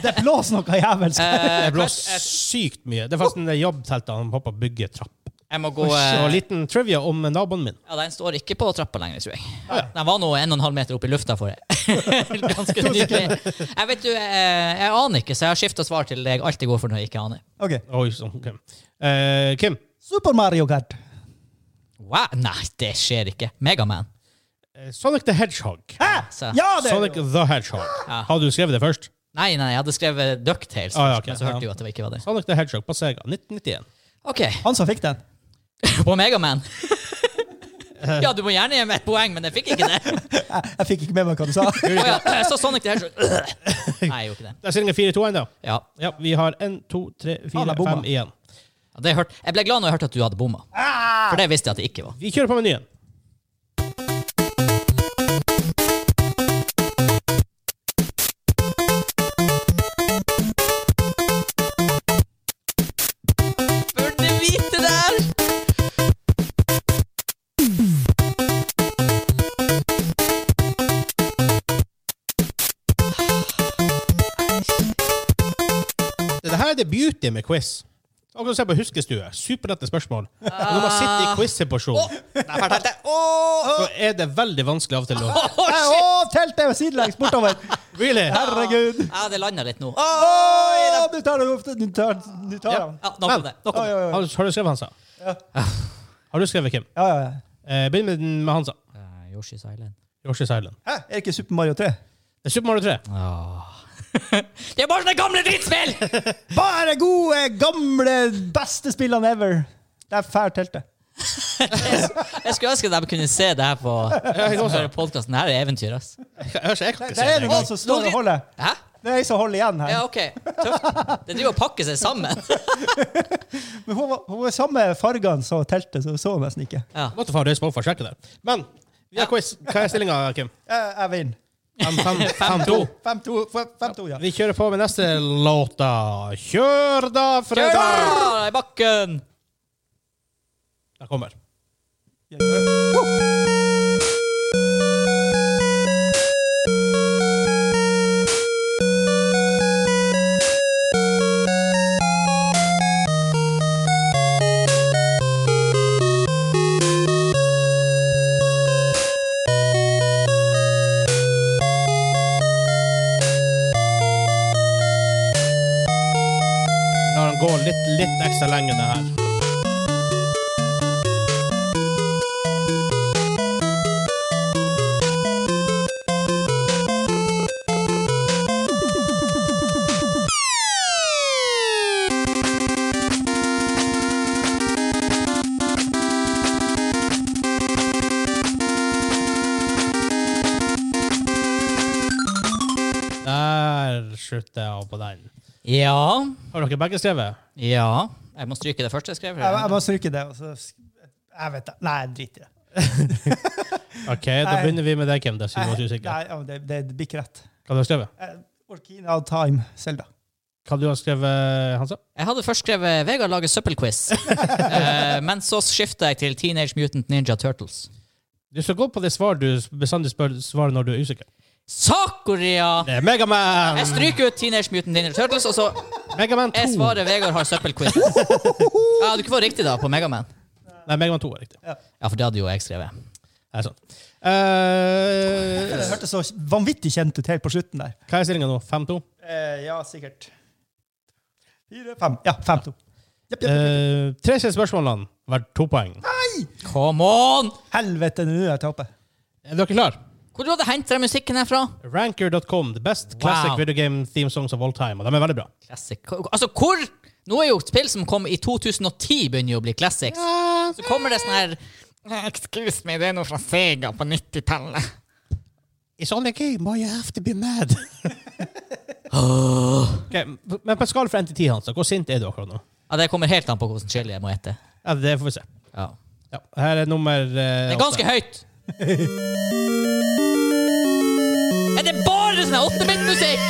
Speaker 3: Det blåser noe jævelsk.
Speaker 2: Det blåser sykt mye. Det er
Speaker 3: Oh!
Speaker 2: faktisk en jobbtelt han pappa bygger trapp.
Speaker 1: Jeg må gå
Speaker 2: Så
Speaker 1: eh,
Speaker 2: liten trivia om naboen min.
Speaker 1: ja, Den står ikke på trappa lenger, tror jeg. Den var nå en og en halv meter opp i lufta for Ganske nylig. Jeg vet du, eh, jeg aner ikke, så jeg har skifta svar til det jeg alltid går for når jeg ikke aner.
Speaker 3: Ok.
Speaker 2: Oi, sånn, Kim. Eh, Kim.
Speaker 3: Super Mario Kart.
Speaker 1: Wow. Nei, det skjer ikke. Megaman.
Speaker 2: eh, Sonic the Hedgehog.
Speaker 1: Så.
Speaker 3: Ja, det er
Speaker 2: Sonic
Speaker 3: jo.
Speaker 2: the Hedgehog.
Speaker 1: Ja.
Speaker 2: Har du skrevet det først?
Speaker 1: Nei, nei, jeg hadde skrevet Ducktales,
Speaker 2: Ah, ja, ok.
Speaker 1: men så
Speaker 2: Ja.
Speaker 1: hørte jeg jo at det ikke var det.
Speaker 2: Sonic the Hedgehog på Sega 1991.
Speaker 1: OK,
Speaker 3: Han som fikk den.
Speaker 1: på Megaman. ja, du må gjerne gi meg et poeng, men jeg fikk ikke det.
Speaker 3: Jeg, jeg fikk ikke med meg hva du sa.
Speaker 1: Å ja, så Sonic the Hedgehog. Nei, jeg gjorde ikke det.
Speaker 2: Det er stillingen 4-2 ennå.
Speaker 1: Ja,
Speaker 2: Ja, vi har 1, 2, 3, 4,
Speaker 3: da bomma.
Speaker 2: 5 igjen.
Speaker 1: Ja, det hørte- Jeg ble glad når jeg hørte at du hadde bomma. For det visste jeg at det ikke var.
Speaker 2: Vi kjører på menyen.
Speaker 1: Burde vite det her!
Speaker 2: Det her er det beauty med quiz. Akkurat som å se på huskestue. Superlette spørsmål. Og Når man sitter
Speaker 3: Ah.
Speaker 2: i quiz-situasjon, så er det veldig vanskelig av og til å
Speaker 1: Å,
Speaker 3: Nei,
Speaker 1: shit!
Speaker 3: Å, teltet er sidelengs bortover!
Speaker 2: Really?
Speaker 3: Herregud.
Speaker 1: Ja, det landa litt nå.
Speaker 3: Å, du tar den opp. Du tar, du tar den.
Speaker 1: Ja, nok om det. Nok om
Speaker 3: Oi,
Speaker 1: det.
Speaker 3: oi, oi.
Speaker 2: Har, du- har du skrevet Hansa? Har du skrevet, Kim?
Speaker 3: Ja, ja, ja.
Speaker 2: Eh, begynn med, den- med Hansa.
Speaker 1: Eh, Yoshi's Island.
Speaker 2: Yoshi's Island.
Speaker 3: Hæ? Er det ikke Super Mario 3?
Speaker 2: Det er Super Mario 3.
Speaker 1: Ah. Det er bare sånne gamle drittspill!
Speaker 3: Bare gode, gamle, beste spillene ever! Det er fælt teltet.
Speaker 1: Jeg skulle ønske at jeg kunne se det her på podkasten. Det her er eventyr, ass.
Speaker 2: Jeg, jeg, jeg kan ikke
Speaker 3: Det
Speaker 2: se
Speaker 3: er
Speaker 2: den
Speaker 3: noen
Speaker 2: engang.
Speaker 3: som står og holder.
Speaker 1: Hæ?
Speaker 3: Det er ei som holder igjen her.
Speaker 1: Ja, OK. Tøft. Det driver og pakker seg sammen.
Speaker 3: Men hun, var- hun var samme fargene som teltet, så hun så nesten ikke.
Speaker 2: Jeg måtte få røys på for å sjekke det. Men vi har quiz. Hva er stillinga, Kim?
Speaker 3: Jeg, jeg vinner.
Speaker 2: 5-2.
Speaker 3: 5-2, f- 5-2, ja.
Speaker 2: Vi kjører på med neste låta. Kjør da,
Speaker 1: Kjør
Speaker 2: Fredrik!
Speaker 1: da, i bakken!
Speaker 2: Den kommer. Når den går litt, litt ekstra lenge, det her. Der slutter jeg av på den.
Speaker 1: Ja.
Speaker 2: Har dere begge skrevet?
Speaker 1: Ja. Jeg må stryke det første jeg skrev.
Speaker 3: Jeg, jeg må stryke det. Og så, jeg vet det. Nei, drit i det.
Speaker 2: OK, da
Speaker 3: Nei.
Speaker 2: begynner vi med deg, Kim. Da, siden du var så usikker.
Speaker 3: Nei, ja, det, det blir ikke rett.
Speaker 2: Hva du har skrevet?
Speaker 3: Eh, Orkina of Time, Selda.
Speaker 2: Hva du har skrevet, Hansa?
Speaker 1: Jeg hadde først skrevet 'Vegard lager søppelquiz', eh, men så skifta jeg til 'Teenage Mutant Ninja Turtles'.
Speaker 2: Du skal gå på det svar du bestandig spør svar når du er usikker.
Speaker 1: Sakuria!
Speaker 2: Det er Megaman!
Speaker 1: Jeg stryker ut Teenage Mutant Ninja Turtles, og så
Speaker 2: Megaman 2.
Speaker 1: jeg svarer Vegard har søppelquiz. Ja, du ikke får riktig da på Megaman.
Speaker 2: Nei, Megaman 2 er riktig.
Speaker 1: Ja, for det hadde jo jeg skrevet.
Speaker 2: Det er sant. Eh,
Speaker 3: Det hørtes så vanvittig kjent ut helt på slutten der.
Speaker 2: hva er stillinga nå? 5-2?
Speaker 3: Eh, ja, sikkert. Fire, fem. Ja, fem, to. Jepp, jepp.
Speaker 2: Eh, tre siste spørsmålene verdt to poeng.
Speaker 1: Come on!
Speaker 3: Helvete, nå er jeg taper.
Speaker 2: Er dere klare?
Speaker 1: Hvor hadde du hentet den musikken her fra?
Speaker 2: Ranker.com, the best classic
Speaker 1: Wow.
Speaker 2: video game theme songs of all time. Og de er veldig bra.
Speaker 1: Classic. Altså, hvor Nå er jo spill som kom i 2010, begynner jo å bli classics. Så kommer det sånn her Excuse me, det er noe fra Sega på 90-tallet.
Speaker 2: It's only a game, why you have to be mad? Ok, men på en skala fra 1 til 10, Hansa, hvor sint er du akkurat nå?
Speaker 1: Ja, det kommer helt an på hvordan chili jeg må ete.
Speaker 2: Ja, det får vi se.
Speaker 1: Ja.
Speaker 2: Ja, her er nummer eh,
Speaker 1: Det er ganske høyt. Er det bare sånn 8-bit-musikk?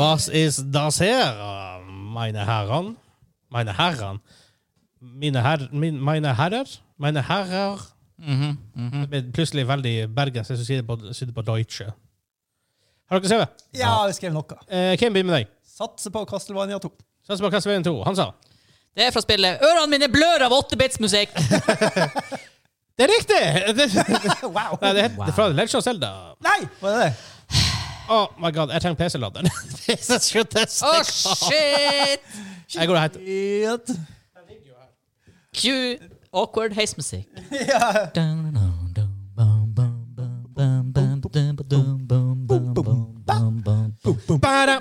Speaker 2: Was ist das her, meine Herren? Meine Herren? Mine, her, min, meine herrer? Meine herrer? Det ble plutselig veldig bergensk, jeg skulle si det på, si det på deutsche. Har dere skrevet?
Speaker 3: Ja, jeg skrev noe.
Speaker 2: Eh, Kim, begynn med deg.
Speaker 3: Satser på Castlevania 2.
Speaker 2: Satser på Castlevania 2. Han sa
Speaker 1: Det er fra spillet Ørene mine blør av 8-bits-musikk.
Speaker 2: Det er riktig! Det,
Speaker 3: Wow!
Speaker 2: nei, det, het- det er fra Legend of Zelda.
Speaker 3: Nei! Hva er det?
Speaker 2: Oh my god, jeg trenger PC-laderen.
Speaker 1: Å, shit!
Speaker 2: jeg går og henter
Speaker 3: Shit.
Speaker 1: Q. Awkward heismusikk.
Speaker 3: Ja.
Speaker 2: Ba-da.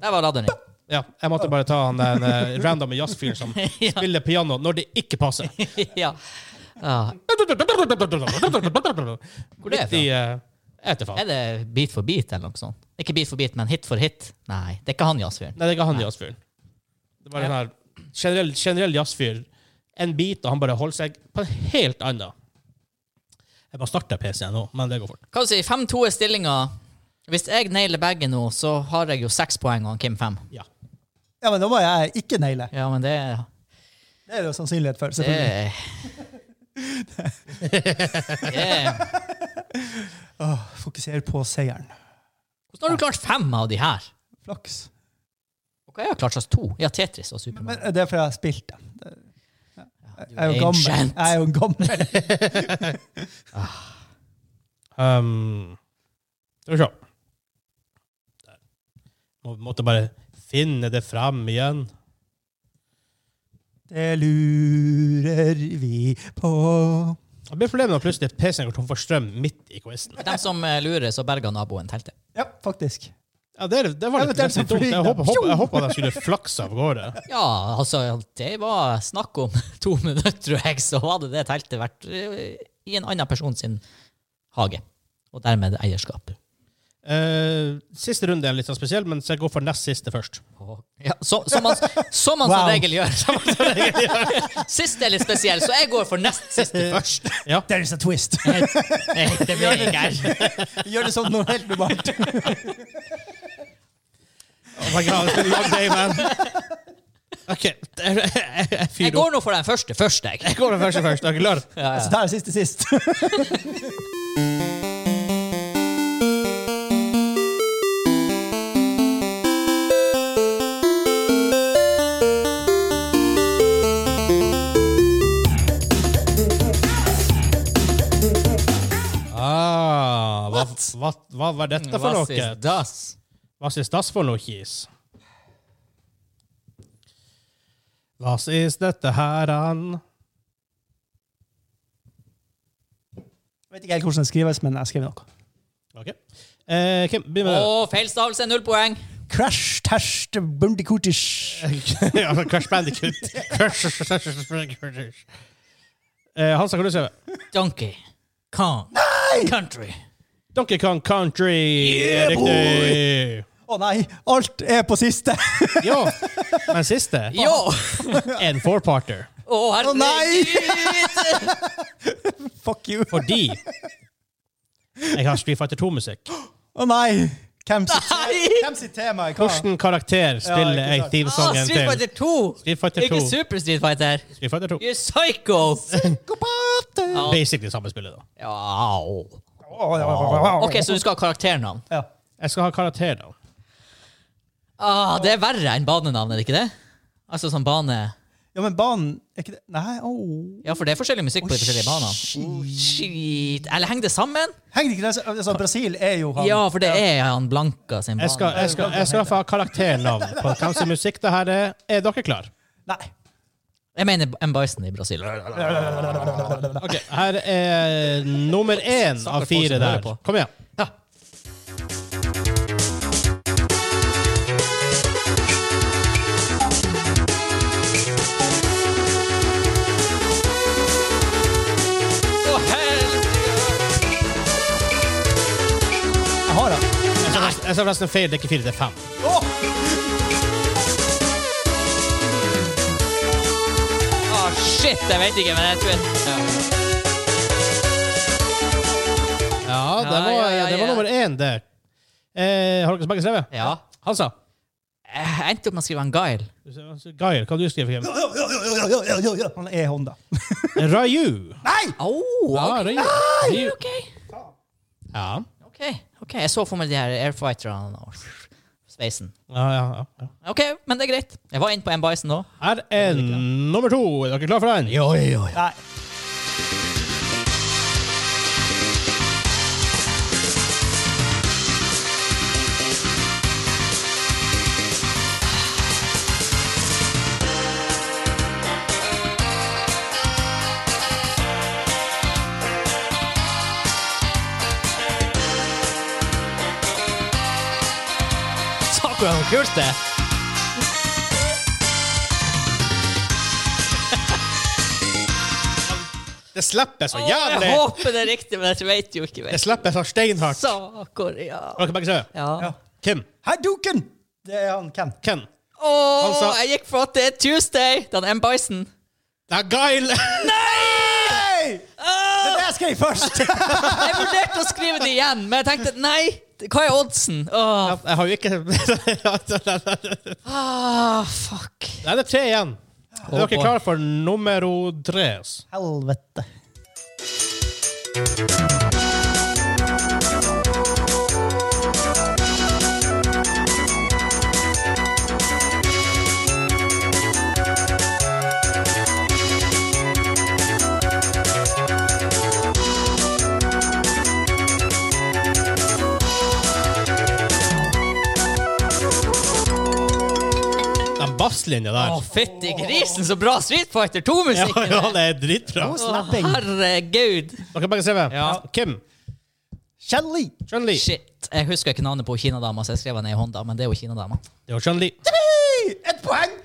Speaker 1: Der var ladderen.
Speaker 2: Ja, jeg måtte bare ta han den eh, random jazzfyren som
Speaker 1: Ja.
Speaker 2: spiller piano når det ikke passer.
Speaker 1: Ja. Ah,
Speaker 2: Hvor
Speaker 1: Hvor det er
Speaker 2: I, eh, jeg vet
Speaker 1: er
Speaker 2: ikke faen.
Speaker 1: det Beat for beat eller noe sånt? Ikke Beat for beat, men Hit for hit? Nei, det er ikke han jazzfyren.
Speaker 2: Nei, det er ikke han jazzfyren. Det var den her generell, generell jazzfyr. En bit, og han bare holder seg på en helt annen. Jeg bare starter PC-en nå, men det går fort.
Speaker 1: Hva du si, 5-2 er stillinga. Hvis jeg nailer begge nå, så har jeg jo seks poeng og han Kim fem.
Speaker 2: Ja.
Speaker 3: ja, men da må jeg ikke naile.
Speaker 1: Ja, men det,
Speaker 3: Det er det jo sannsynlighet for.
Speaker 1: det,
Speaker 3: selvfølgelig.
Speaker 1: det
Speaker 3: Fokuser på seieren.
Speaker 1: Hvordan har du klart fem av de her?
Speaker 3: Flaks.
Speaker 1: Og hva har jeg klart slags to? Ja, Tetris og Supermann.
Speaker 3: Men eh, det er fordi jeg har spilt det. Det- Jeg er jo gammel.
Speaker 1: Ancient.
Speaker 3: Jeg er jo gammel.
Speaker 2: Um, skal vi se. Der. Må, måtte bare finne det fram igjen.
Speaker 3: Det lurer vi på.
Speaker 2: Det blir problemet når plutselig PC-en går tom for strøm midt i quizen.
Speaker 1: De som eh, lurer, så berga naboen teltet.
Speaker 3: Ja, faktisk.
Speaker 2: Ja, det, er- det var litt nesten
Speaker 3: Eventuelt så
Speaker 2: dumt. Jeg
Speaker 3: flyr
Speaker 2: håpa,
Speaker 3: den.
Speaker 2: håpa, jeg håpa de skulle flakse av gårde.
Speaker 1: Ja, altså, det var snakk om to minutter, tror jeg, så hadde det teltet vært eh, i en annen person sin hage. Og dermed eierskap.
Speaker 2: Eh, siste runde er litt sånn spesiell, men så jeg går for nest siste først.
Speaker 1: Og- Ja, så, som man, som, man
Speaker 3: Wow.
Speaker 1: som regel gjør. Siste er litt spesiell, så jeg går for nest siste først.
Speaker 2: Ja.
Speaker 3: There is a twist.
Speaker 1: Det blir jeg ikke her.
Speaker 3: Vi gjør det som noe helt normalt.
Speaker 2: Oh my god, it's been a long day, man. OK, jeg, jeg, jeg
Speaker 1: Jeg
Speaker 2: fyrer opp.
Speaker 1: går nå for den første først, jeg.
Speaker 2: Jeg går den første først. Er dere klare?
Speaker 1: Ja,
Speaker 3: Så
Speaker 1: ja.
Speaker 3: der er siste sist.
Speaker 2: Ah, hva, hva, hva var dette for
Speaker 1: Mm, Hva sies
Speaker 2: noe?
Speaker 1: das?
Speaker 2: Was ist das for noe kis? Was ist dette her an?
Speaker 3: Jeg vet ikke helt hvordan det skrives, men jeg skriver noe.
Speaker 2: Ok. Eh, Kim, begynn med
Speaker 1: Og feilstavelse, null poeng.
Speaker 2: det.
Speaker 3: Crash Tash Bundicootish.
Speaker 2: ja, men Crash Bandicoot. Crash Eh, Hansa, kan du se?
Speaker 1: Donkey Kong Country.
Speaker 2: Donkey Kong Country er
Speaker 3: Yeah,
Speaker 2: riktig.
Speaker 3: Å nei, alt er på siste!
Speaker 2: Ja. Men siste
Speaker 1: Jo!
Speaker 2: en fourparter.
Speaker 1: Å, herregud!
Speaker 3: nei! Fuck you. Å
Speaker 2: Fordi jeg har Street Fighter 2-musikk.
Speaker 3: nei! Hvem sitt,
Speaker 1: Nei!
Speaker 3: hvem sitt tema er hva?
Speaker 2: Hvilken karakter spiller
Speaker 3: ikke
Speaker 2: jeg
Speaker 3: sant.
Speaker 1: Ah,
Speaker 2: themesongen
Speaker 1: Street
Speaker 2: til
Speaker 1: Fighter 2!
Speaker 2: Street Fighter 2?
Speaker 1: Ikke Super Street Fighter.
Speaker 2: Street Fighter 2?
Speaker 1: You psycho!
Speaker 3: Psykopater!
Speaker 1: Ja.
Speaker 2: Basically samme spillet, da.
Speaker 1: Au.
Speaker 3: Å, ja, ja, ja.
Speaker 1: OK, så du skal ha karakternavn.
Speaker 3: Ja.
Speaker 2: Jeg skal ha karakter, da.
Speaker 1: Ah, det er verre enn banenavn, er det ikke det? Altså sånn bane
Speaker 3: ja, men banen er ikke det Nei, åh.
Speaker 1: Ja, for det er forskjellig musikk på de forskjellige banene. Oh, shit. Eller henger det sammen?
Speaker 3: Henger det ikke det altså, Brasil er jo han
Speaker 1: Ja, for det er han Blanka sin
Speaker 2: Jeg skal,
Speaker 1: bane.
Speaker 2: jeg skal, jeg skal få ha karakternavn på hvem sin musikk det her er. Er dere klare?
Speaker 3: Nei.
Speaker 1: Jeg mener M. Bison i Brasil.
Speaker 2: Ok, her er nummer én av fire der. Kom igjen.
Speaker 1: Ja. Å, helsike!
Speaker 3: Jeg har han.
Speaker 2: Jeg sa forresten- jeg sa forresten feil. Det er ikke fire, det er fem.
Speaker 1: Å, shit, jeg vet ikke, men jeg tror jeg
Speaker 2: Ja, det var,
Speaker 1: Ja, ja, ja,
Speaker 2: det var
Speaker 1: ja.
Speaker 2: nummer én, det. Eh, har dere begge skrevet?
Speaker 1: Ja.
Speaker 2: Hansa?
Speaker 1: Jeg endte opp med å skrive en Guile.
Speaker 2: Geir, hva har du skrevet?
Speaker 3: Ja, ja, ja, ja, ja, ja, ja. Han er Honda.
Speaker 2: Raju.
Speaker 3: Nei!
Speaker 1: Au!
Speaker 2: Ja,
Speaker 1: ok.
Speaker 2: Raju. Raju.
Speaker 1: OK.
Speaker 2: Ja.
Speaker 1: OK, ok, jeg så for meg de her airfighterne og sveisen.
Speaker 2: Ja, ja, ja, ja.
Speaker 1: OK, men det er greit. Jeg var inne på M. Bison nå.
Speaker 2: Her er nummer to. Er dere klare for den? Jo, jo, jo.
Speaker 3: Nei.
Speaker 1: Sakura, hvor kult det er!
Speaker 2: Det slipper så
Speaker 1: Jeg
Speaker 2: jævlig!
Speaker 1: håper det er riktig, men jeg vet jo ikke.
Speaker 2: Det
Speaker 1: Vet.
Speaker 2: slipper så steinhardt.
Speaker 1: Sakura.
Speaker 2: Har dere begge skrevet?
Speaker 1: Ja.
Speaker 3: Ja.
Speaker 2: Kim.
Speaker 3: Hadouken! Det er han Ken.
Speaker 2: Ken.
Speaker 1: Åh,
Speaker 2: Han sa-
Speaker 1: jeg gikk for at det er Tuesday! Den M. Bison.
Speaker 2: Det er Geil!
Speaker 3: Hei! Det der skal jeg først!
Speaker 1: Jeg vurderte å skrive det igjen, men jeg tenkte nei. Hva er oddsen? Åh,
Speaker 2: Jeg har jo ikke Nei,
Speaker 1: ah, fuck.
Speaker 2: det er tre igjen. Er
Speaker 1: Oh,
Speaker 2: dere
Speaker 1: boy.
Speaker 2: klare for numero tres?
Speaker 3: Helvete.
Speaker 2: Den basslinja der.
Speaker 1: Å, fytti grisen, så bra Street Fighter 2-musikken!
Speaker 2: ja, det er dritbra.
Speaker 3: Slapping.
Speaker 1: herregud.
Speaker 2: Dere begge ser meg.
Speaker 1: Ja.
Speaker 2: Kim.
Speaker 3: Shelly.
Speaker 2: Chun-Li.
Speaker 1: Shit. Jeg husker ikke navnet på kinadama, så jeg skrev henne i hånda, men det er jo kinadama.
Speaker 2: Det var Chun-Li.
Speaker 3: Hei! Ett poeng!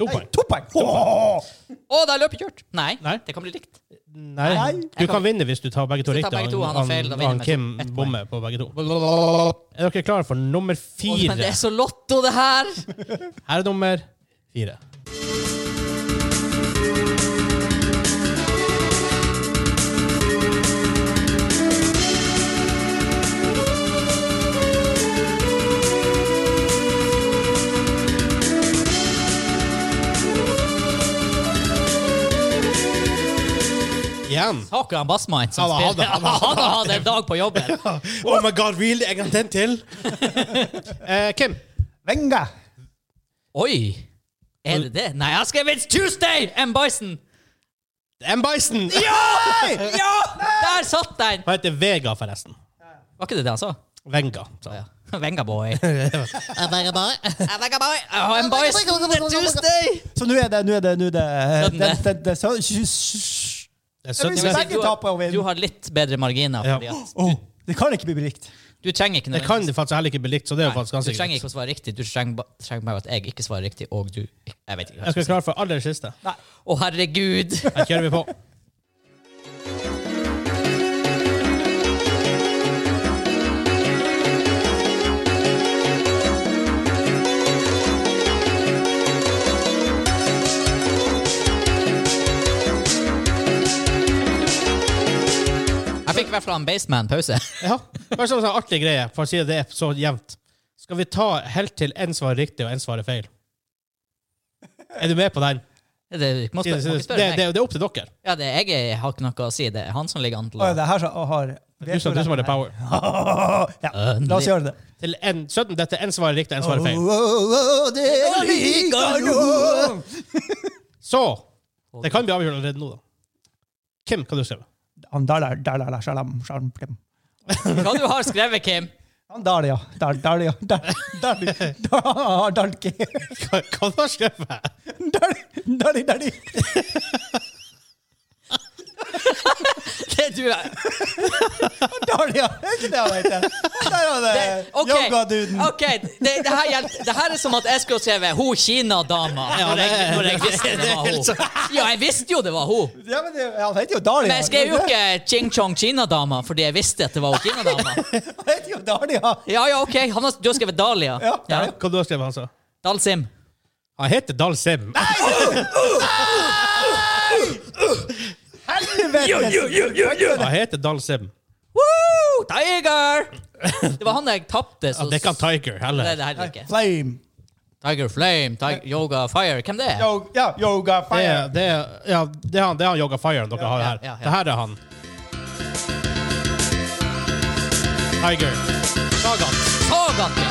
Speaker 2: To
Speaker 3: Nei,
Speaker 2: poeng.
Speaker 3: to poeng. Åh!
Speaker 1: Å, da er løpet kjørt! Nei,
Speaker 2: Nei.
Speaker 1: det kan bli likt.
Speaker 2: Nei.
Speaker 3: Nei.
Speaker 2: Du kan vinne hvis du tar begge to
Speaker 1: Hvis du
Speaker 2: riktig.
Speaker 1: tar begge to, han har feil, da vinner vi
Speaker 2: Kim
Speaker 1: med ett
Speaker 2: bommer på begge to. Er dere klare for nummer
Speaker 1: Å,
Speaker 2: fire?
Speaker 1: men det er så lotto, det her!
Speaker 2: Her er nummer fire. Igjen.
Speaker 1: Sakura Bassmine som
Speaker 2: Han hadde-
Speaker 1: spiller.
Speaker 2: han hadde-
Speaker 1: Han hadde en dag på jobben.
Speaker 2: Oh my god, really? En gang den til? eh, Kim.
Speaker 3: Venga.
Speaker 1: Oi! Er det det? Nei, jeg har skrevet It's Tuesday! M. Bison!
Speaker 2: M. Bison.
Speaker 1: Ja! Der satt den!
Speaker 2: Han heter Vega, forresten.
Speaker 1: Var ikke det det han sa?
Speaker 2: Venga. sa
Speaker 1: Ja.
Speaker 2: han.
Speaker 1: Vengaboy. Vengaboy. Oh, M. Bison, it's Tuesday!
Speaker 3: Så nå er det nå er det, nå er det, eh,
Speaker 1: Sønne.
Speaker 3: det, det, det så, sj- sj-
Speaker 2: Det er
Speaker 3: Jeg
Speaker 2: søtt.
Speaker 3: vil si-
Speaker 1: Men
Speaker 3: Begge
Speaker 1: Du,
Speaker 3: taper og
Speaker 1: har-
Speaker 3: vinner.
Speaker 1: du har litt bedre marginer.
Speaker 2: Ja.
Speaker 1: Fordi at
Speaker 3: Åh, Det kan ikke bli likt.
Speaker 1: Du trenger ikke
Speaker 2: Det kan det faktisk heller ikke bli likt, så det er jo faktisk
Speaker 1: Nei,
Speaker 2: ganske
Speaker 1: Du trenger
Speaker 2: greit.
Speaker 1: ikke å svare riktig. Du trenger, ba- trenger bare at jeg ikke svarer riktig, og du Jeg vet ikke. hva
Speaker 2: Jeg skal
Speaker 1: skal si.
Speaker 2: klare for aller siste.
Speaker 1: Nei. Å, herregud!
Speaker 2: Her kjører vi på.
Speaker 1: Jeg fikk i hvert fall en Baseman-pause.
Speaker 2: Ja, bare sånn sånn artig greie, for å si det er så jevnt. Skal vi ta helt til én svarer riktig og én svarer feil? Er du med på den?
Speaker 1: Det, du må
Speaker 2: Si
Speaker 1: spør,
Speaker 2: det, si
Speaker 1: må
Speaker 2: det.
Speaker 1: ikke
Speaker 2: Det,
Speaker 1: spørre
Speaker 2: det,
Speaker 1: meg.
Speaker 2: det er opp til dere.
Speaker 1: Ja, det, jeg er- har ikke noe å si. Det er han som ligger an til
Speaker 3: Å,
Speaker 1: å
Speaker 3: ja, det er her som å, har
Speaker 2: Du som, du som har the power.
Speaker 3: ja, La oss gjøre det.
Speaker 2: Til en, 17, dette er én svarer riktig og én svarer
Speaker 1: Oh.
Speaker 2: feil.
Speaker 3: Å, det liker du.
Speaker 2: Så
Speaker 1: Oh.
Speaker 2: det kan bli avgjort allerede nå, da. Kim, hva du skrev
Speaker 3: Han Dalar, dalar, shalam, shalam, plim.
Speaker 1: Hva du har skrevet, Kim?
Speaker 3: Han Dal, ja. Dal, dal, ja. Dal, dal, dal, dalki.
Speaker 2: Hva, hva du har skrevet?
Speaker 3: Dal, dali, dali.
Speaker 1: Det du er
Speaker 3: Dal, ja. Er ikke det han heter? Der var det
Speaker 1: OK,
Speaker 3: Eh, yogaduden.
Speaker 1: ok, det, det, her hjelper. det her er som at jeg skulle skrevet 'Ho Kina-dama'.
Speaker 2: Ja,
Speaker 1: når jeg-
Speaker 2: det-
Speaker 1: når jeg visste det var
Speaker 2: helt
Speaker 1: hun. Ja, jeg visste jo det var hun.
Speaker 3: Ja, men det, han heter jo Dal, ja.
Speaker 1: Men jeg skrev jo ikke 'Ching Chong Kina-dama' fordi jeg visste at det var hun Kina-dama.
Speaker 3: Han heter jo Dal, ja.
Speaker 1: Ja, ja, OK. Han har, du har skrevet Dahlia.
Speaker 3: Ja.
Speaker 2: Ja. Hva du har skrevet, altså?
Speaker 1: Dalsim.
Speaker 2: Han heter Dahl Sim.
Speaker 3: Helvetes.
Speaker 2: Han heter Dahl Sim.
Speaker 1: Woo! Tiger! Det var han jeg tapte. Så
Speaker 2: Ja, det kan Tiger
Speaker 1: Nei, det
Speaker 2: heller.
Speaker 1: er det ikke.
Speaker 3: Flame.
Speaker 1: Tiger Flame, Tiger, Yoga Fire. Hvem det er?
Speaker 3: Yo, ja, yoga,
Speaker 2: Det
Speaker 3: fire.
Speaker 2: er, det er, ja, det er han, det er han Yoga Fire dere har
Speaker 1: ja,
Speaker 2: her.
Speaker 1: ja, ja.
Speaker 2: Det her er han. Tiger. Sagan.
Speaker 1: Sagat, ja!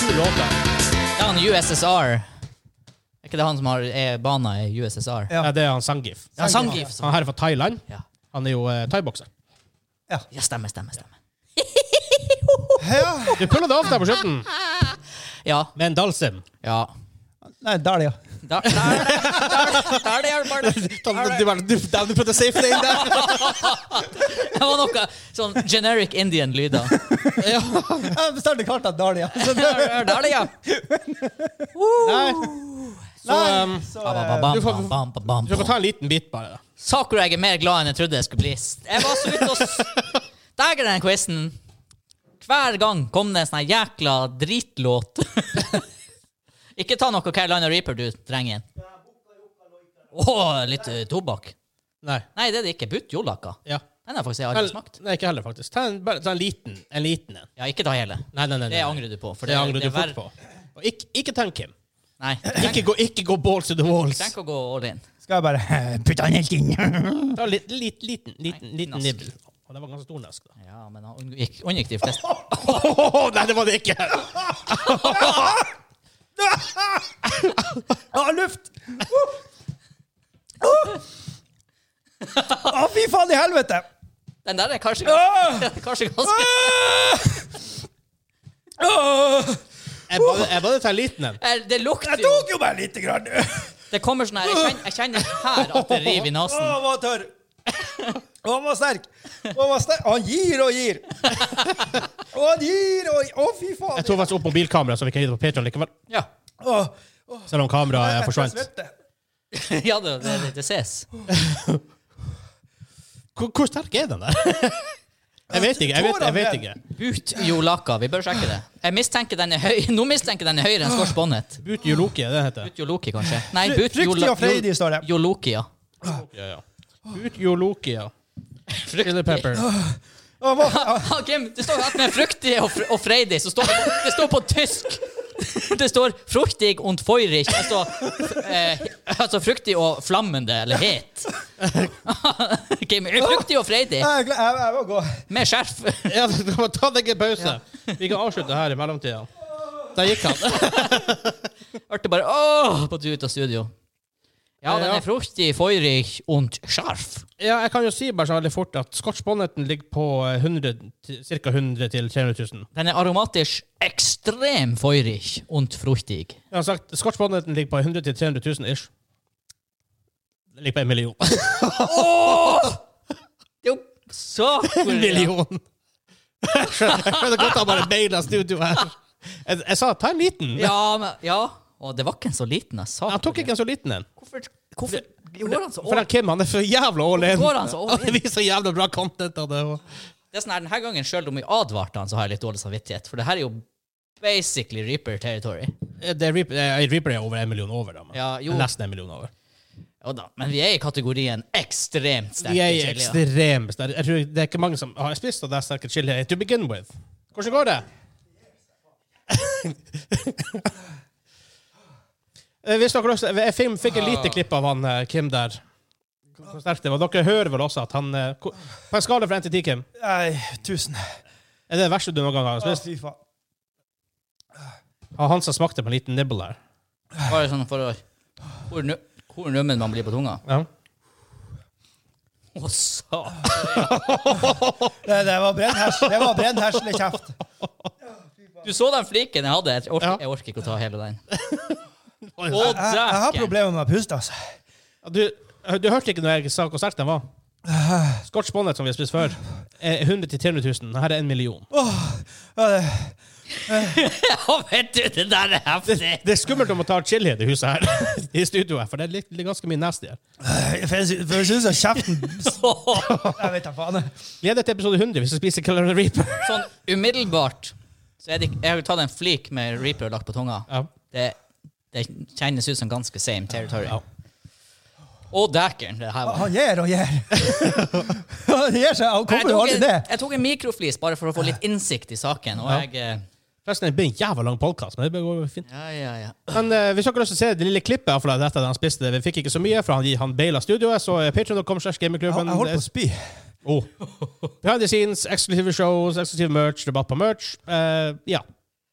Speaker 2: To låter.
Speaker 1: Det er han USSR. Er ikke det han som har er bana i USSR?
Speaker 3: Ja.
Speaker 2: Ja, det er han Sangif.
Speaker 1: Ja, Sangief.
Speaker 2: Han her er fra Thailand.
Speaker 1: Ja.
Speaker 2: Han er jo eh, thaibokser.
Speaker 1: ja, stemmer, stemmer. stemmer.
Speaker 3: Ja.
Speaker 2: Du puller det av deg på slutten
Speaker 1: Ja.
Speaker 2: med en dalsim.
Speaker 1: ja.
Speaker 3: Nei, Dal, ja.
Speaker 1: Da, der, er det- der, der er det hjelp, bare.
Speaker 2: Du prøvde å safe det inn der.
Speaker 1: Det var noe sånn generic Indian-lyder. Ja,
Speaker 3: Jeg bestemte kalt han Dal, ja. Så det,
Speaker 1: der er det, ja.
Speaker 2: Så um,
Speaker 3: så,
Speaker 1: Ba,
Speaker 3: eh,
Speaker 1: ba, bam,
Speaker 2: Du får-
Speaker 1: bam, bam, bam,
Speaker 2: du kan
Speaker 1: bam.
Speaker 2: ta en liten bit, bare. da.
Speaker 1: Sakura jeg er mer glad enn jeg trodde jeg skulle bli. Jeg var så ute og s- Dagen i den quizen Hver gang kom det en sånn her jækla dritlåt. Ikke ta noe Carolina Reaper, du, drengen. Åh, litt eh, tobakk.
Speaker 2: Nei.
Speaker 1: Nei, det er det ikke. Butt jolaka.
Speaker 2: Ja.
Speaker 1: Den har faktisk jeg aldri
Speaker 2: Eller-
Speaker 1: smakt.
Speaker 2: Nei, ikke heller, faktisk. Ta en, bare, ta en liten en. liten en.
Speaker 1: Ja, ikke ta hele.
Speaker 2: Nei, nei, nei, nei.
Speaker 1: Det angrer du på. For
Speaker 2: Det angrer du
Speaker 1: er
Speaker 2: fort
Speaker 1: verre-
Speaker 2: på. Og ikke, ikke tenk, Kim.
Speaker 1: Nei,
Speaker 2: Ikke gå, ikke gå balls to the walls.
Speaker 1: trenger ikke å gå all in.
Speaker 3: Skal jeg bare eh, putte han helt inn?
Speaker 2: Ta en lit, lit, liten liten, liten
Speaker 1: nask.
Speaker 2: nibbel. Og det var ganske stor nask. da.
Speaker 1: Ja, men han unngikk, unngikk de fleste.
Speaker 2: Åh, nei, det var det ikke!
Speaker 3: Ja, Ah, luft! Å, Ah, fy faen i helvete!
Speaker 1: Den der er kanskje ganske, kanskje ganske
Speaker 3: Ah!
Speaker 2: Jeg bare, jeg bare tar en liten en.
Speaker 1: Eh, Det lukter
Speaker 3: Jeg
Speaker 1: jo
Speaker 3: tok jo bare lite grann. Å,
Speaker 1: Det kommer sånn her Jeg kjenner, jeg kjenner her at det river i nesen.
Speaker 3: han var tørr. Å, han var sterk. Å, han var sterk. Og Han gir og gir. Å, han gir og gir. Å, fy faen.
Speaker 2: Jeg tok faktisk opp mobilkameraet, så vi kan gi det på Patreon likevel.
Speaker 1: Ja.
Speaker 3: Å,
Speaker 2: Selv om kameraet eh, forsvant.
Speaker 3: svette.
Speaker 1: ja, det, det, det, det ses.
Speaker 2: Hvor, hvor sterk er den der? Jeg vet ikke. jeg vet, jeg vet ikke.
Speaker 1: But Jolaka. Vi bør sjekke det. Jeg mistenker den er høy Nå mistenker jeg den er høyere enn Scotch Bonnet.
Speaker 2: But Yoloki, er det det heter.
Speaker 1: But Joloki, kanskje. Nei,
Speaker 3: Fry-
Speaker 1: But
Speaker 3: fryktig
Speaker 1: Jola-
Speaker 3: og freidig, står det.
Speaker 1: Joloki, ja.
Speaker 2: Ja, ja. But Yoloki, ja. Chili pepper.
Speaker 3: Å, hva faen?
Speaker 1: Ah, Kim, det står at med fruktig og, fr og freidig, så står det, det står på tysk. Det står 'fruktig und feurig', altså, eh, altså fruktig og flammende, eller het. Kim, fruktig og freidig,
Speaker 3: Jeg, jeg, jeg må gå.
Speaker 1: med skjerf.
Speaker 2: Ja, du må ta deg en pause. Vi kan avslutte her i mellomtida. Der gikk han.
Speaker 1: Hørte bare 'åh' på tur ut av studio. Ja, den
Speaker 2: Ja.
Speaker 1: er fruktig, feurig und scharf.
Speaker 2: Ja, jeg kan jo si bare så veldig fort at Scotch Bonneten ligger på eh, 100, ca. 100 til 300 000.
Speaker 1: Den er aromatisch ekstrem feurig und fruchtig.
Speaker 2: Jeg har sagt Scotch Bonneten ligger på 100 til 300 000 ish. Det ligger på en million.
Speaker 1: Jo, så
Speaker 2: En million! Skjønner godt han bare beina studio her. Jeg, jeg sa ta en liten.
Speaker 1: Ja, men, ja. Og det var ikke en så liten jeg sa.
Speaker 2: Han tok ikke en så liten en.
Speaker 1: Hvorfor, hvorfor går han så
Speaker 2: For
Speaker 1: over?
Speaker 2: han Kim han er for jævla all in.
Speaker 1: Går han så all in?
Speaker 2: Han viser jævla bra content av det. og-
Speaker 1: Det er sånn her, Denne gangen, selv om vi advarte han, så har jeg litt dårlig samvittighet. For det her er jo basically Reaper territory.
Speaker 2: Det er Reaper, eh, Reaper er over en million over, da. men-
Speaker 1: Ja, jo.
Speaker 2: Nesten en million over.
Speaker 1: Jo da, men vi er i kategorien ekstremt sterke.
Speaker 2: De er
Speaker 1: chilier.
Speaker 2: ekstremt sterke. Jeg tror det er ikke mange som har spist av det sterke chili to begin with. Hvordan går det? Eh, Hvis dere også, jeg fikk- fikk en lite klipp av han eh, Kim der. Hvor sterkt det var. Dere hører vel også at han eh, ko- På en skala fra 1 til 10, Kim,
Speaker 3: Nei, tusen.
Speaker 2: er det det verste du noen gang har
Speaker 3: Å,
Speaker 2: spist?
Speaker 3: fy faen.
Speaker 2: Har han som smakte på en liten nibble her?
Speaker 1: Bare sånn for å Hvor, nu, hvor nummen man blir på tunga.
Speaker 2: Ja.
Speaker 1: Å, sa-
Speaker 3: Det, det var brennhersle- det var brennheslekjeft.
Speaker 1: Du så den fliken jeg hadde? Jeg orker,
Speaker 2: Ja.
Speaker 1: jeg orker ikke å ta hele den.
Speaker 2: Oi,
Speaker 1: Å,
Speaker 3: Jeg, jeg har
Speaker 1: dæken!
Speaker 3: problemer med å puste, altså.
Speaker 2: Du, eh, du hørte ikke når jeg sa hvor sterk den var? Scotch bonnet, som vi har spist før, er 100 000-300 000. Her er en million.
Speaker 3: Ja, det,
Speaker 1: Ja, vet du, det der er heftig!
Speaker 2: Det er skummelt om å ta chili i det huset her, i studioet her, for det er litt, litt ganske mye nasty her.
Speaker 3: for jeg, sy- for jeg syns kjeften Jeg vet da faen.
Speaker 2: Gleder deg til episode 100 hvis du spiser Calorie Reaper.
Speaker 1: Sånn umiddelbart så er det ikke- Jeg har tatt en flik med Reaper og lagt på tunga.
Speaker 2: Ja.
Speaker 1: Det, det kjennes ut som ganske same territory.
Speaker 2: Ja.
Speaker 1: Å, dæken! Det her var
Speaker 3: Han gir og gir. Han gir seg. Han
Speaker 1: jeg
Speaker 3: kommer jo
Speaker 1: tok,
Speaker 3: aldri
Speaker 1: en,
Speaker 3: ned.
Speaker 1: jeg tok en mikroflis bare for å få litt innsikt i saken, og jeg eh,
Speaker 2: Forresten, det blir en jævla lang podcast, men det går jo fint.
Speaker 1: Ja, ja, ja.
Speaker 2: Men eh, hvis dere har lyst til å se det lille klippet av det etter at han spiste det, vi fikk ikke så mye, for han, han baila studioet, så eh, patreon.com slash gamingklubben.
Speaker 3: Han, jeg holdt på å spy.
Speaker 2: Oh. Behind the scenes, eksklusive shows, eksklusiv merch, debatt på merch. Eh, ja.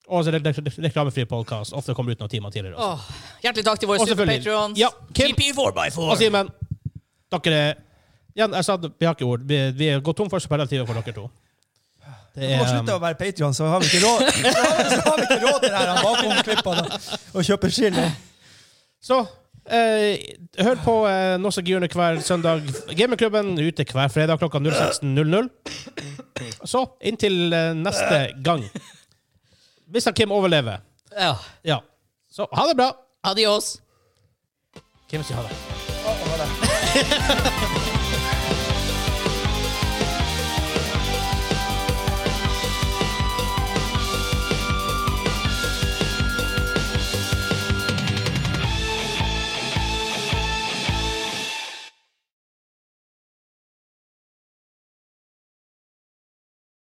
Speaker 2: Og så er det re- re- reklamefri podcast. Ofte kommer det ut noen timer tidligere. også.
Speaker 1: Åh, hjertelig takk til våre
Speaker 2: Og selvfølgelig-
Speaker 1: superpatrons.
Speaker 2: Ja, Kim. Og
Speaker 1: TP4x4.
Speaker 2: Simen, dere er Igjen, jeg sa det, vi har ikke ord. Vi, vi er gått tom for superlativer for dere to. Det um,
Speaker 3: Vi må slutte å være Patreon, så har vi ikke råd Så har vi- så har vi ikke råd til det her han bakom-klippene og kjøpe chili.
Speaker 2: Så eh, hør på eh, Nossa Gyrne hver søndag. Gamingklubben ute hver fredag klokka 06.00. Så inntil eh, neste gang. Hvis han Kim overlever.
Speaker 1: Ja.
Speaker 2: Ja. Så ha det bra.
Speaker 1: Adios.
Speaker 2: Kim sier ha det.